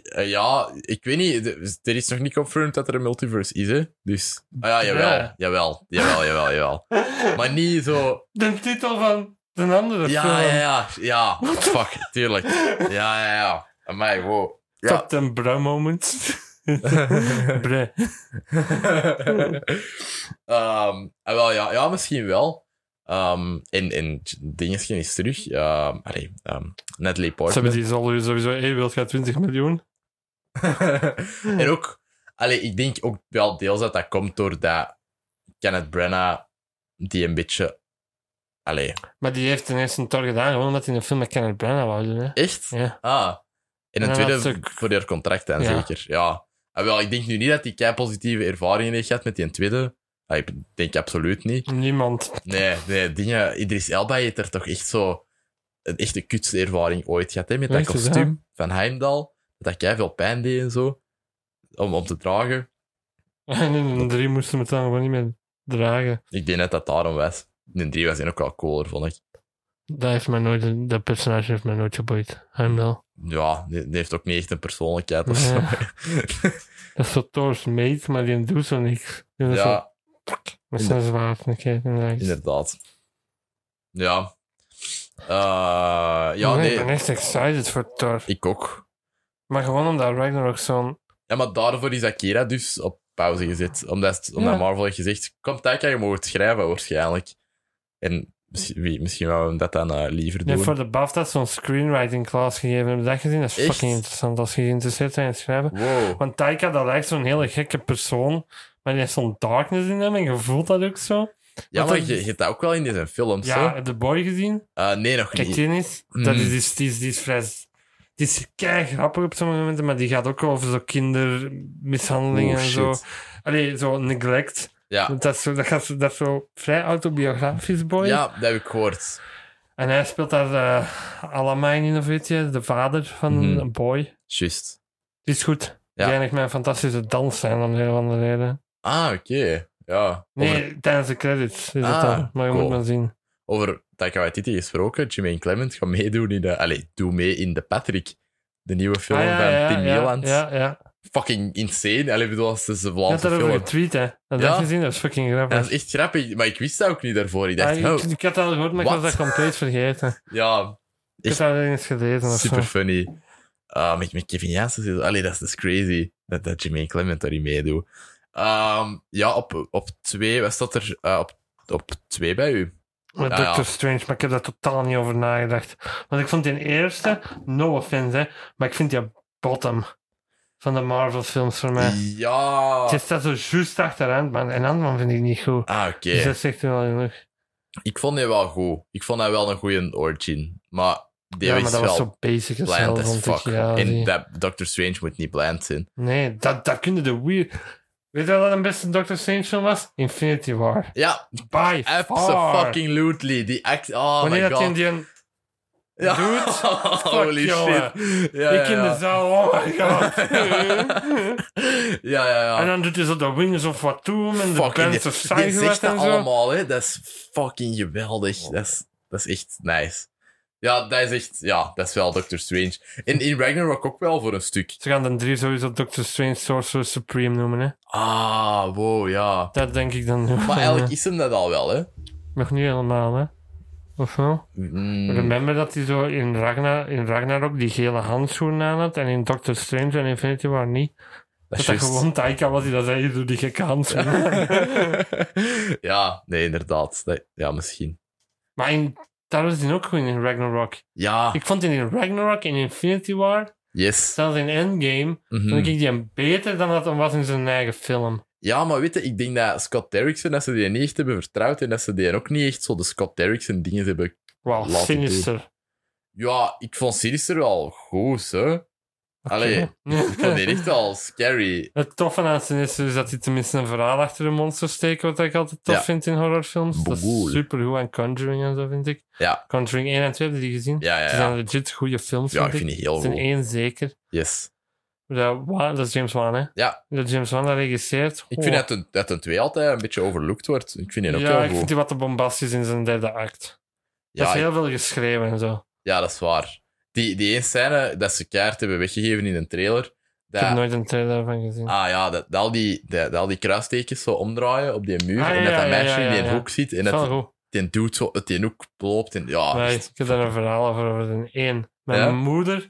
Eh, Ja, ik weet niet. de- Er is nog niet confirmed dat er een multiverse is, hè? Dus. Ah ja, jawel.
Ja.
Jawel, jawel, jawel, jawel. Maar niet zo.
De titel van de andere
Ja,
film.
ja, ja. Ja, fuck, tuurlijk. Ja, ja, ja. Amai, wow. Ja.
Captain Bra moment. Bre.
Ehm, ah, wel, ja, ja, misschien wel. Ehm en, en dingetje is terug. Ehm allee, ehm Natalie
Ze
Portman.
hebben die zal sowieso hey, wilt gaat 20 miljoen.
en ook, allee, ik denk ook wel deels dat dat komt doordat Kenneth Branagh die een beetje... Allee,
Maar die heeft ten eerste een tor gedaan, gewoon omdat hij een film met Kenneth Branagh wou doen. Hè?
echt?
Ja.
Ah. En een
Ja,
tweede
dat is ook-
voor haar contract dan,
Ja.
zeker. Ja. Ah, wel, ik denk nu niet dat die kei positieve ervaringen heeft gehad met die tweede. Ah, ik denk absoluut niet.
Niemand.
Nee, nee, dingen. Idris Elba heeft er toch echt zo. Een echte kutste ervaring ooit gehad, hè? Met dat
Weet je dat?
kostuum van Heimdal. Dat jij veel pijn deed en zo. Om, om te dragen.
En in een drie moesten we het dan gewoon niet meer dragen.
Ik denk net dat daarom was. In 3 was hij ook wel cooler, vond ik.
Dat, heeft mij nooit, dat personage heeft mij nooit geboeid. Heimdall.
Ja, die, die heeft ook niet echt een persoonlijkheid of zo.
Nee. Dat is zo Thor's mate, maar die doet zo niks. Die is zo,
ja,
we zijn zwaar van kijken.
inderdaad. Ja. Eh, ja,
Ik ben
nee.
echt excited voor Thor.
Ik ook.
Maar gewoon omdat Ragnarok zo'n...
Ja, maar daarvoor is Akira dus op pauze gezet. Omdat, omdat
Ja.
Marvel heeft gezegd, kom Taika, je mag het schrijven waarschijnlijk. En misschien, wie, misschien wou hem dat dan eh, liever
Nee,
doen.
voor de BAFTA zo'n screenwriting class gegeven. Heb je dat gezien? Dat is
Echt?
fucking interessant als je geïnteresseerd bent in het schrijven.
Wow.
Want Taika, dat lijkt zo'n hele gekke persoon. Maar die heeft zo'n darkness in hem en je voelt dat ook zo.
Ja,
want
maar
dan-
je, je hebt dat ook wel in deze films,
Ja,
hè?
heb je The Boy gezien?
Eh, nee, nog
Kijk,
niet.
die is,
Mm.
dat is, die is, die is, die is vrij... Die is kei grappig op sommige momenten, maar die gaat ook over zo kindermishandelingen
Oeh,
en
Oh, shit. Ah.
zo. Allee, zo neglect.
Ja.
Want Dat, is zo, dat, gaat, zo- dat is zo vrij autobiografisch, boy.
ja, dat heb ik gehoord.
En hij speelt daar eh Alamein in, of weet je, de vader van
Mhm.
een boy.
Juist.
Die is goed.
Ja.
Die eindigt met een fantastische dans zijn, om de een of andere reden.
Ah, oké. Ja. Over,
Nee, tijdens de credits is
Ah,
het dan. Maar je
cool.
moet maar zien.
over Taika Waititi gesproken, Jimmy en Clement gaan meedoen in de... Allee, doe mee in de Patrick. De nieuwe film
Ah, ja,
van
ja,
Tim
ja,
Mieland.
Ja, ja.
Fucking insane. Allee, ik bedoel, dat is dus de
Je
Vlaamse
had daarover
film.
getweet, hè. Dat
Ja.
heb je gezien, dat is fucking
Ja, dat
grappig.
is echt grappig, maar ik wist dat ook niet daarvoor. Ik
Ah,
dacht,
ik,
oh,
ik had dat al gehoord, maar ik
Wat?
was dat compleet vergeten.
ja,
Ik
Echt?
had dat eens gelezen of
super
zo.
funny. Ah, met, met Kevin Janssens. is- Allee, dat is dat is crazy dat, dat Jimmy en Clement daarin meedoet. Ehm, ja, op, op twee, wat staat er eh, op, op twee bij u?
Met
Ah, Ja,
Doctor
ja.
Strange, maar ik heb daar totaal niet over nagedacht. Want ik vond die eerste, no offense, hè, maar ik vind die bottom van de Marvel-films voor mij.
Ja.
Het staat zo juist achteraan, man. En Ant-Man vind ik niet goed.
Ah, oké.
Dus dat zegt u wel genoeg.
Ik vond die wel goed. Ik vond dat wel een goede origin. Maar die
ja,
is
maar dat was
wel
zo basic als hell,
bland as
vond ik.
fuck.
Ja,
en
die-
dat Doctor Strange moet niet bland zijn.
Nee, dat, dat kunnen de weird... Weet je wat een beste Doctor Strange film was? Infinity War.
Ja,
By far.
absolutely. Die act... Oh
Wanneer
my
dat
god.
in die... een-
Ja.
Dude,
Holy
jongen.
shit. Ja,
ik
ja,
in de
ja.
zaal, oh my god.
ja, ja, ja.
En dan doet hij zo de Wings of Watum en de
Fucking,
Bands of
dit, dit
Sideways
zegt dat
en zo.
allemaal, hè. Dat is fucking geweldig. Dat is, dat is echt nice. Ja, dat is echt... Ja, dat is wel Doctor Strange. En in Ragnarok ook wel voor een stuk.
Ze gaan dan drie sowieso Doctor Strange Sorcerer Supreme noemen, hè.
Ah, wow, ja.
Dat denk ik dan nu.
Maar eigenlijk is hem dat al wel, hè.
Nog niet helemaal, hè. Of wel?
Mm,
Remember dat hij zo in, Ragnar, in Ragnarok die gele handschoenen aan had en in Doctor Strange en Infinity War niet.
dat
Dat
is
dat
juist.
gewoon Taika was die dat zei, doe die gekke handschoenen.
ja, nee, inderdaad. Dat- ja, misschien.
Maar in, daar was hij ook goed in, in Ragnarok.
Ja,
Ik vond die in Ragnarok en Infinity War,
yes.
zelfs in Endgame,
Mhm.
vond ik die hem beter dan dat hem was in zijn eigen film.
Ja, maar weet je, ik denk dat Scott Derrickson, dat ze die niet echt hebben vertrouwd en dat ze die ook niet echt zo de Scott Derrickson dingen hebben...
Wow,
Laat het
sinister.
Ja, ik vond Sinister wel goed, hè. Allee, ik vond die
Oké.
echt al scary.
Het toffe aan Sinister is dat hij tenminste een verhaal achter de monster steekt, wat ik altijd tof
Ja.
vind in horrorfilms. Dat
Boel.
is supergoed aan Conjuring en zo, vind ik.
Ja.
Conjuring 1 en 2, hebben jullie die gezien?
Ja, ja,
Ze
ja.
zijn legit goede films,
Ja, ik
vind
vind
ik.
die heel
Het zijn
goed.
één zeker.
Yes.
Dat, Wa- dat is James Wan, hè?
Ja.
Dat James Wan dat regisseert.
Ik vind dat een, dat een twee altijd een beetje overlooked wordt. Ik vind die ook
Ja, ik
heel
vind
goed.
die wat te bombastisch in zijn derde act. Dat
ja,
is heel veel geschreven en zo.
ja, dat is waar. Die, die één scène dat ze kaart hebben weggegeven in een trailer.
Ik
Dat,
heb nooit een trailer daarvan gezien.
Ah ja, dat, dat al die, dat, dat al die kruistekens zo omdraaien op die muur.
Ah, ja,
en dat dat
ja,
meisje
ja, ja,
in die
ja.
hoek zit. En
dat is wel
dat
goed.
die dude zo uit die hoek loopt. En, ja, dus-
Nee,
echt.
ik heb daar een verhaal over. over een één. Mijn
Ja?
moeder,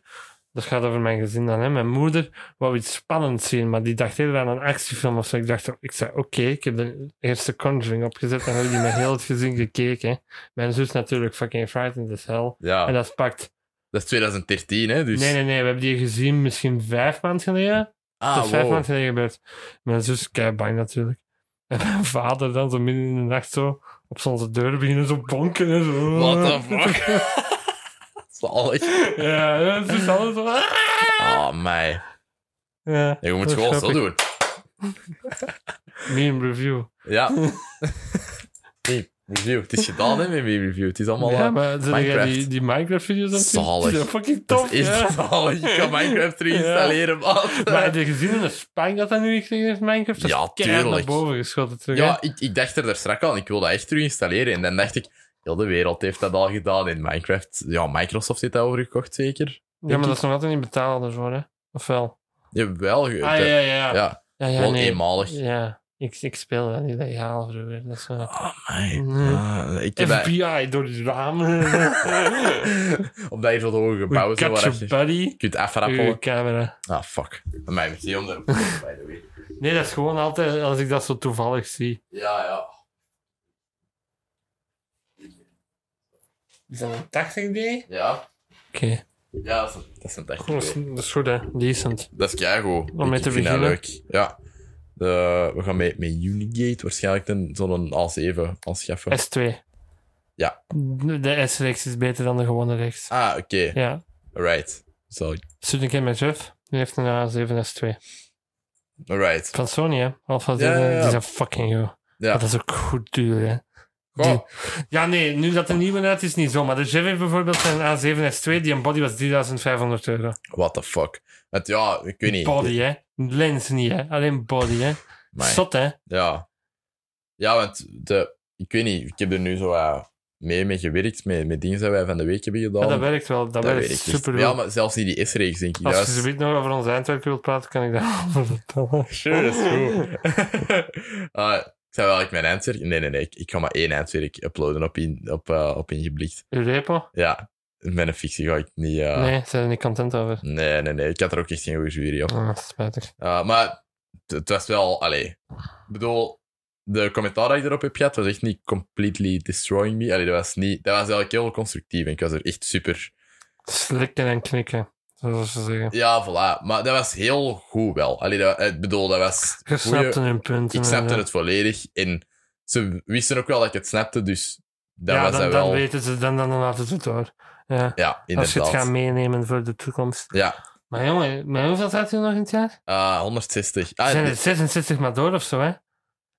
dat gaat over mijn gezin dan, hè. mijn moeder wou iets spannends zien, maar die dacht eerder aan een actiefilm of zo. Ik dacht, ik zei, oké, ik heb de eerste Conjuring opgezet en hebben die met heel het gezin gekeken. hè. Mijn zus natuurlijk fucking frightened as hell.
ja.
En dat is pakt.
dat is 2013, hè? Dus...
Nee, nee, nee, we hebben die gezien misschien vijf maanden geleden.
Ah,
dat is vijf
wow.
maanden geleden gebeurd. Mijn zus kei bang natuurlijk. En mijn vader dan zo midden in de nacht zo op zijn deur beginnen zo bonken en zo.
What the fuck? Zalig.
Ja, ja, het is alles zo.
Ah, mij.
Ja,
Je moet
Dat
het
is
gewoon zo
grappig.
doen.
meme review.
Ja. Meme review. Het is gedaan, hè, met meme review. Het is allemaal...
ja,
eh,
maar zijn jij
Minecraft.
die, die Minecraft-video's aan het zien?
Zalig.
Die zijn fucking
het
tof,
is
ja.
zalig. Je kan Minecraft reinstalleren, man.
Maar heb je gezien in de spank dat hij nu gekregen heeft, Minecraft? Dat is
Ja,
keihard
tuurlijk.
naar boven geschoten terug, hè.
Ja, ik, ik dacht er daar straks al, ik wil dat echt terug installeren. En dan dacht ik, heel de wereld heeft dat al gedaan in Minecraft. Ja, Microsoft heeft dat overgekocht, zeker?
Ja, maar dat is nog altijd niet betaald ervoor, hè. Of wel?
Jawel. ge-
Ah, ja, ja. Ja, ja,
Ja,
ja,
gewoon
nee.
eenmalig.
Ja, ik, ik speel dat niet legaal vroeger. Dat is wel...
Oh, my.
Nee.
Ah, ik heb dat-
FBI door de ramen.
Omdat je zo'n hoge gebouwen zo
Catch
waar
your
je
buddy.
kunt
Uw
afrappelen.
camera.
Ah, fuck. Bij mij misschien om de... by the way.
Nee, dat is gewoon altijd als ik dat zo toevallig zie.
Ja, ja.
Is dat een 80 D? Oké.
Ja, ja dat is een, dat is een
Goed, Dat is-
techniek.
dat is goed, hè. Decent.
Dat is keigoed.
Om mee
Ik-
te
ik vind dat
beginnen.
leuk. Ja. De, we gaan met, met Unigate waarschijnlijk een- zo'n A7 aanschaffen.
S2.
Ja.
De S-reeks is beter dan de gewone reeks.
Ah, oké.
Ja.
Alright. Zo.
Zit een keer met Jeff. Die heeft een A7S2.
Alright.
Van Sony, hè. Alpha 7.
Ja, ja, ja.
Die zijn fucking goed.
Ja.
Maar dat is ook goed duur, hè.
Goh.
Ja, nee. Nu dat de nieuwe uit is, niet zo. Maar de Jeff heeft bijvoorbeeld zijn A7S2. Die een body was 3500 euro.
What the fuck. Want ja, ik weet niet.
Body, hè. Lens niet, hè. Alleen body, hè.
Amai.
Zot, hè.
Ja. Ja, want de, ik weet niet. Ik heb er nu zo wat mee, mee gewerkt. Met, met dingen die wij van de week hebben gedaan.
Ja, dat werkt wel. Dat, werkt
weet ik niet.
super
Ja, maar zelfs niet die S-reeks, denk ik.
Als
Juist.
je zoiets nog over ons eindwerk wilt praten, kan ik daarover vertellen.
Sure, dat is goed. Eh, ik zou wel ik mijn eindwerk... Nee, nee, nee. Ik, ik ga maar één eindwerk uploaden op, in, op, eh, op ingeblikt.
Uw repo?
Ja. Met een fictie ga ik niet... eh,
Nee, zijn er niet content over.
nee, nee, nee. Ik had er ook echt geen goede jury op.
Ah, spijtig.
Eh, maar het- het was wel... Allee. Ik bedoel... De commentaar dat ik erop heb gehad was echt niet completely destroying me. Allee, dat was niet... Dat was eigenlijk heel constructief en ik was er echt super...
Slikken en knikken, zoals ze zeggen.
Ja, voilà. Maar dat was heel goed wel. Allee, dat, ik bedoel, dat was... goeie-
Je snapte hun punten. eh,
ik snapte
en-
het volledig. En ze wisten ook wel dat ik het snapte, dus dat
ja,
was
dan,
dat
dan
wel.
weten ze, dan, dan laten ze het door. Ja.
Ja,
Als je het
inderdaad.
gaat meenemen voor de toekomst.
Ja,
Maar jongen, maar hoeveel staat u nog in het jaar?
Ah, 160. Ah,
zijn er
dit-
66 maar door of zo, hè?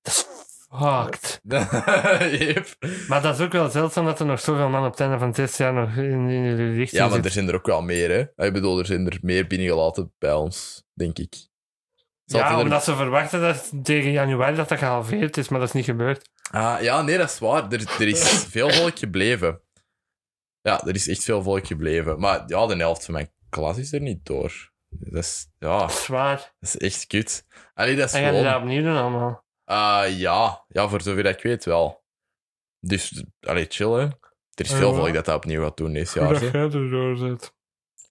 Dat is fucked.
Yep.
Maar dat is ook wel zeldzaam dat er nog zoveel mannen op het einde van het eerste jaar nog in, in jullie richting
Ja, maar
zitten.
er zijn er ook wel meer, hè. Ah, Ik bedoel, er zijn er meer binnengelaten bij ons, denk ik. Ze hadden
Ja,
er-
omdat ze verwachten dat tegen januari dat dat gehalveerd is, maar dat is niet gebeurd.
Ah, ja, nee, dat is waar. Er, er is veel volk gebleven. Ja, er is echt veel volk gebleven. Maar ja, de helft van mijn klas is er niet door. Dat is, ja, dat
Zwaar.
is echt kut. Allee, dat is
En gaan die
gewoon...
dat opnieuw doen allemaal?
Ah ja. ja, voor zover dat ik weet wel. Dus, allee, chill, hè. Er is
Ja,
veel
ja.
volk dat dat opnieuw gaat doen dit jaar. hè.
jij erdoor zit.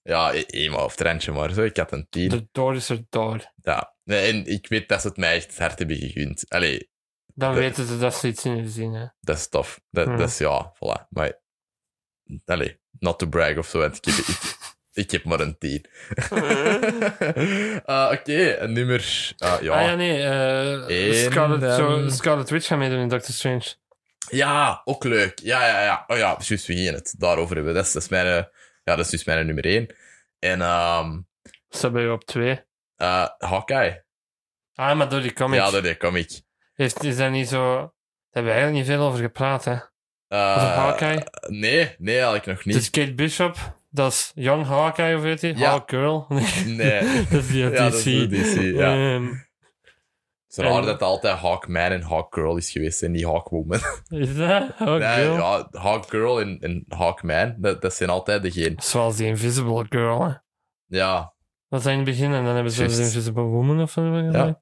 Ja, e- eenmaal of trendje maar. Zo. Ik had een tien.
De door is er door.
Ja. Nee, en ik weet dat ze het mij echt het hart hebben gegund. Allee,
Dan
Dat-
weten ze dat ze iets in zien. Hè.
dat is tof. Dat,
Ja.
dat is, ja, voilà. Maar, allee, not to brag of zo, want ik heb, ik, ik heb maar een tien.
Hmm.
Ah, Oké, een nummer... ah, ja.
Ah ja, nee. eh,
Eén,
Scarlet, zo,
dan-
Scarlet Witch gaat meedoen in Doctor Strange.
Ja, ook leuk. Ja, ja, ja. Oh ja, juist, we gingen het daarover hebben. Dat is, dat is mijn, eh, ja, dat is dus mijn nummer één. En ehm
Staat bij jou op twee.
eh, Hawkeye.
Ah, maar door die comics.
Ja, dat is comic.
Heeft, is dat niet zo... Daar hebben we eigenlijk niet veel over gepraat, hè. Over
Eh,
Hawkeye.
Nee, nee, eigenlijk nog niet.
Dus Kate Bishop, dat is Young Hawkeye, of weet je?
Ja.
Hawkgirl. Nee.
Nee.
dat is die uit
Ja,
DC.
dat is uit DC, ja.
Ehm,
Het is raar
En-
dat het altijd Hawkman en Hawkgirl is geweest en niet Hawkwoman.
Is dat? Oh,
Nee,
girl.
ja, Hawkgirl en, en Hawkman, dat, dat zijn altijd degene.
Zoals die Invisible Girl. hè.
Ja,
Dat zijn in het begin en dan hebben ze
Juist.
de Invisible Woman of zo. Ja.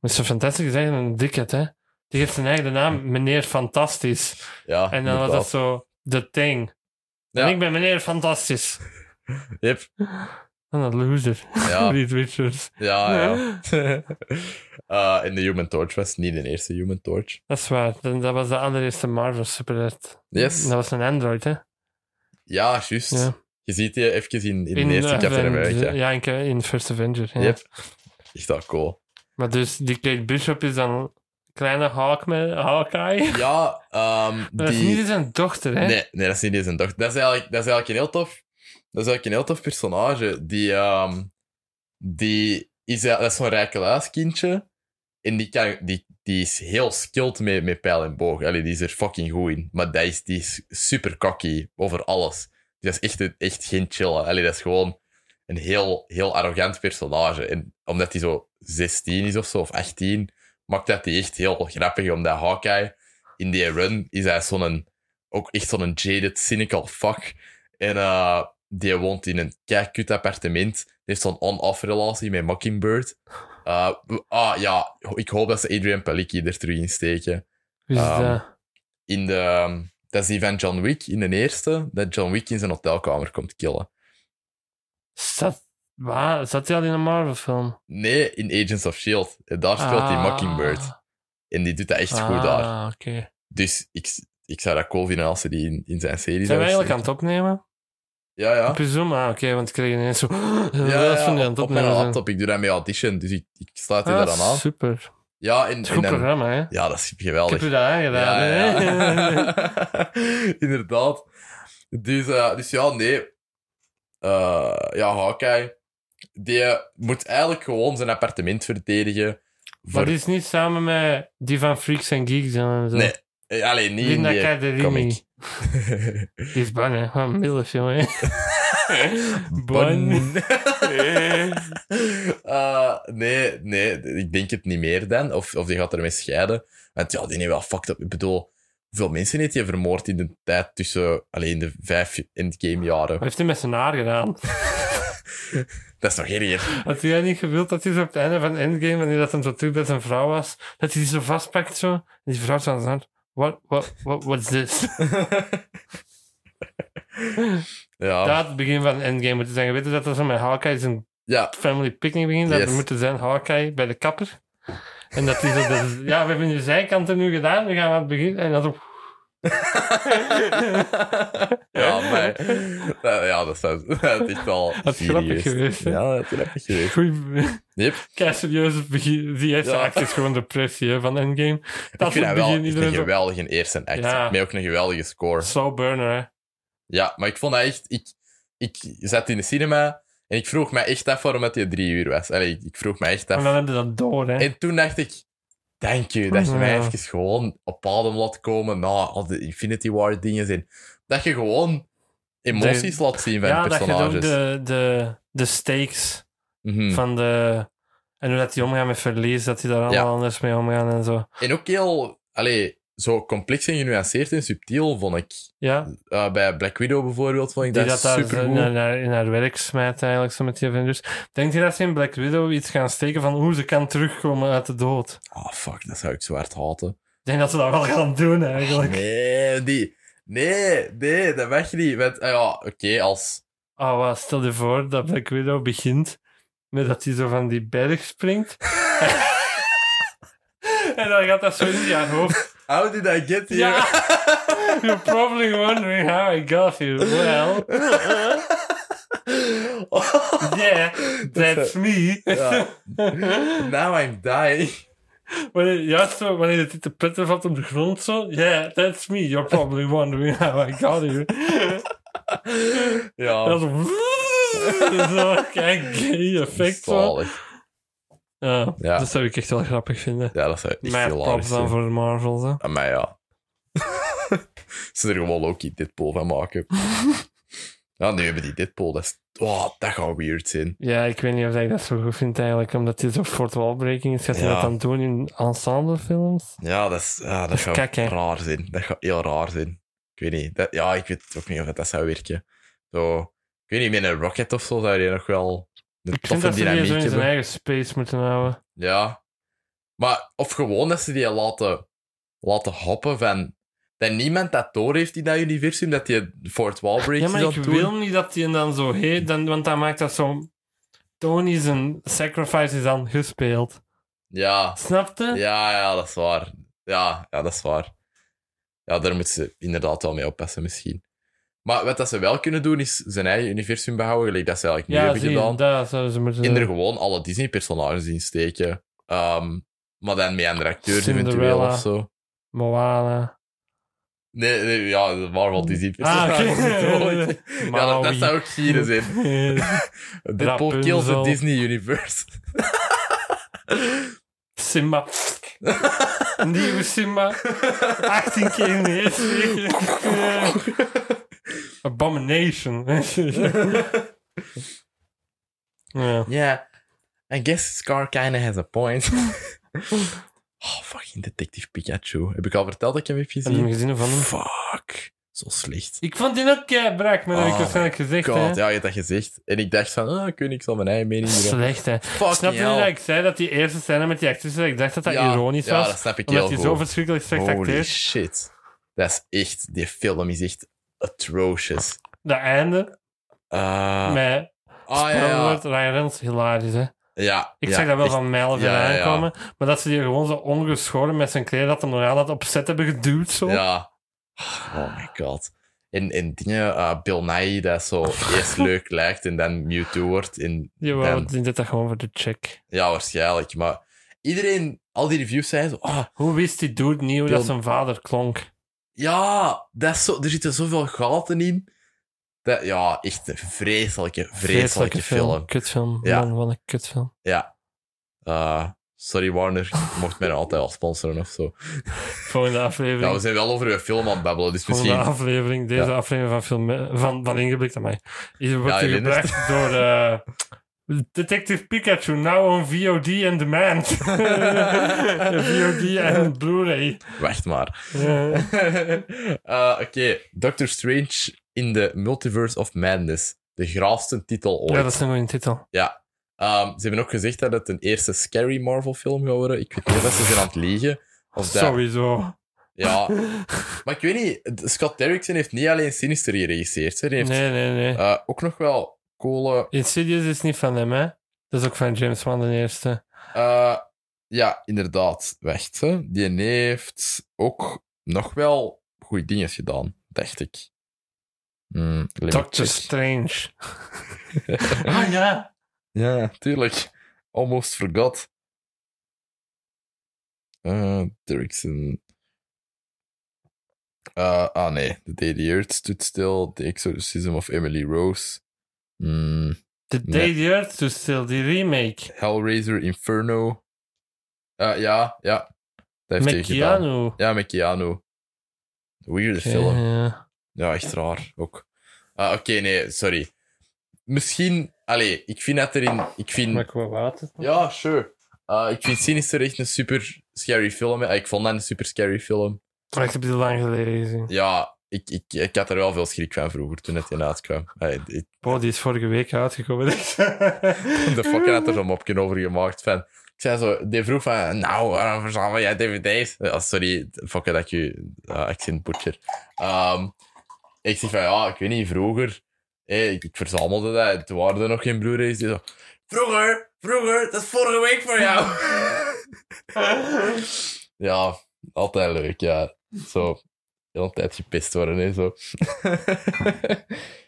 Dat is zo fantastisch. Dat is eigenlijk een dikheid, hè? Die heeft zijn eigen naam, meneer Fantastisch.
ja.
En dan was dat
inderdaad.
zo The Thing.
Ja.
En ik ben meneer Fantastisch.
Yep.
En dat loser.
Ja,
Reed Richards.
ja, ja. Eh, en de Human Torch was niet de eerste Human Torch.
Dat is waar. Dat dat was de allereerste Marvel superheld.
Yes.
Dat was een android, hè?
Ja, juist.
Ja.
Je ziet die even in, in, de eerste
eh,
Captain America.
Ja, in, in First Avenger. Ja.
Yep. Is dat cool?
Maar dus die Kate Bishop is dan een kleine Hawkman, Hawkeye.
Ja, ehm,
Dat is
die-
niet zijn dochter, hè?
Nee, nee, dat is niet eens een dochter. Dat is eigenlijk, dat is eigenlijk een heel tof... Dat is eigenlijk een heel tof personage. Die, ehm, die is, dat is zo'n rijke luiskindje. En die, kan, die, die is heel skilled met, met pijl en boog. Allee, die is er fucking goed in. Maar dat is, die is super cocky over alles. Dus dat is echt, een- echt geen chillen. Allee, dat is gewoon een heel, heel arrogant personage. En omdat hij zo 16 is of zo, of 18, maakt dat die echt heel grappig. Omdat Hawkeye in die run is hij zo'n ook echt zo'n jaded, cynical fuck. En eh, die woont in een keikut appartement. Die heeft zo'n on-off relatie met Mockingbird. Eh, w- ah ja, ik hoop dat ze Adrian Palicki er terug in steken.
Wie is
Ehm,
dat?
In de, ehm, dat is die van John Wick in de eerste, dat John Wick in zijn hotelkamer komt killen.
Zat, waar? Zat hij al in een Marvel-film?
Nee, in Agents of S.H.I.E.L.D. En E daar speelt hij Mockingbird. En die doet dat echt goed daar.
Ah, oké.
Dus ik, ik zou dat cool vinden als ze die in, in zijn serie
Zijn
zouden
we eigenlijk aan het opnemen?
steken. Ja, ja.
Op je Zoom? Ah, oké, want ik kreeg ineens zo...
Ja,
dat is
ja,
van die aan
op, op mijn
het opnemen. zijn.
laptop. Ik doe dat met Audition, dus ik, ik sluit die
Ah,
daaraan aan.
super.
Ja,
Het
en,
is een goed
en dan-
programma, hè?
ja, dat is
Ik heb
geweldig.
u dat aangedaan,
ja,
hè?
ja, ja. Inderdaad. Dus, eh, dus ja, nee. Eh, ja, Hawkeye. Die moet eigenlijk gewoon zijn appartement verdedigen.
Maar
Voor...
die is niet samen met die van Freaks and Geeks en zo.
Nee, eh, Allee, niet in
Linda
die
Caderini.
comic.
Die is bang, hè? Wat een milf, jongen. Bang.
Bon. Eh, nee, nee, ik denk het niet meer dan. Of, of die gaat ermee scheiden. Want ja, die heeft wel fucked up. Ik bedoel, hoeveel mensen heeft hij vermoord in de tijd tussen alleen de vijf endgame jaren?
Wat heeft hij met zijn haar gedaan?
Dat is nog geen eer.
Had jij niet gewild dat hij zo op het einde van Endgame, wanneer dat hem zo terug bij zijn vrouw was, dat hij die zo vastpakt zo, en die vrouw zo aan zijn hand, what, what, what, what's this?
Ja,
Dat het begin van Endgame moeten zijn. Je weet dat dat zo met Hawkeye zijn
ja,
family picnic begint, dat
Yes.
er moeten zijn Hawkeye bij de kapper. En dat hij zo, dat, ja, we hebben nu zijkanten nu gedaan, we gaan aan het begin, en dan zo,
ja, maar, Nou, ja, dat is, dat is echt wel.
Dat is grappig geweest, hè?
Ja, dat is grappig geweest.
goeie,
Yep.
kei serieus, begin, die eerste
Ja.
act is gewoon depressie hè, van Endgame.
ik
Dat is
vind
het
dat wel
begin,
echt een
iedereen zo,
geweldige eerste act.
Ja.
Met ook een geweldige score.
slow burner, hè.
Ja, maar ik vond dat echt... Ik, ik zat in de cinema en ik vroeg me echt af waarom het die drie uur was. Allee, ik, ik vroeg me echt
En dan
af.
hebben we dat door, hè.
En toen dacht ik... Dank je, dat je mij
Ja.
even gewoon op adem laat komen na al de Infinity War dingen. En dat je gewoon emoties laat zien van
ja, dat je ook
personages.
de, de, de stakes
Mhm.
van de. En hoe dat die omgaan met verlies, dat die daar allemaal anders mee omgaan en zo.
En ook heel... Allee, zo complex en genuanceerd en subtiel, vond ik.
Ja,
Eh, bij Black Widow bijvoorbeeld vond ik
die
dat,
dat, daar
supergoed.
in, haar, in haar werk smijt eigenlijk zo met die Avengers. Denk je dat ze in Black Widow iets gaan steken van hoe ze kan terugkomen uit de dood?
Oh, fuck, dat zou ik zo hard haten.
Ik denk dat ze dat wel gaan doen eigenlijk.
Nee, die... Nee, nee, dat mag je niet. Want, ah ja, oké, als...
Oh, wat, stel je voor dat Black Widow begint met dat hij zo van die berg springt. en dan gaat dat zo in haar hoofd.
How did I get here?
Ja. You're probably wondering how I got here. Well, yeah, that's me.
Ja. Now I'm dying.
wanneer, juist zo, wanneer het in de petten valt op de grond zo. Yeah, that's me. You're probably wondering how I got here.
Ja.
Dat is zo, kijk, die effect zo.
Zalig.
Ja,
Ja.
Dat zou ik echt wel grappig vinden.
Ja, dat zou echt
Mijn
hilarisch
props Dus dan
zijn.
voor Marvel. Zo.
Maar ja. Ze er gewoon ook dit Deadpool van maken. Ja, nu hebben die Deadpool. Dat is oh, dat gaat weird zijn.
Ja, ik weet niet of ik dat zo goed vind eigenlijk, omdat die zo fort wallbreaking is. Gaat hij
Ja.
dat dan doen in ensemblefilms?
Ja, dat, is, ah, dat
is
gaat
kak, hè?
raar zijn. Dat gaat heel raar zijn. Ik weet niet. Dat, ja, ik weet ook niet of dat, dat zou werken. Zo, ik weet niet, met een rocket of zo zou je nog wel de
Ik vind
toffe
dat ze die
dynamiek
zo in
hebben.
zijn eigen space moeten houden.
Ja. Maar, of gewoon dat ze die laten, laten hoppen van... Dat niemand dat door heeft in dat universum, dat die Fort Walbreak
Ja,
is
maar
aan
ik
het doen.
wil niet dat die dan zo heet, dan, want dan maakt dat zo... Tony zijn sacrifice is dan gespeeld.
Ja,
Snapte?
ja, ja, dat is waar. Ja, ja, dat is waar. Ja, daar moeten ze inderdaad wel mee oppassen, misschien. Maar wat dat ze wel kunnen doen, is zijn eigen universum behouden, gelijk dat ze eigenlijk nu
Ja,
hebben
zie je,
gedaan.
dat zouden ze moeten
En er gewoon alle Disney-personages in steken. Ehm, maar dan met andere acteurs eventueel
Cinderella.
of zo.
Moana.
Nee, nee ja, de Marvel
Ah,
Disney-personages.
oké.
Ja, dat, dat
Maui.
zou ook gieren zijn. Deadpool
Rapunzel.
kills the Disney Universe.
Simba. Nieuwe Simba. 18 keer in de eerste week. Abomination. ja.
yeah, I guess Scar kinda has a point. oh, fucking Detective Pikachu. Heb ik al verteld dat ik hem heb
Heb je hem
gezien?
gezien van hem?
Fuck. Zo slecht.
Ik vond die ook keibrak, maar dat heb ik
Oh
waarschijnlijk gezegd.
God,
hè.
ja, je hebt dat gezegd. En ik dacht van, ah, ik weet niks van mijn eigen mening. hier.
Slecht, hè.
Fucking
Snap je
hell.
nu dat ik zei dat die eerste scène met die actrice, dat ik dacht dat dat
Ja,
ironisch
ja,
was?
dat snap ik
omdat
heel
hij
goed.
zo verschrikkelijk slecht
Holy
acteert.
shit. Dat is echt, die film is echt atrocious.
Dat einde
Ah,
met
ah, ja,
Spoiler
ja.
alert, Ryan Reynolds, hilarisch, hè.
ja.
Ik
ja,
zag dat wel
echt.
van mijlen ver
Ja, ja, ja.
aankomen. Maar dat ze die gewoon zo ongeschoren met zijn kleren dat hem nog aan had opzet hebben geduwd. Zo.
Ja. Oh my god. En, en dingen, eh, Bill Nye, dat zo
Oh.
eerst leuk lijkt en dan Mewtwo wordt. En,
Je
dan-
wou dit dat gewoon voor de check.
ja, waarschijnlijk. Maar iedereen, al die reviews zeiden zo... ah,
Hoe wist die dude niet hoe dat
Bill-
zijn vader klonk?
ja, dat is zo, er zitten zoveel gaten in. Dat, ja, echt een vreselijke, vreselijke, film.
Kutfilm.
Ja.
Man, wat een kutfilm.
Ja. Eh, sorry Warner, je mocht mij nou altijd wel sponsoren of zo.
Volgende aflevering.
Ja, we zijn wel over een film aan het babbelen, dus
Volgende
misschien...
aflevering. Deze
Ja.
aflevering van, film, van, van Ingeblikt aan mij. Hier wordt
Ja,
hier
je herinnert.
gebracht door eh, Detective Pikachu. nou Now on VOD and demand. VOD en Blu-ray.
Wacht maar.
Ja.
Eh, Oké, Doctor Strange in the Multiverse of Madness. De graafste titel ooit.
Ja, dat is een goede titel.
Ja. Ehm, ze hebben ook gezegd dat het een eerste scary Marvel-film gaat worden. Ik weet niet of ze zijn aan het liegen. Of dat...
Sowieso.
Ja. Maar ik weet niet, Scott Derrickson heeft niet alleen Sinister geregisseerd. Hè. Die heeft
Nee, nee, nee.
eh, ook nog wel coole
Insidious is niet van hem, hè? Dat is ook van James Wan, de eerste.
Eh, ja, inderdaad. Wacht, hè. Die heeft ook nog wel goede dingen gedaan, dacht ik. Hmm, let me
Doctor
checken.
Strange. ah ja.
Ja, tuurlijk. Almost forgot. Eh Derrickson. Eh, ah nee, The Day the Earth Stood Still, The Exorcism of Emily Rose. Hmm,
The
Nee.
Day the Earth Stood Still, die remake.
Hellraiser Inferno. Eh, ja, ja. Dat heeft hij
Met
gedaan.
Keanu.
Ja, met Keanu. Weird film. Ja, echt raar ook. Ah, Oké, nee, sorry. Misschien, allee, ik vind dat erin. Ik
Maar
vind,
ik wil water.
ja, sure. Ah, ik vind Sinister echt een super scary film. Ah, ik vond dat een super scary film.
Maar ik heb die lang geleden gezien.
Ja, ik, ik, ik had er wel veel schrik van vroeger toen het in uitkwam. Allee, ik-
Boah, die is vorige week uitgekomen.
de fucker had er zo'n mopje over gemaakt. Van, ik zei zo, die vroeg van, nou, waarom verzamel jij dvd's? Ja, sorry, fokker dat ik je eh, accent butcher. Ehm, ik zeg van, ja, ik weet niet, vroeger, eh, ik, ik verzamelde dat, en toen waren er nog geen Blu-rays. Die zo, vroeger, vroeger, dat is vorige week voor jou. ja, altijd leuk, ja. Zo, heel een tijd gepist worden, hè, zo.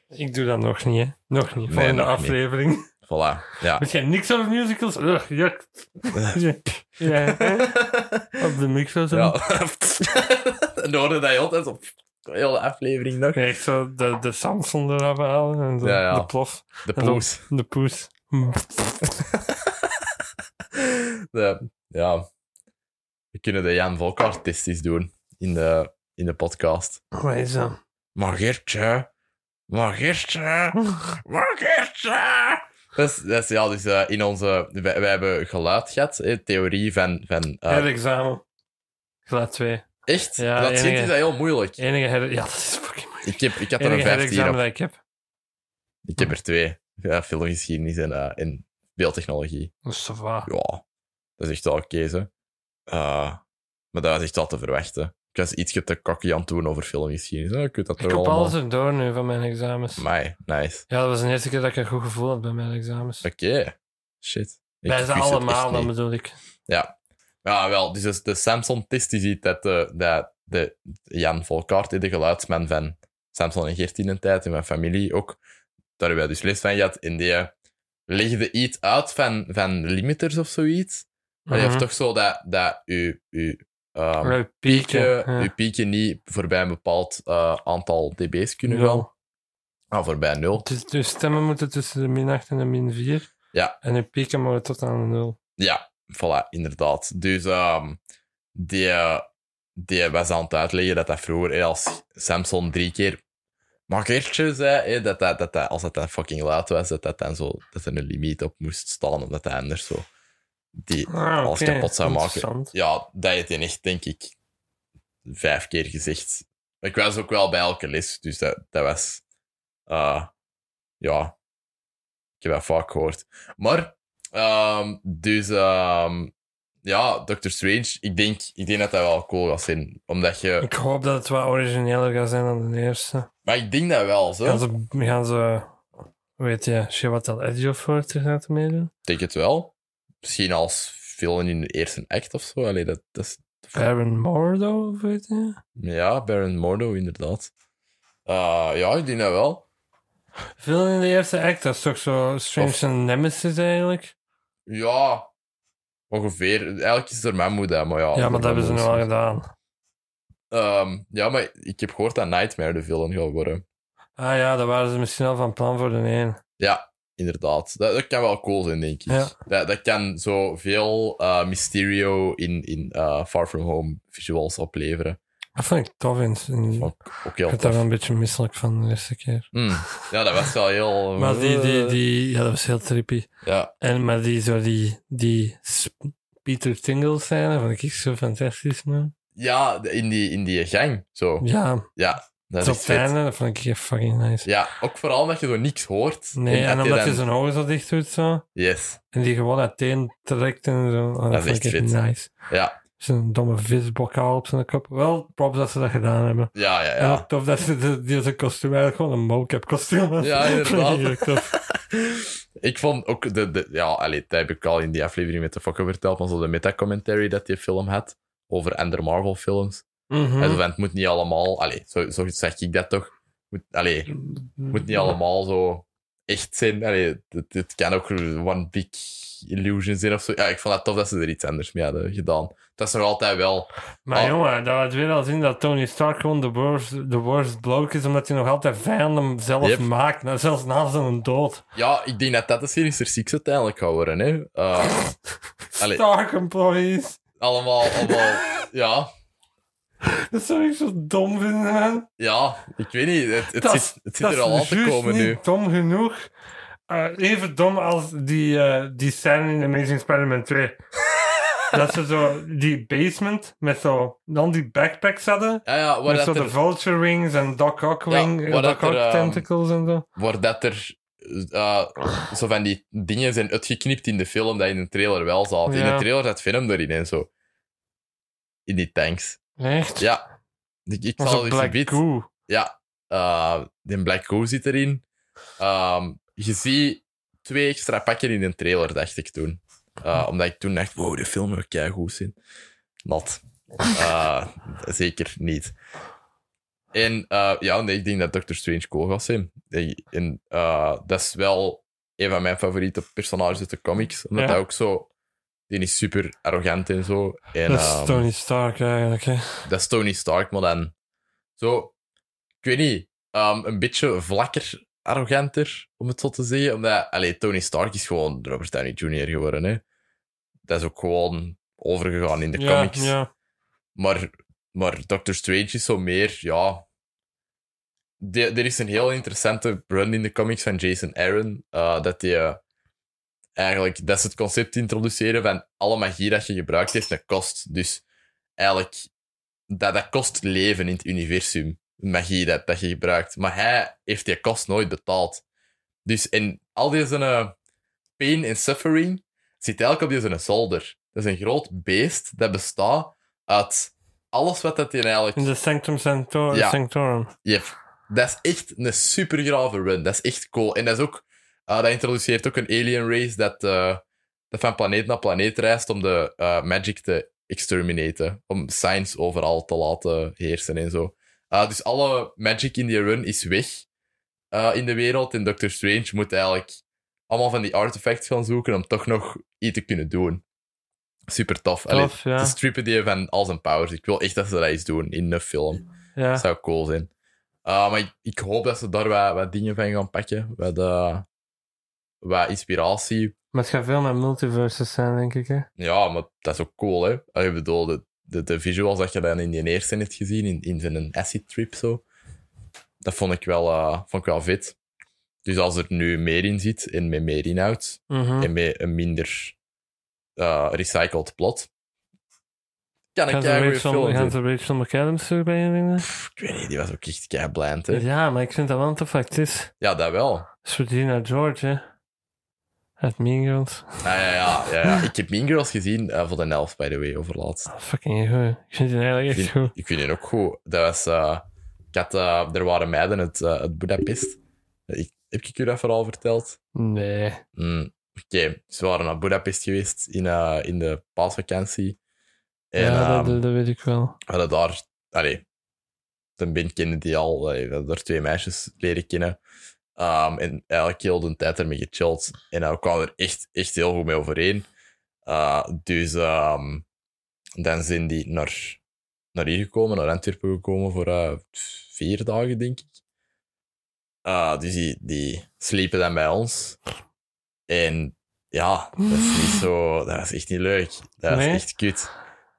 ik doe dat nog niet, hè? Nog niet.
Nee,
Volgende
nog niet.
aflevering.
voilà, ja.
Weet jij niks over musicals? Ugh, juk. ja. Op de micro zo.
Ja. en hoorde dat heel tijd op de hele aflevering nog.
Nee, echt zo de, de Samson eraf halen en zo.
Ja, ja.
De plof.
De
En zo-
poes.
De poes. Hm.
De, ja. We kunnen de Jan Volkart testies doen in de, in de podcast.
Wat is dat?
Maar Geertje, Maar gisteren... Maar gisteren... Dus, dus ja, dus eh, in onze... Wij, wij hebben geluid gehad, eh, theorie van... van eh,
Herexamen. Graad 2.
echt?
Ja,
dat zit
enige-
is dat heel moeilijk.
Enige her... Ja, dat is fucking moeilijk.
Ik heb, ik heb er een
Enige
15
herexamen
op.
dat ik heb.
Ik heb er twee. Ja, filmgeschiedenis en, eh, en beeldtechnologie.
Dat is toch waar.
Ja, dat is echt wel oké, ze. Eh, maar dat was echt wel te verwachten. Ik was ietsje te cocky aan het doen over filmgeschiedenis. Nou, ik weet dat
Ik
toch
heb
allemaal.
alles erdoor nu van mijn examens.
Amai, nice.
Ja, dat was de eerste keer dat ik een goed gevoel had bij mijn examens.
Oké. Shit. Ik
Bij ze
wist het
allemaal,
echt niet.
dan bedoel ik.
Ja, wel. Dus is de Samson-test die ziet dat, de, dat de Jan Volkaart, de geluidsman van Samson en Gert in een tijd, in mijn familie ook, daar hebben wij dus les van gehad. En die legde iets uit van, van limiters of zoiets. Maar je
Mhm.
hebt toch zo dat, dat je, je, ehm,
Ray
piekje,
Pieken, ja.
je piekje niet voorbij een bepaald eh, aantal dB's kunnen
Nul.
gaan. Ah, voorbij nul.
Dus, dus stemmen moeten tussen de min 8 en de min 4.
Ja.
En je pieken mogen tot aan de 0.
Ja, voilà, inderdaad. Dus ehm, die, eh, die was aan het uitleggen dat dat vroeger, eh, als Samson drie keer magertje zei, eh, dat, dat, dat, dat als dat dan fucking laat was, dat, dat, dan zo, dat er een limiet op moest staan, omdat hij anders zo... Die,
Ah,
Als
oké.
kapot zou maken.
Interessant.
ja, dat heeft hij echt, denk ik, vijf keer gezegd. Ik was ook wel bij elke les, dus dat, dat was... eh, ja, ik heb dat vaak gehoord. Maar, ehm, dus... ehm, ja, Doctor Strange, ik denk, ik denk dat dat wel cool gaat zijn. Omdat je...
Ik hoop dat het wat origineler gaat zijn dan de eerste.
Maar ik denk dat wel, zo.
Gaan ze, gaan ze weet je, Shivatal Edge voor te gaan meedoen?
Ik denk het wel. Misschien als villain in de eerste act of zo. Allee, dat, dat is...
Baron Mordo, of weet je?
Ja, Baron Mordo, inderdaad. Eh, ja, ik denk dat wel.
Veel in de eerste act, dat is toch zo Strange
Of-
en Nemesis eigenlijk?
Ja, ongeveer. Eigenlijk is het door mijn moeder, maar ja.
ja, maar dat hebben ze nu al
nog
gedaan.
ja, maar ik heb gehoord dat Nightmare de villain gaat worden.
Ah ja, daar waren ze misschien al van plan voor de één.
Inderdaad. Dat, dat kan wel cool zijn, denk ik.
Ja.
Dat, dat kan zo veel eh, Mysterio in, in eh, Far From Home visuals opleveren.
Dat vond ik tof. In, in-
Vond Ook heel
ik werd daar
tof.
wel een beetje misselijk van de eerste keer.
Mm. Ja, dat was wel heel...
Maar die, die, die, ja, dat was heel trippy.
Ja,
En maar die, zo die, die sp- Peter Tingle scène vond ik echt zo fantastisch, man.
ja in, die, in die gang, zo.
Ja,
Ja, dat
tot
is vet.
fijne, dat vond ik echt fucking nice.
Ja, ook vooral omdat je zo niks hoort.
Nee, en
dat
omdat
dan-
je zijn ogen zo dicht doet, zo.
Yes,
En die gewoon uiteen trekt en zo. Oh, dat,
Dat is
vond ik
echt
echt
vet.
nice.
ja.
Zo'n domme visbokhaal op zijn kop. Wel, props dat ze dat gedaan hebben.
Ja, ja,
En
ja.
ook tof dat ze de- die zijn kostuum eigenlijk gewoon een mocap kostuum was.
Ja, inderdaad.
Vond ik echt tof.
ik vond ook de, de ja, allee, dat heb ik al in die aflevering met de fokker verteld, maar zo de meta-commentary dat die film had over andere Marvel-films.
Mhm.
En zo van, het moet niet allemaal, allee, zo, zo zeg ik dat toch. Moet, allee, het moet niet allemaal zo echt zijn. Allee, het, het kan ook one big illusion zijn of zo. Ja, ik vond het tof dat ze er iets anders mee hadden gedaan. Dat is nog altijd wel.
Maar
Al-
jongen, dat laat weer al zien dat Tony Stark gewoon de worst, de worst bloke is, omdat hij nog altijd vijanden zelf
Yep.
maakt, nou, zelfs na zijn dood.
Ja, ik denk dat dat de Sinister Six uiteindelijk gaat worden. Hè. Eh, Allee.
Stark employees.
allemaal, allemaal, ja.
Dat zou ik zo dom vinden, man.
Ja, ik weet niet. Het, het
Dat is-
zit, het zit
dat
er
is
al aan te
juist
komen
niet
nu.
dom genoeg. Eh, even dom als die, eh, die scène in Amazing Spider-Man 2. dat ze zo die basement met zo dan die backpacks hadden.
Ja, ja, waar,
Met zo
dat
de
er,
Vulture Wings en Doc Ock
Ja,
Wing,
waar
Doc
dat
Ock
er, ehm,
Tentacles en zo.
waar dat er eh, zo van die dingen zijn uitgeknipt in de film dat in de trailer wel zaten. In
Ja.
de trailer zat Venom erin en zo. In die tanks.
Echt?
Ja. Ik, ik
Maar
zal
zo
eens een
Black
bit...
Goo.
eh, de Black Goo zit erin. Ehm, je ziet twee extra pakken in een trailer, dacht ik toen. Eh, omdat ik toen dacht, wow, de film wil keigoed zijn. Not. Eh, zeker niet. En eh, ja, nee, ik denk dat Doctor Strange cool gaat zijn. Ik- En, eh, dat is wel een van mijn favoriete personages uit de comics. Omdat
Ja.
hij ook zo... Die is super arrogant en zo. En,
dat is
ehm,
Tony Stark eigenlijk, hè.
dat is Tony Stark, maar dan zo, ik weet niet, ehm, een beetje vlakker, arroganter, om het zo te zeggen. Omdat, allee, Tony Stark is gewoon Robert Downey Jr. geworden, hè. Dat is ook gewoon overgegaan in de
ja,
comics.
Ja.
Maar, maar Doctor Strange is zo meer, ja... de- er is een heel interessante run in de comics van Jason Aaron. eh, dat die eh, eigenlijk, dat is het concept introduceren van alle magie dat je gebruikt heeft, dat kost. Dus eigenlijk, dat, dat kost leven in het universum. Magie dat, dat je gebruikt. Maar hij heeft die kost nooit betaald. Dus in al deze eh, pain en suffering zit eigenlijk op deze zolder. Dat is een groot beest dat bestaat uit alles wat dat hij eigenlijk
In de Sanctum Sanctorum.
Ja.
Sanctorum.
Yep. Dat is echt een super grave run. Dat is echt cool. En dat is ook, eh, dat introduceert ook een alien race dat, eh, dat van planeet naar planeet reist om de eh, magic te exterminaten. Om science overal te laten heersen en zo. Eh, dus alle magic in die run is weg eh, in de wereld. En Doctor Strange moet eigenlijk allemaal van die artifacts gaan zoeken om toch nog iets te kunnen doen. Super tof. Allee,
Tof, ja.
Ze strippen die van al zijn powers. Ik wil echt dat ze dat eens doen in een film.
ja.
Dat zou cool zijn. Uh, maar ik, ik hoop dat ze daar wat, wat dingen van gaan pakken. Wat, eh, wat inspiratie.
Maar het gaat veel met multiverses zijn, denk ik. Hè?
Ja, maar dat is ook cool, hè? Ah, Ik bedoel, de, de, de visuals dat je dan in die eerste hebt gezien, in, in zijn acid trip zo. Dat vond ik, wel, eh, vond ik wel vet. Dus als er nu meer in zit, en met meer inhoud,
Mhm.
en met een minder eh, recycled plot, kan ik
Gaan ze
eigenlijk
Rachel-
film
gaan
doen.
ze Rachel McAdams terug bij je
Ik weet niet, die was ook echt kei blind, hè?
Ja, maar ik vind dat wel een tof actrice.
Ja, dat wel.
Dat is Regina George, hè. Uit Mean Girls.
Ah, ja, ja, ja, ja. Ik heb Mean Girls gezien eh, voor de elf, by the way, overlaatst.
Oh, fucking goed. Ik vind die eigenlijk
Ik
echt
vind,
goed.
ik vind die ook goed. Dat was... eh, ik had, eh, er waren meiden uit, eh uit Budapest. Eh, Ik, heb ik u dat verhaal verteld?
Nee.
Mm, Oké, ze waren naar Budapest geweest in, eh, in de paasvakantie. En
ja,
ehm,
dat, dat, dat weet ik wel.
we hadden daar... Allee, een band kennen die al. allee, we hadden daar twee meisjes leren kennen. Ehm, en eigenlijk heel de tijd ermee gechilled. En nou kwamen er echt, echt heel goed mee overeen. Eh, dus ehm, dan zijn die naar, naar hier gekomen, naar Antwerpen gekomen voor eh, vier dagen, denk ik. Eh, dus die, die sliepen dan bij ons. En ja, dat is niet zo... Dat is echt niet leuk. Dat is
Nee?
echt kut.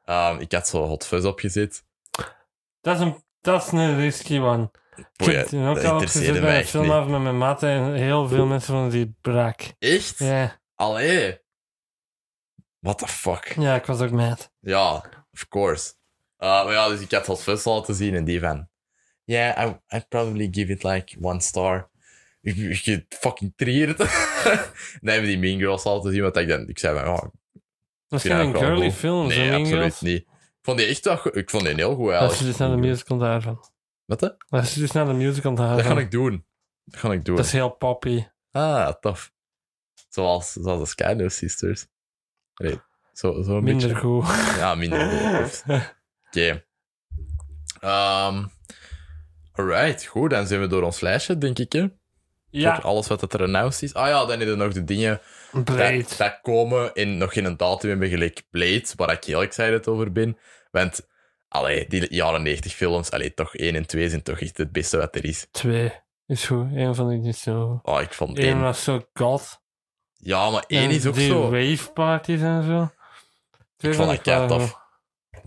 Ehm, ik had zo hot fuzz opgezet.
Dat is een, dat is een risky one. Ik
Boeien,
heb toen ook
dat
al
interesseerde
gezeten
mij
bij een
echt niet.
filmavond met mijn maten en heel veel mensen vonden die brak.
Echt?
Ja,
Allee. What the fuck?
ja ik was ook mad.
Ja, of course. Uh, maar ja, dus ik had het vis laten zien en die van... Yeah, I, I'd probably give it like one star. Ik, ik je fucking triert. dan hebben die Mean Girls laten zien, want ik, dan, ik zei van... ja, ik vind
Misschien een
dat wel
girly
goed.
film, zo
Nee,
Oh, Mean
absoluut
Girls.
niet. Ik vond die echt wel goed. Ik vond die heel goed
Als je
eigenlijk.
dus naar de musical daarvan.
Wat hè?
Als je dus naar de musical
Dat ga
daarvan.
ik doen. Dat ga ik doen.
Dat is heel poppy.
Ah, tof. Zoals, zoals de Skyler Sisters. Nee, zo, zo een
Minder
beetje.
goed.
Ja, minder goed. Oké. Ehm, alright, goed. Dan zijn we door ons lijstje, denk ik. Hè?
ja,
Door alles wat het er announced is. Ah ja, dan hebben we nog de dingen
Blade.
dat, dat komen en nog geen datum hebben gelijk Blade, waar ik heel excited over ben. Want, allee, die jaren 90 films, allee, toch 1 en 2 zijn toch echt het beste wat er is.
Twee is goed. Eén van die is niet zo.
Oh, ik vond
Eén
1...
was zo god.
Ja, maar 1
En
is ook
die
zo...
wave parties en zo. Twee
Ik vond dat kei
waren
tof.
goed.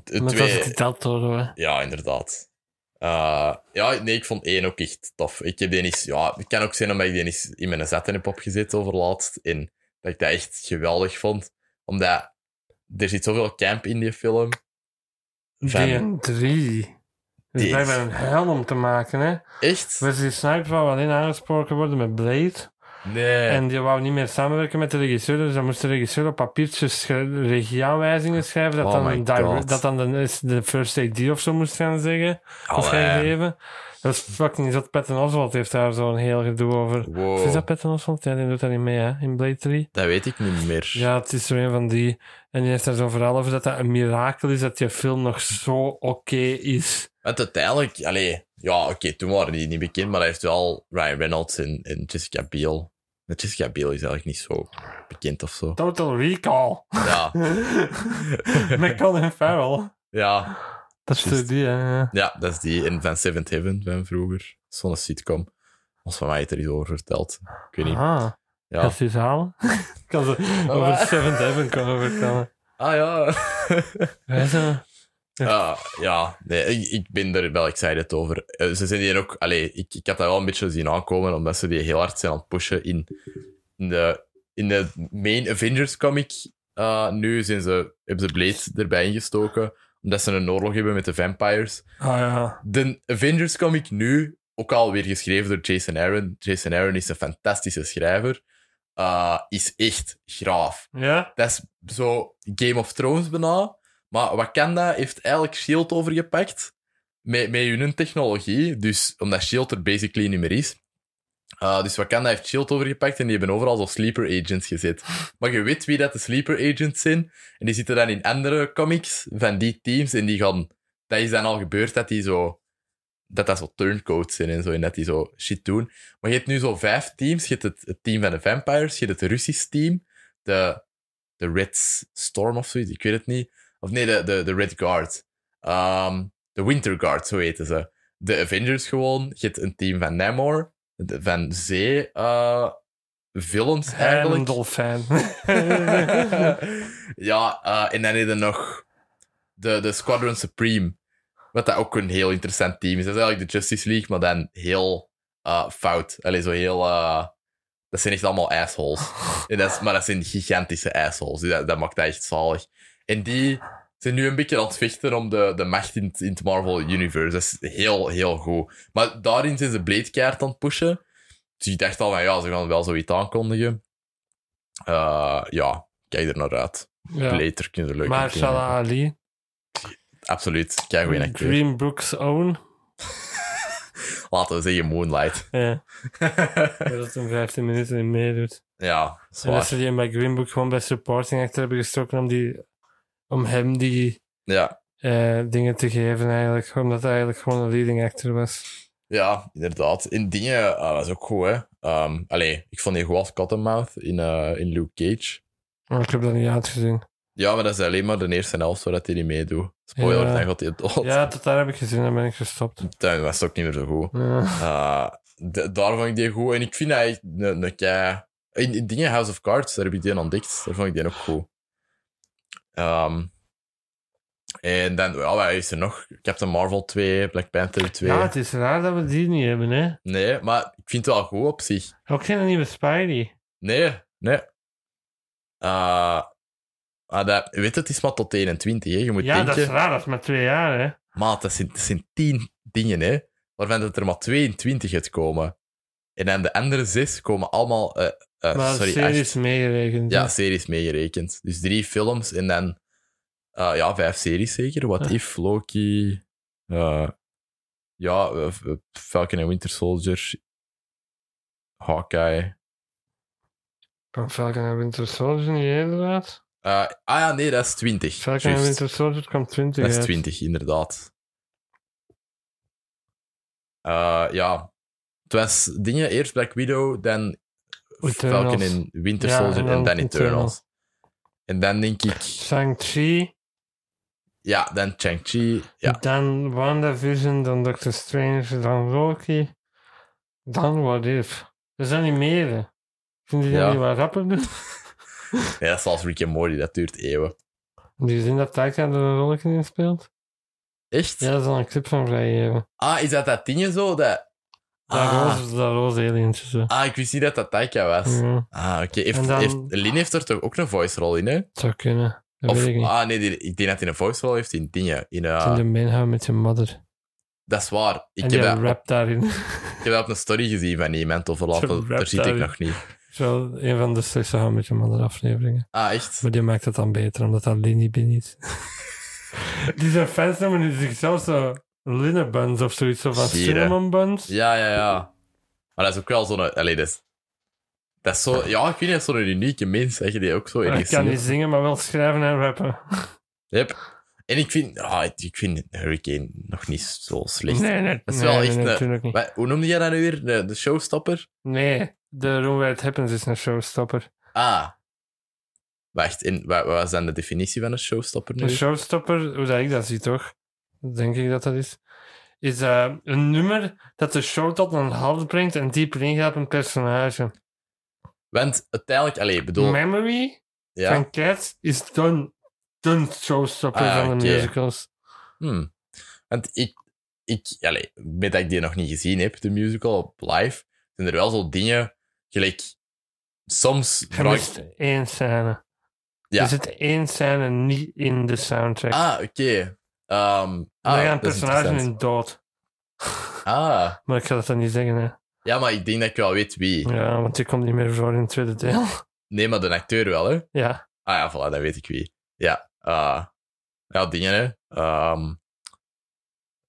De
Maar eh, dat is
Twee...
die Deltoro, hè.
Ja, inderdaad. Eh, ja, nee, ik vond één ook echt tof. Ik heb die eens, ja, het kan ook zijn omdat ik die eens in mijn zetten heb opgezet overlaatst. En dat ik dat echt geweldig vond. Omdat er zit zoveel camp in die film. Van-
Die en drie.
Die
Dat is
is-
blijkbaar een helm om te maken, hè.
Echt?
Wesley Snipes wou alleen aangesproken worden met Blade.
Nee.
En die wou niet meer samenwerken met de regisseur. Dus dan moest de regisseur op papiertjes schri- regieaanwijzingen schrijven. Dat
Oh
dan,
my
een dire-
God.
dat dan de, de first AD of zo moest gaan zeggen. Of gaan
Allee.
geven. Dat is fucking zat. Patton Oswald heeft daar zo'n heel gedoe over. Of
Wow.
Is dat
Dat...
Patton Oswalt? Ja, die doet dat niet mee, hè, in Blade 3.
weet ik niet meer.
Ja, het is zo een van die. En die heeft daar zo'n verhaal over dat dat een mirakel is dat je film nog zo oké is.
Want uiteindelijk, allee, ja, oké, toen waren die niet bekend, maar hij heeft wel Ryan Reynolds en, en Jessica Biel. Maar Jessica Biel is eigenlijk niet zo bekend of zo.
Total Recall.
Ja.
Met Colin Farrell.
ja,
Dat is
Juist.
de die, hè. ja.
Ja, dat is die in Van Seventh Heaven van vroeger. Zo'n sitcom. Als van mij het er iets over verteld. Ik weet niet.
Ah,
Ja. Oh,
gaat ze iets halen? Ik kan ze over
waar.
Seventh Heaven komen vertellen.
Ah ja.
Wij zijn
Ah, ja, nee, ik, ik ben er wel excited over. Eh, ze zijn hier ook... Allee, ik, ik had dat wel een beetje zien aankomen, omdat ze die heel hard zijn aan het pushen in, in, de, in de main Avengers-comic. Eh, nu zijn ze, hebben ze Blade erbij ingestoken, omdat ze een oorlog hebben met de vampires.
Ah ja.
De Avengers-comic nu, ook alweer geschreven door Jason Aaron. Jason Aaron is een fantastische schrijver. Eh, is echt graaf
Ja?
dat is zo Game of Thrones bijna. Maar Wakanda heeft eigenlijk S.H.I.E.L.D. E overgepakt met, met hun technologie. Dus omdat S.H.I.E.L.D. er basically niet meer is. Uh, dus Wakanda heeft S.H.I.E.L.D. overgepakt en die hebben overal zo sleeper agents gezet. Maar je weet wie dat de sleeper agents zijn. En die zitten dan in andere comics van die teams. En die gaan... Dat is dan al gebeurd dat die zo... Dat dat zo turncoats zijn en zo. En dat die zo shit doen. Maar je hebt nu zo vijf teams. Je hebt het, het team van de vampires. Je hebt het Russisch team. De, de Red Storm of zoiets. Ik weet het niet. Of nee, de, de, de Red Guard. Ehm, de Winter Guard, zo heten ze. De Avengers gewoon. Je hebt een team van Namor. de- Van zee... eh villains
En
eigenlijk
een dolfijn.
ja, eh, en dan heb je nog de, de Squadron Supreme. Wat dat ook een heel interessant team is. Dat is eigenlijk de Justice League, maar dan heel eh, fout. Allee, zo heel... eh, dat zijn echt allemaal assholes. En dat is, maar dat zijn gigantische assholes. Dus Dat, dat maakt dat echt zalig. En die zijn nu een beetje aan het vechten om de, de macht in, het- in het Marvel Universe. Dat is heel, heel goed. Maar daarin zijn ze Blade-kaart aan het pushen. Dus ik dacht al van, ja, ze gaan wel zoiets aankondigen. Eh, ja, kijk er naar uit.
ja.
Later kunnen er leuke dingen-
Mahershala Ali.
Absoluut, kijk weer naar kleur.
Green Brooks Own.
Laten we zeggen Moonlight.
Ja, dat hem 15 minuten in meedoet.
ja,
En dat
zwaar.
ze die bij Green Book gewoon bij supporting achter hebben gestoken om, die, om hem die
Ja,
eh, dingen te geven eigenlijk. Omdat hij eigenlijk gewoon een leading actor was.
ja, inderdaad. In dingen ah, was ook goed, hè. Ehm allee, ik vond die goed als Cottonmouth in, eh, in Luke Cage.
Maar ik heb dat niet uitgezien.
Ja, maar dat is alleen maar de eerste helft waar dat hij niet meedoet. Spoiler,
Ja.
dan gaat hij dood.
Ja, tot daar heb ik gezien. Dan ben ik gestopt.
Dat was ook niet meer zo goed.
Ja.
Eh, d- daar vond ik die goed. En ik vind hij echt een, een kei... In, in dingen House of Cards, daar heb ik die ontdekt. Daar vond ik die ook goed. Ehm, en dan, ja, wat is er nog? Captain Marvel 2, Black Panther 2.
ja, het is raar dat we die niet hebben, hè.
Nee, maar ik vind het wel goed op zich.
Ook geen nieuwe Spidey.
Nee, nee. Eh, ah, dat, weet je, het is maar tot 21, hè. Je moet
Ja, dat is
denken...
raar. Dat is maar twee jaar, hè.
Maat, dat zijn, dat zijn tien dingen, hè. Waarvan dat er maar 22 uitkomen. En dan de andere zes komen allemaal... eh, eh,
maar
sorry,
de serie
acht.
is meegerekend.
Ja,
hè.
series meegerekend. Dus drie films en dan eh, ja, vijf series zeker. What
Ja.
If, Loki, eh, ja, eh, eh, Falcon and Winter Soldier, Hawkeye.
Van Falcon en Winter Soldier niet eerder uit?
Eh, ah ja, nee, dat is 20.
Falcon en
Juist.
Winter Soldier kwam 20
Dat is
uit.
20, inderdaad. Eh, ja, het was dingen, eerst Black Widow, dan
Eternals.
Falcon en Winter
Ja,
Soldier
en
en
dan
dan Eternals.
Eternals.
En dan denk ik,
Shang-Chi,
ja, dan Chang-Chi. Ja,
dan WandaVision, dan Doctor Strange, dan Loki, dan What If. Dat zijn niet meer. hè. Vind je dat
Ja.
niet wat rapper doen?
Ja, dat is zoals Rick en Morty, dat duurt eeuwen.
Die zin dat Taika er een rolletje in speelt?
Echt?
Ja, dat is al een clip van vrijgeven.
Ah, is dat dat dingetje zo? Dat...
Dat
Ah,
roze, dat roze alientje zo.
ah, ik wist niet dat dat Taika was.
Ja,
Ah, oké. Heeft,
En dan-
heeft, Lin heeft er toch ook een voice-rol in, hè?
het zou kunnen. Dat
Of,
weet ik niet.
ah, nee, die- ik denk dat hij een voice-rol heeft in dingen. In, eh,
Het is in de manhoud met je mother.
Dat is waar. Ik heb
en die
dat,
rap daarin.
ik heb dat op een story gezien van iemand, of
Zo'n
later,
rap
daar zit ik
daarin.
nog niet.
Zo, een van de slechtste How I Met Your Mother afleveringen.
Ah, echt?
Maar die maakt het dan beter, omdat dat Linny Bin is. die zijn fans noemen nu zichzelf zo linnenbuns of zoiets, zo van
Zie je.
cinnamon buns.
Ja, ja, ja. Maar dat is ook wel zo'n... Allee, dat is... Dat is zo... Ja, ik weet niet, dat is zo'n unieke mens, dat je die ook zo
Hij
ergens
Ah, kan
ziet.
niet zingen, maar wel schrijven en rappen.
Yep. En ik vind... Ah, ik vind Hurricane nog niet zo slecht.
Nee, nee,
Dat is
nee,
wel
nee,
echt
nee,
een-
natuurlijk niet.
Wat- hoe noemde jij dat nu weer? De, de showstopper?
Nee, de Room Where It Happens is een showstopper.
Ah. Wacht, en wa- wat was dan de definitie van een showstopper nu?
Een showstopper, hoe dat ik dat zie toch, denk ik dat dat is, is eh, een nummer dat de show tot een halt brengt en dieper ingaat op een personage.
Want uiteindelijk... Allee, ik bedoel...
Memory
ja.
van Cats is done, done showstopper
Ah,
van de
oké.
musicals.
Hmm. Want ik, ik allee, met dat ik die nog niet gezien heb, de musical op live, zijn er wel zo dingen gelijk. Soms.
Je
vraag-
mist één scène.
Ja.
Er zit één scène niet in de soundtrack.
Ah, oké. Ehm,
Daar
ah,
gaan
dat is
personages
interessant.
in dood.
Ah,
Maar ik ga dat dan niet zeggen, hè.
ja, maar ik denk dat ik wel weet wie.
Ja, want die komt niet meer voor in het tweede deel.
Nee, maar de acteur wel, hè?
Ja.
Ah ja, voilà, dat weet ik wie. Ja, eh, ja dingen, hè? Ehm,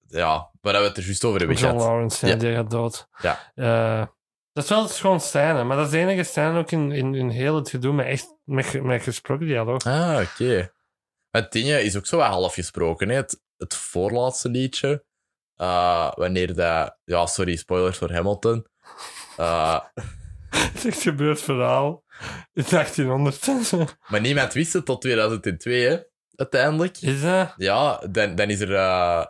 ja, waar we het er juist over hebben
John
gehad.
Lawrence, ja,
Ja.
die gaat dood.
Ja.
Eh, dat is wel een schoon scène, maar dat is de enige scène ook in, in, in heel het gedoe met, echt, met, ge- met gesproken dialoog.
Ah, oké. Het dingetje is ook zo wat half gesproken, hè? Het, het voorlaatste liedje. eh, wanneer dat... Ja, sorry, spoilers voor Hamilton. Eh,
Het is echt gebeurd verhaal. In 1800.
maar niemand wist het tot 2002, hè? Uiteindelijk.
is dat?
Ja, dan, dan is er... eh,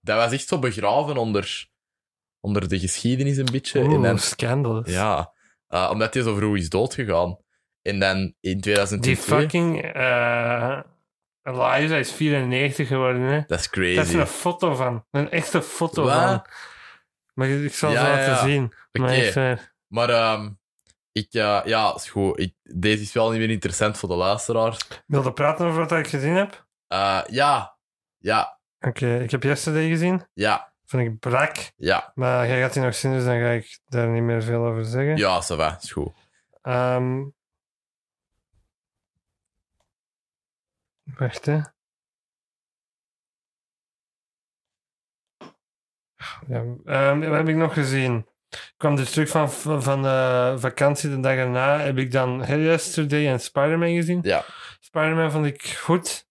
dat was echt zo begraven onder, onder de geschiedenis een beetje. en
Oeh,
dan,
scandalous.
ja, eh, omdat hij zo vroeg is doodgegaan. En dan in 2002...
Die fucking eh Eliza is 94 geworden, hè?
Dat is
Daar is
crazy.
een foto van. Een echte foto
Wat?
van. Maar ik zal
Ja,
ze
ja,
laten
ja.
zien. Maar
Oké.
echt eh, waar.
Maar ehm, ik, eh, ja, is goed. Ik, deze is wel niet meer interessant voor de luisteraars.
Wil je praten over wat ik gezien heb?
Eh, ja, ja,
Oké, ik heb yesterday gezien.
ja,
Vond ik brak.
ja,
Maar jij gaat die nog zien, dus dan ga ik daar niet meer veel over zeggen.
ja, ça va, is goed.
Ehm. wacht, hè. Ja, ehm, wat heb ik nog gezien? Ik kwam dus terug van, van de vakantie de dag erna. Heb ik dan Hell Yesterday en Spider-Man gezien.
Ja.
Spider-Man vond ik goed,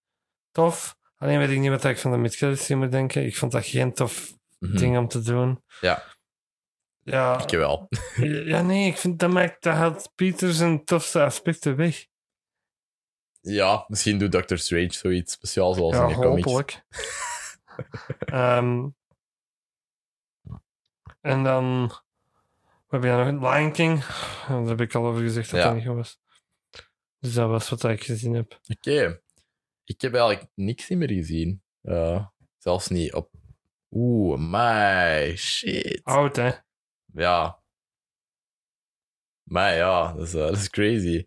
tof. Alleen weet ik niet wat ik van de mid moet denken. Ik vond dat geen tof
Mhm.
ding om te doen.
Ja.
Ja,
Ik wel.
ja, nee, ik vind dat maakt dat haalt Peter zijn tofste aspecten weg.
Ja, misschien doet Doctor Strange zoiets speciaals zoals
Ja,
in de comics.
hopelijk. Ehm, en dan wat heb je dan nog Lion King. Daar heb ik al over gezegd dat
Ja.
dat niet goed was. Dus dat was wat ik gezien heb.
Oké. Ik heb eigenlijk niks meer gezien. Eh, zelfs niet op... Oeh, my shit.
Oud, hè?
Ja. Maar ja, dat is, eh, dat is crazy.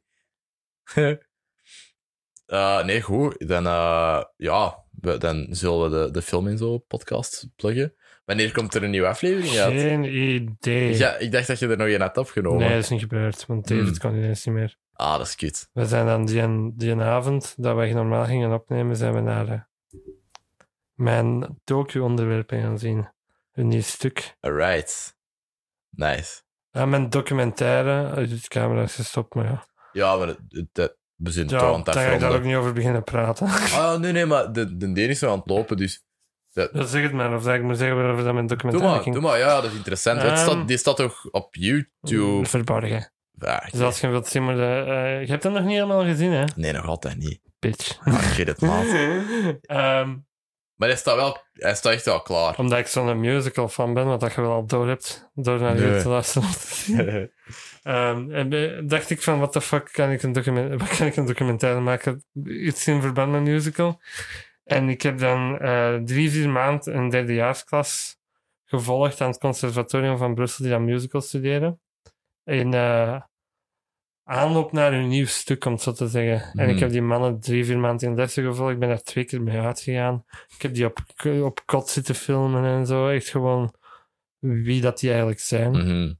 Eh, nee, goed. Dan, eh, ja, we- dan zullen we de, de film in zo'n podcast pluggen. Wanneer komt er een nieuwe aflevering uit?
Geen idee.
Ja, ik dacht dat je er nog een had opgenomen.
nee, dat is niet gebeurd, want
Hmm.
David kon ineens niet meer.
Ah, dat is kut.
We zijn dan die, die avond dat wij normaal gingen opnemen, zijn we naar eh, mijn docu-onderwerpen gaan zien. Een nieuw stuk.
Alright. Nice.
Ja, mijn documentaire, eh, de camera is gestopt, maar ja.
Ja, maar het- het- het- we zijn
ja
toch aan het
dan ga ik daar ook
afronden.
niet over beginnen praten.
Ah, nee, nee, maar de, de deur is nog aan het lopen, dus... dat-
Dat zeg het maar, of dat ik moet zeggen waarover dat mijn
Doe
documentaire
maar,
ging.
doe maar. Ja, dat is interessant. Het
Ehm.
staat, die staat toch op YouTube?
Verborgen.
Ja,
Dus als je wilt zien, maar de, eh, je hebt hem nog niet helemaal gezien, hè?
Nee, nog altijd niet.
Bitch.
Ah, shit, het maat.
Ehm,
Maar hij staat, wel, hij staat echt wel klaar.
omdat ik zo'n musical fan ben, wat dat je wel al door hebt, door naar
Nee.
je te luisteren. om te zien. Ehm, en be- dacht ik van, what the fuck, kan ik een, document, wat kan ik een documentaire maken? Iets in verband met musical. En ik heb dan eh, drie, vier maanden een derdejaarsklas gevolgd aan het conservatorium van Brussel die aan musical studeren. In eh, aanloop naar hun nieuw stuk, om het zo te zeggen. En
Mhm.
ik heb die mannen drie, vier maanden in lessen gevolgd. Ik ben daar twee keer mee uitgegaan. Ik heb die op, op kot zitten filmen en zo. Echt gewoon wie dat die eigenlijk zijn.
Mhm,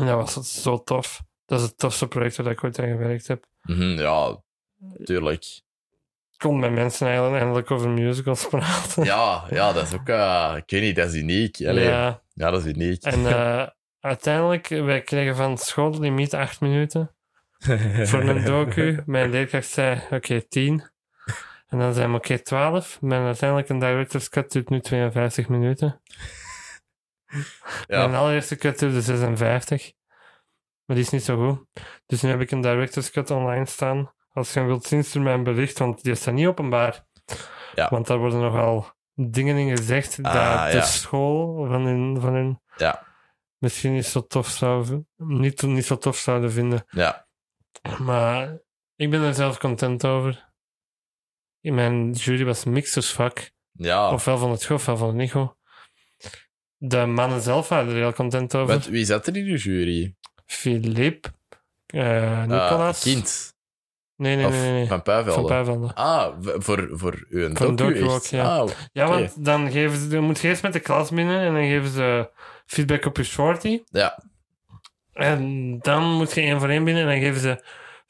En dat was het zo tof. Dat is het tofste project waar ik ooit aan gewerkt heb.
mhm, ja, tuurlijk.
Ik kon met mensen eigenlijk eindelijk over musicals praten.
Ja, ja, dat is ook... eh, ik weet niet, dat is uniek. Allee, ja.
Ja,
dat is uniek.
en eh, uiteindelijk, wij kregen van school de limiet acht minuten Eh, voor een docu. Mijn leerkracht zei, oké, tien. En dan zei hij, oké, twaalf. Mijn uiteindelijk een director's cut duurt nu 52 minuten.
Ja.
Mijn allereerste cut duurde 56. Maar die is niet zo goed. Dus nu heb ik een director's cut online staan. Als je hem wilt zien, stuur mij een bericht, want die staat niet openbaar.
Ja.
Want daar worden nogal dingen in gezegd dat
Ah,
de
ja.
school van hun, van hun
Ja.
misschien niet zo, tof zou, niet, niet zo tof zouden vinden.
Ja.
Maar ik ben er zelf content over. In mijn jury was mixers vak.
Ja.
Ofwel van het goed, ofwel van het niet goed. De mannen zelf waren er heel content over.
Met wie zat er in de jury?
Philippe, eh
Eh,
Nicolas.
kind.
Nee, nee,
Of
nee. nee.
Van
Van
Puivelde.
Puivelde.
Ah, v- voor, voor u een
Voor een
docu,
docu
echt?
ook, ja.
Ah,
Ja,
Oké.
want dan, geven ze, dan moet je eerst met de klas binnen en dan geven ze feedback op je shorty.
Ja.
En dan moet je één voor één binnen en dan geven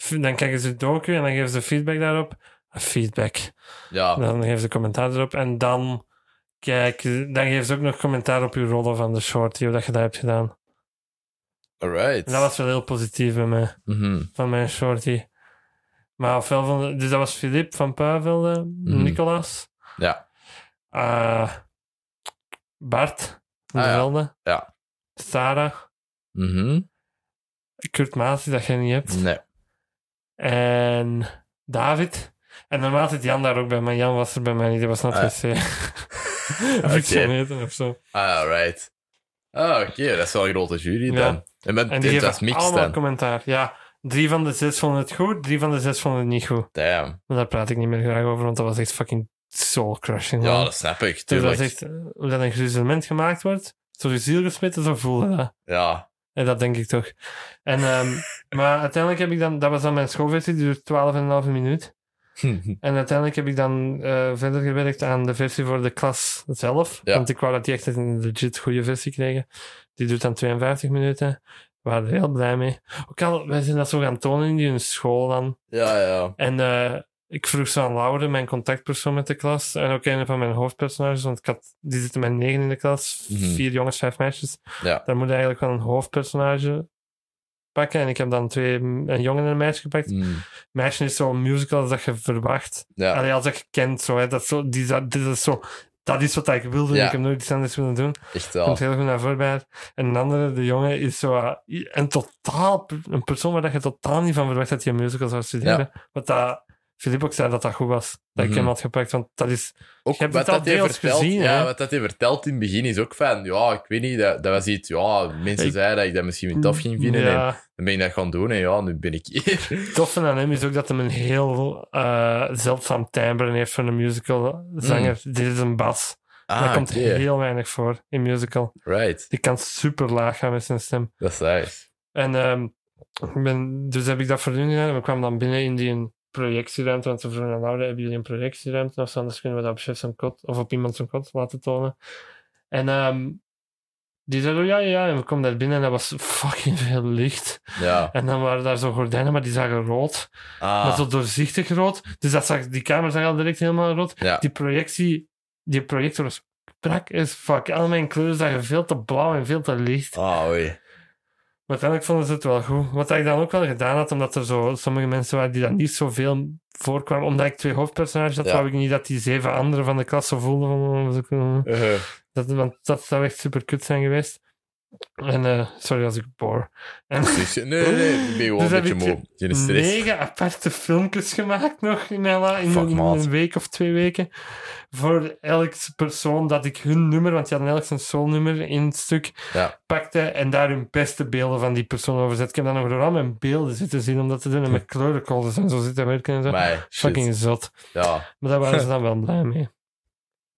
ze... Dan kijken ze het docu en dan geven ze feedback daarop. Feedback.
ja.
Dan geven ze commentaar erop en dan... Kijk, dan geven ze ook nog commentaar op je rollen van de shorty, hoe dat je dat hebt gedaan.
Alright.
En dat was wel heel positief bij mij,
Mhm.
van mijn shorty. Maar ofwel van... de- Dus dat was Filip van Puivelde,
Mhm.
Nicolas.
Ja.
eh, Bart van
Ah,
der
ja.
Velde.
Ja.
Sarah.
Mhm.
Kurt Maas, die dat jij niet hebt.
Nee.
En David. En normaal zit Jan daar ook bij, maar Jan was er bij mij niet. Die was naar
Ah, ja.
het wc. Of
Oké.
ik zou eten of zo.
Ah, alright. Ah, oké. Dat is wel een grote jury
Ja.
dan. En met
En
en
die
dit was
geven
mixed
allemaal
dan.
commentaar. Ja, drie van de zes vonden het goed, drie van de zes vonden het niet goed.
Damn.
Maar daar praat ik niet meer graag over, want dat was echt fucking soul crushing.
Ja, dat snap ik.
dus dat
Tuurlijk.
is echt eh, hoe dat een gruzelement gemaakt wordt. Door je ziel gesmeten, zo voelde dat.
Ja.
En dat denk ik toch. En, ehm, maar uiteindelijk heb ik dan, dat was dan mijn schoolversie, die duurt 12,5 minuut. En uiteindelijk heb ik dan eh, verder gewerkt aan de versie voor de klas zelf.
Ja.
Want ik wou dat die echt een legit goede versie kregen. Die duurt dan 52 minuten. We waren er heel blij mee. Ook al, wij zijn dat zo gaan tonen in die hun school dan.
ja, ja.
En eh, ik vroeg zo aan Laure, mijn contactpersoon met de klas. En ook een van mijn hoofdpersonages, want ik had, die zitten met negen in de klas.
Mhm.
Vier jongens, vijf meisjes.
Ja.
Daar moet je eigenlijk wel een hoofdpersonage pakken. En ik heb dan twee, een jongen en een meisje gepakt.
Mm.
Meisje is zo'n musical als dat je verwacht.
Ja.
Allee, als dat je kent, zo, hè, dat, is zo, die, dat, dit is zo, dat is wat ik wilde.
Ja.
Ik heb nooit iets anders willen doen.
Echt
Komt
wel.
heel goed naar voorbij. En een andere, de jongen, is zo eh, i- een totaal per- een persoon waar dat je totaal niet van verwacht dat hij een musical zou studeren. Wat dat, Filip ook zei dat dat goed was. Dat ik
Mhm.
hem had gepakt, want dat is.
Ook
Je hebt
wat
het al
dat hij
deels
vertelt,
gezien,
ja,
hè?
wat dat hij vertelt in het begin is ook van, ja, ik weet niet, dat, dat was iets, ja, mensen
Ik-
zeiden dat ik dat misschien niet tof ging vinden, en
Ja,
dan ben ik dat gaan doen, en ja, nu ben ik hier.
het toffe aan hem is ook dat hij een heel eh, zeldzaam timbre heeft voor een musical zanger. Dit is een bas. dat
Mhm. Ah,
komt
oké.
heel weinig voor in musical.
Right.
Die kan super laag gaan met zijn stem.
Dat is nice.
En ehm, ik ben, dus heb ik dat voor hun gedaan. En we kwamen dan binnen in die projectieruimte. Want ze vroegen aan Laura, hebben jullie een projectieruimte? Of zo, anders kunnen we dat op chef zijn kot of op iemand zijn kot laten tonen. En ehm, die zeiden, oh, ja, ja, ja. En we kwamen daar binnen en dat was fucking veel licht.
Ja.
En dan waren daar zo gordijnen, maar die zagen rood. Maar
Ah,
zo doorzichtig rood. Dus dat zag, die kamer zag al direct helemaal rood.
ja.
Die projectie, die projector was brak as fuck. Al mijn kleuren zagen veel te blauw en veel te licht.
Ah, oei.
Maar uiteindelijk vonden ze het wel goed. Wat ik dan ook wel gedaan had, omdat er zo sommige mensen waren die dat niet zoveel voorkwamen, omdat ik twee hoofdpersonages had,
Ja.
wou ik niet dat die zeven anderen van de klas zo voelden van... oh, ze kunnen-
Eh,
Dat, want dat zou echt super kut zijn geweest. En eh, sorry als ik boor. En
dus- nee, nee, nee, ik ben gewoon
Dus
een
heb
beetje
ik
moe. Geen stress.
negen aparte filmpjes gemaakt nog in, Ella, in
Fuck,
een,
maat.
een week of twee weken. Voor elk persoon dat ik hun nummer, want die hadden elk zijn soulnummer in het stuk,
Ja.
pakte en daar hun beste beelden van die persoon over zet. Ik heb dan nog door al mijn beelden zitten zien om dat te doen en met kleurencodes en zo zitten werken en zo.
Maar, shit.
Fucking zot.
Ja,
Maar daar waren ze dan wel blij mee.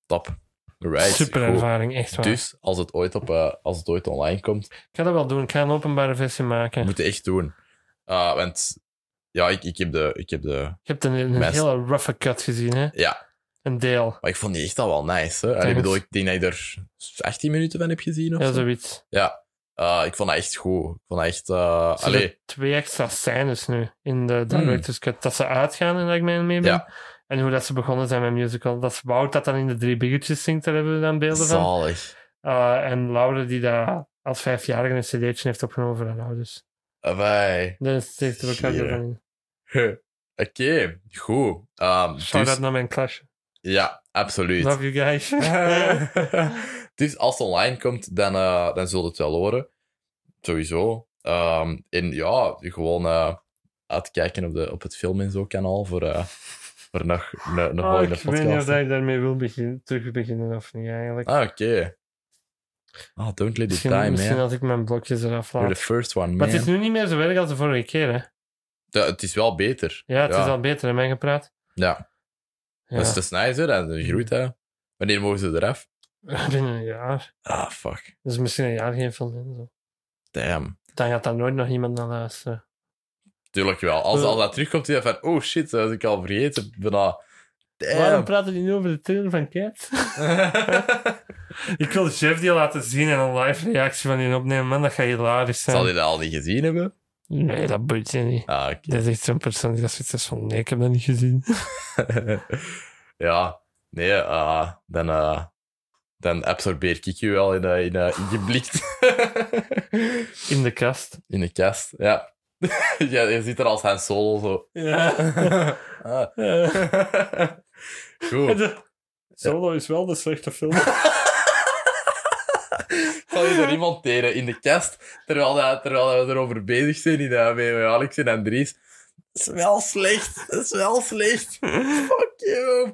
top. Right.
Super
goed.
ervaring, echt waar.
Dus, als het ooit, op, eh, als het ooit online komt,
Ik ga dat wel doen. Ik ga een openbare versie maken.
moet je echt doen. Eh, want, ja, ik, ik heb de... Ik heb de
Je hebt een, een
Best.
hele rough cut gezien, hè?
ja,
Een deel.
maar ik vond die echt al wel nice. Hè. Allee, Ik
Thanks.
bedoel, ik denk dat ik er 18 minuten van heb gezien of
Ja,
zo.
zoiets.
Ja, Eh, ik vond dat echt goed. Ik vond dat echt... eh
Er zitten
allee, Hmm.
twee extra scènes nu in de director's cut. Dat ze uitgaan en dat ik mee mee ben.
Ja.
En hoe dat ze begonnen zijn met musical. Dat is Wout dat dan in de drie biggetjes zingt, daar hebben we dan beelden van.
zalig.
Eh, en Laura die daar als vijfjarige een cd'tje heeft opgenomen voor haar ouders.
Wij.
Dus het heeft er ook
Hier.
wel van in.
Oké, goed. Ehm,
Shout
dus,
out naar mijn klasje.
ja, absoluut.
Love you guys. Oh,
dus als het online komt, dan, eh dan zult het wel horen. Sowieso. Ehm, en ja, gewoon eh, uitkijken op, de, op het film en zo kanaal voor, eh, voor nog een een
Oh,
volgende
ik weet niet of
podcast.
dat ik daarmee wil begin, terug beginnen of niet eigenlijk.
Ah, oké. Ah, don't let it die,
misschien
man.
misschien als ik mijn blokjes eraf
You're
laat.
the first one, man.
Maar het is nu niet meer zo erg als de vorige keer, hè?
Ja, het is wel beter.
Ja, het
Ja.
is al beter, hè, mij gepraat.
Ja.
Ja.
Dat is, dat is nice, hè. Dat groeit, hè. Wanneer mogen ze eraf?
Binnen een jaar.
Ah, fuck.
Dus misschien een jaar geen film in. Zo.
Damn.
Dan gaat daar nooit nog iemand naar luisteren.
Tuurlijk wel. Als,
Eh.
als dat terugkomt, is dat van... Oh shit, dat had ik al vergeten. Bijna...
Waarom
Damn.
praten die nu over de trailer van Cats? Ik wil Jeff die laten zien en een live reactie van die opnemen. Man, dat gaat hilarisch zijn.
Zal hij dat al niet gezien hebben?
Nee, dat boeit je niet.
Ah, oké.
Dat is echt zo'n persoon die dat zoiets is van... Nee, ik heb dat niet gezien.
ja, nee, eh, dan, eh, dan absorbeer ik je wel in, eh, in, eh, in je blik.
In de kast.
in de kast, ja. ja. Je ziet er als Han Solo zo.
Ja.
Ah. Goed.
De- Solo is wel de slechte film.
Zal je er iemand teren in de kast, terwijl, dat, terwijl we erover bezig zijn in, eh, met met Alex en Andries? Dat is wel slecht. Dat is wel slecht. Fuck you.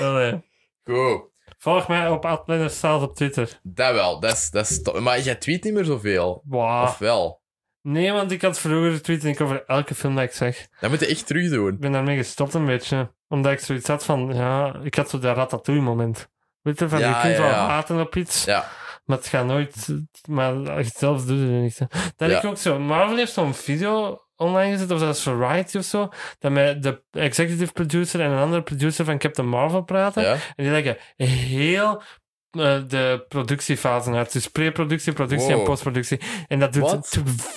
Allee.
Goed.
Volg mij op Adplannerstaat op Twitter.
Dat wel. Dat is, dat is to- maar jij tweet niet meer zoveel.
Wow.
Of wel?
Nee, want ik had vroeger getweet en ik over elke film dat ik zeg.
Dat moet je echt terug
Ik
doen.
ben daarmee gestopt een beetje. Omdat ik zoiets had van... Ja, ik had zo dat ratatouille moment. Weet je, van
Ja,
je kunt
ja,
wel
ja.
haten op iets,
Ja.
maar het gaat nooit... Maar als je het zelf doet, doe je er niks aan. Dat
Ja.
ik ook zo... Marvel heeft zo'n video online gezet, of dat is Variety of zo, dat met de executive producer en een andere producer van Captain Marvel praten.
ja.
En die leggen heel eh, de productiefase uit. Dus pre-productie, productie en
Wow.
postproductie. En dat duurt
Wat?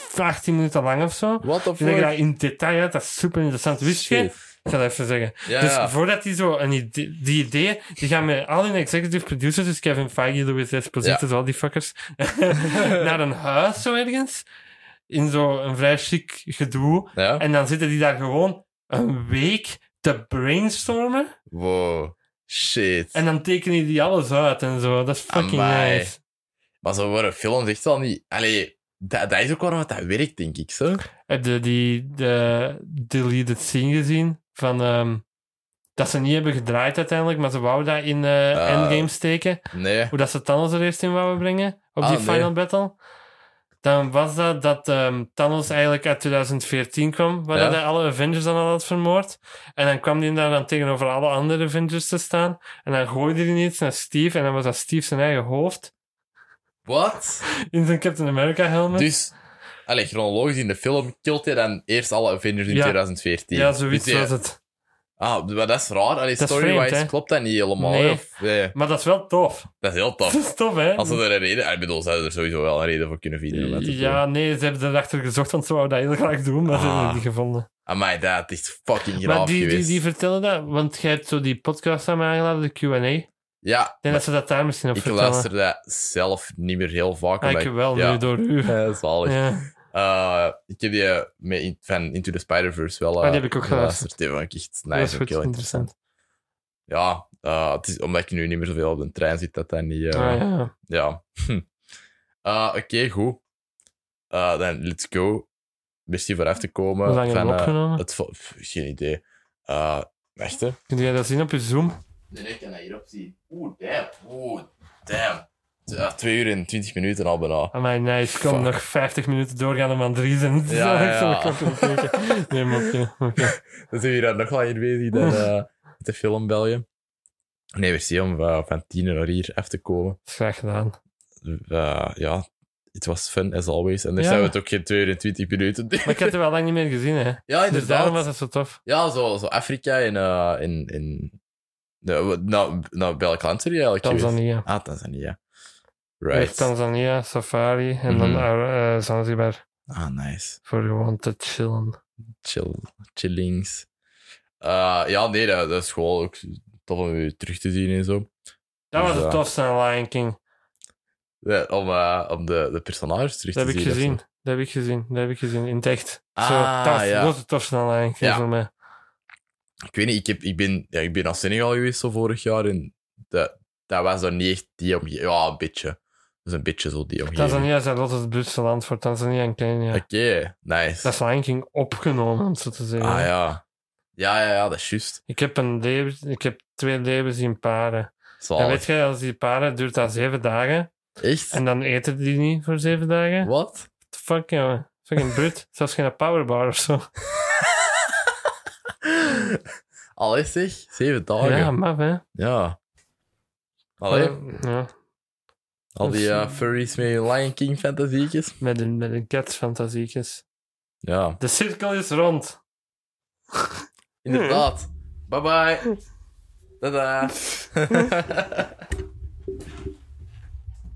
tw- 18 minuten lang of zo.
What the
Die leggen dat
fuck?
in detail uit. Dat is super interessant. Wist je?
Shit.
Ik ga dat even zeggen.
Ja.
Dus voordat die zo een idee, die ideeën, die gaan met al hun executive producers, dus Kevin Feige, Louis Esposito, al die fuckers, naar een huis zo ergens, in zo'n vrij chic gedoe.
ja.
En dan zitten die daar gewoon een week te brainstormen.
Wow. Shit.
En dan tekenen die alles uit en zo. Dat is fucking
Amai.
nice.
Maar zo worden films echt wel niet... Allee, dat, dat is ook waarom het dat werkt, denk ik, zo.
Heb je die de deleted scene gezien? Van, ehm, dat ze niet hebben gedraaid uiteindelijk, maar ze wouden dat in eh,
Ah.
Endgame steken.
Nee.
Hoe dat ze Thanos er eerst in wouden brengen, op
Ah,
die
nee.
final battle. Dan was dat dat ehm, Thanos eigenlijk uit 2014 kwam, waar
Ja.
hij alle Avengers dan al had vermoord. En dan kwam hij daar dan tegenover alle andere Avengers te staan. En dan gooide hij iets naar Steve, en dan was dat Steve zijn eigen hoofd.
Wat?
In zijn Captain America helmet.
Dus... Allee, chronologisch in de film kilt hij dan eerst alle Avengers in
Ja.
2014.
ja, zoiets
Dus hij-
was het.
Ah, maar dat is raar. Allee,
Dat is
story-wise
vreemd, hè?
klopt dat niet helemaal.
Nee.
hè? Of- nee.
Maar dat is wel tof.
Dat is heel
Dat
tof.
is tof, hè?
Als ze er een reden... Ah, Ik bedoel, ze hadden er sowieso wel een reden voor kunnen vinden. om dat te doen.
ja, nee, ze hebben erachter gezocht, want ze wouden dat heel graag doen, maar
Ah.
ze hebben het niet gevonden.
Amai, dat is fucking
maar
graaf
die, die,
geweest.
die vertellen dat, want jij hebt zo die podcast aan mij aangeladen, de Q&A. Ik
Ja,
denk dat ze dat daar misschien op
ik
vertellen.
luister dat zelf niet meer heel vaak.
Ah,
omdat
ik wel,
ja.
nu door u.
Ja, zalig.
Ja.
Eh, ik heb die eh, met in, van Into the Spider-Verse wel... eh,
Ah, die heb ik ook geluisterd.
Die vond ik echt
dat is
nice, ook
goed,
heel
interessant.
interessant. Ja, eh, het is, omdat ik nu niet meer zoveel op de trein zit, dat dat niet... eh,
Ah,
ja.
ja.
Hm. Eh, Oké, goed. Eh, Dan, let's go. Merci voor af te komen.
Hoe lang
van,
hebben we
eh,
opgenomen?
het vol- pff, geen idee. Eh wacht, hè.
Kun jij dat zien op je Zoom?
Nee, ik kan dat hierop zien. Oeh, damn. Oeh, damn. Ja, twee uur en twintig minuten al bijna.
Amai, Ah, nice. Kom,
Fuck.
nog 50 minuten doorgaan om aan drie zijn.
Ja, ja, ja.
Zo, ik zal mijn klok even kijken. Nee, maar oké. oké.
Dan zijn we hier nog langer bezig dan eh, met de film België. Nee, merci om eh, van tien uur naar hier af te komen.
Dat is graag gedaan.
Eh, ja, het was fun as always. En daar
Ja.
zijn we het ook geen 22 minuten.
Maar ik had het wel lang niet meer gezien, hè.
ja,
Dus daarom
inderdaad.
was het zo tof.
Ja, zo, zo Afrika en... eh in, in nou, nou, nou, welk land zijn jullie eigenlijk geweest?
Tanzania.
Ah, Tanzania.
Eerst
Right.
Tanzania, safari en dan
Mhm.
eh, Zanzibar
Ah, nice.
voor gewoon te chillen.
chill, chillings. Eh, ja, nee, dat, dat is gewoon ook tof om u terug te zien en zo.
Dat was
Ja.
het tofste aan Lion King.
Ja, om eh, om de, de personages terug
Dat
te
heb ik
zien. of
gezien.
zo.
Dat heb ik gezien. Dat heb ik gezien. In het echt.
Ah,
Zo, dat, was,
ja.
dat was het tofste aan Lion King
Ja.
voor mij.
Ik weet niet, ik, heb, ik, ben, ja, ik ben naar Senegal geweest zo vorig jaar en dat, dat was dan niet echt die omgeving. Ja, een beetje. Dat is een beetje zo die omgeving.
Tanzania is altijd het buurtste land voor Tanzania en Kenia.
Oké, nice.
Dat is Lion King opgenomen, om het zo te zeggen.
Ah ja. Ja, ja, ja, dat is juist.
Ik heb, een leven, ik heb twee levens in paren. En weet
Zalig.
je, als die paren duurt dat zeven dagen.
Echt?
En dan eten die niet voor zeven dagen. What
Wat?
the fuck, jongen. Fucking brut. Zelfs geen powerbar of zo.
Al is zeg, zeven dagen. Oh,
Ja,
Ja.
maf, hè.
Allee,
Ja,
al die eh, furries met hun Lion King fantasietjes.
met een, met een catsfantasiekjes.
Ja,
De cirkel is rond.
inderdaad. Bye bye. Tada.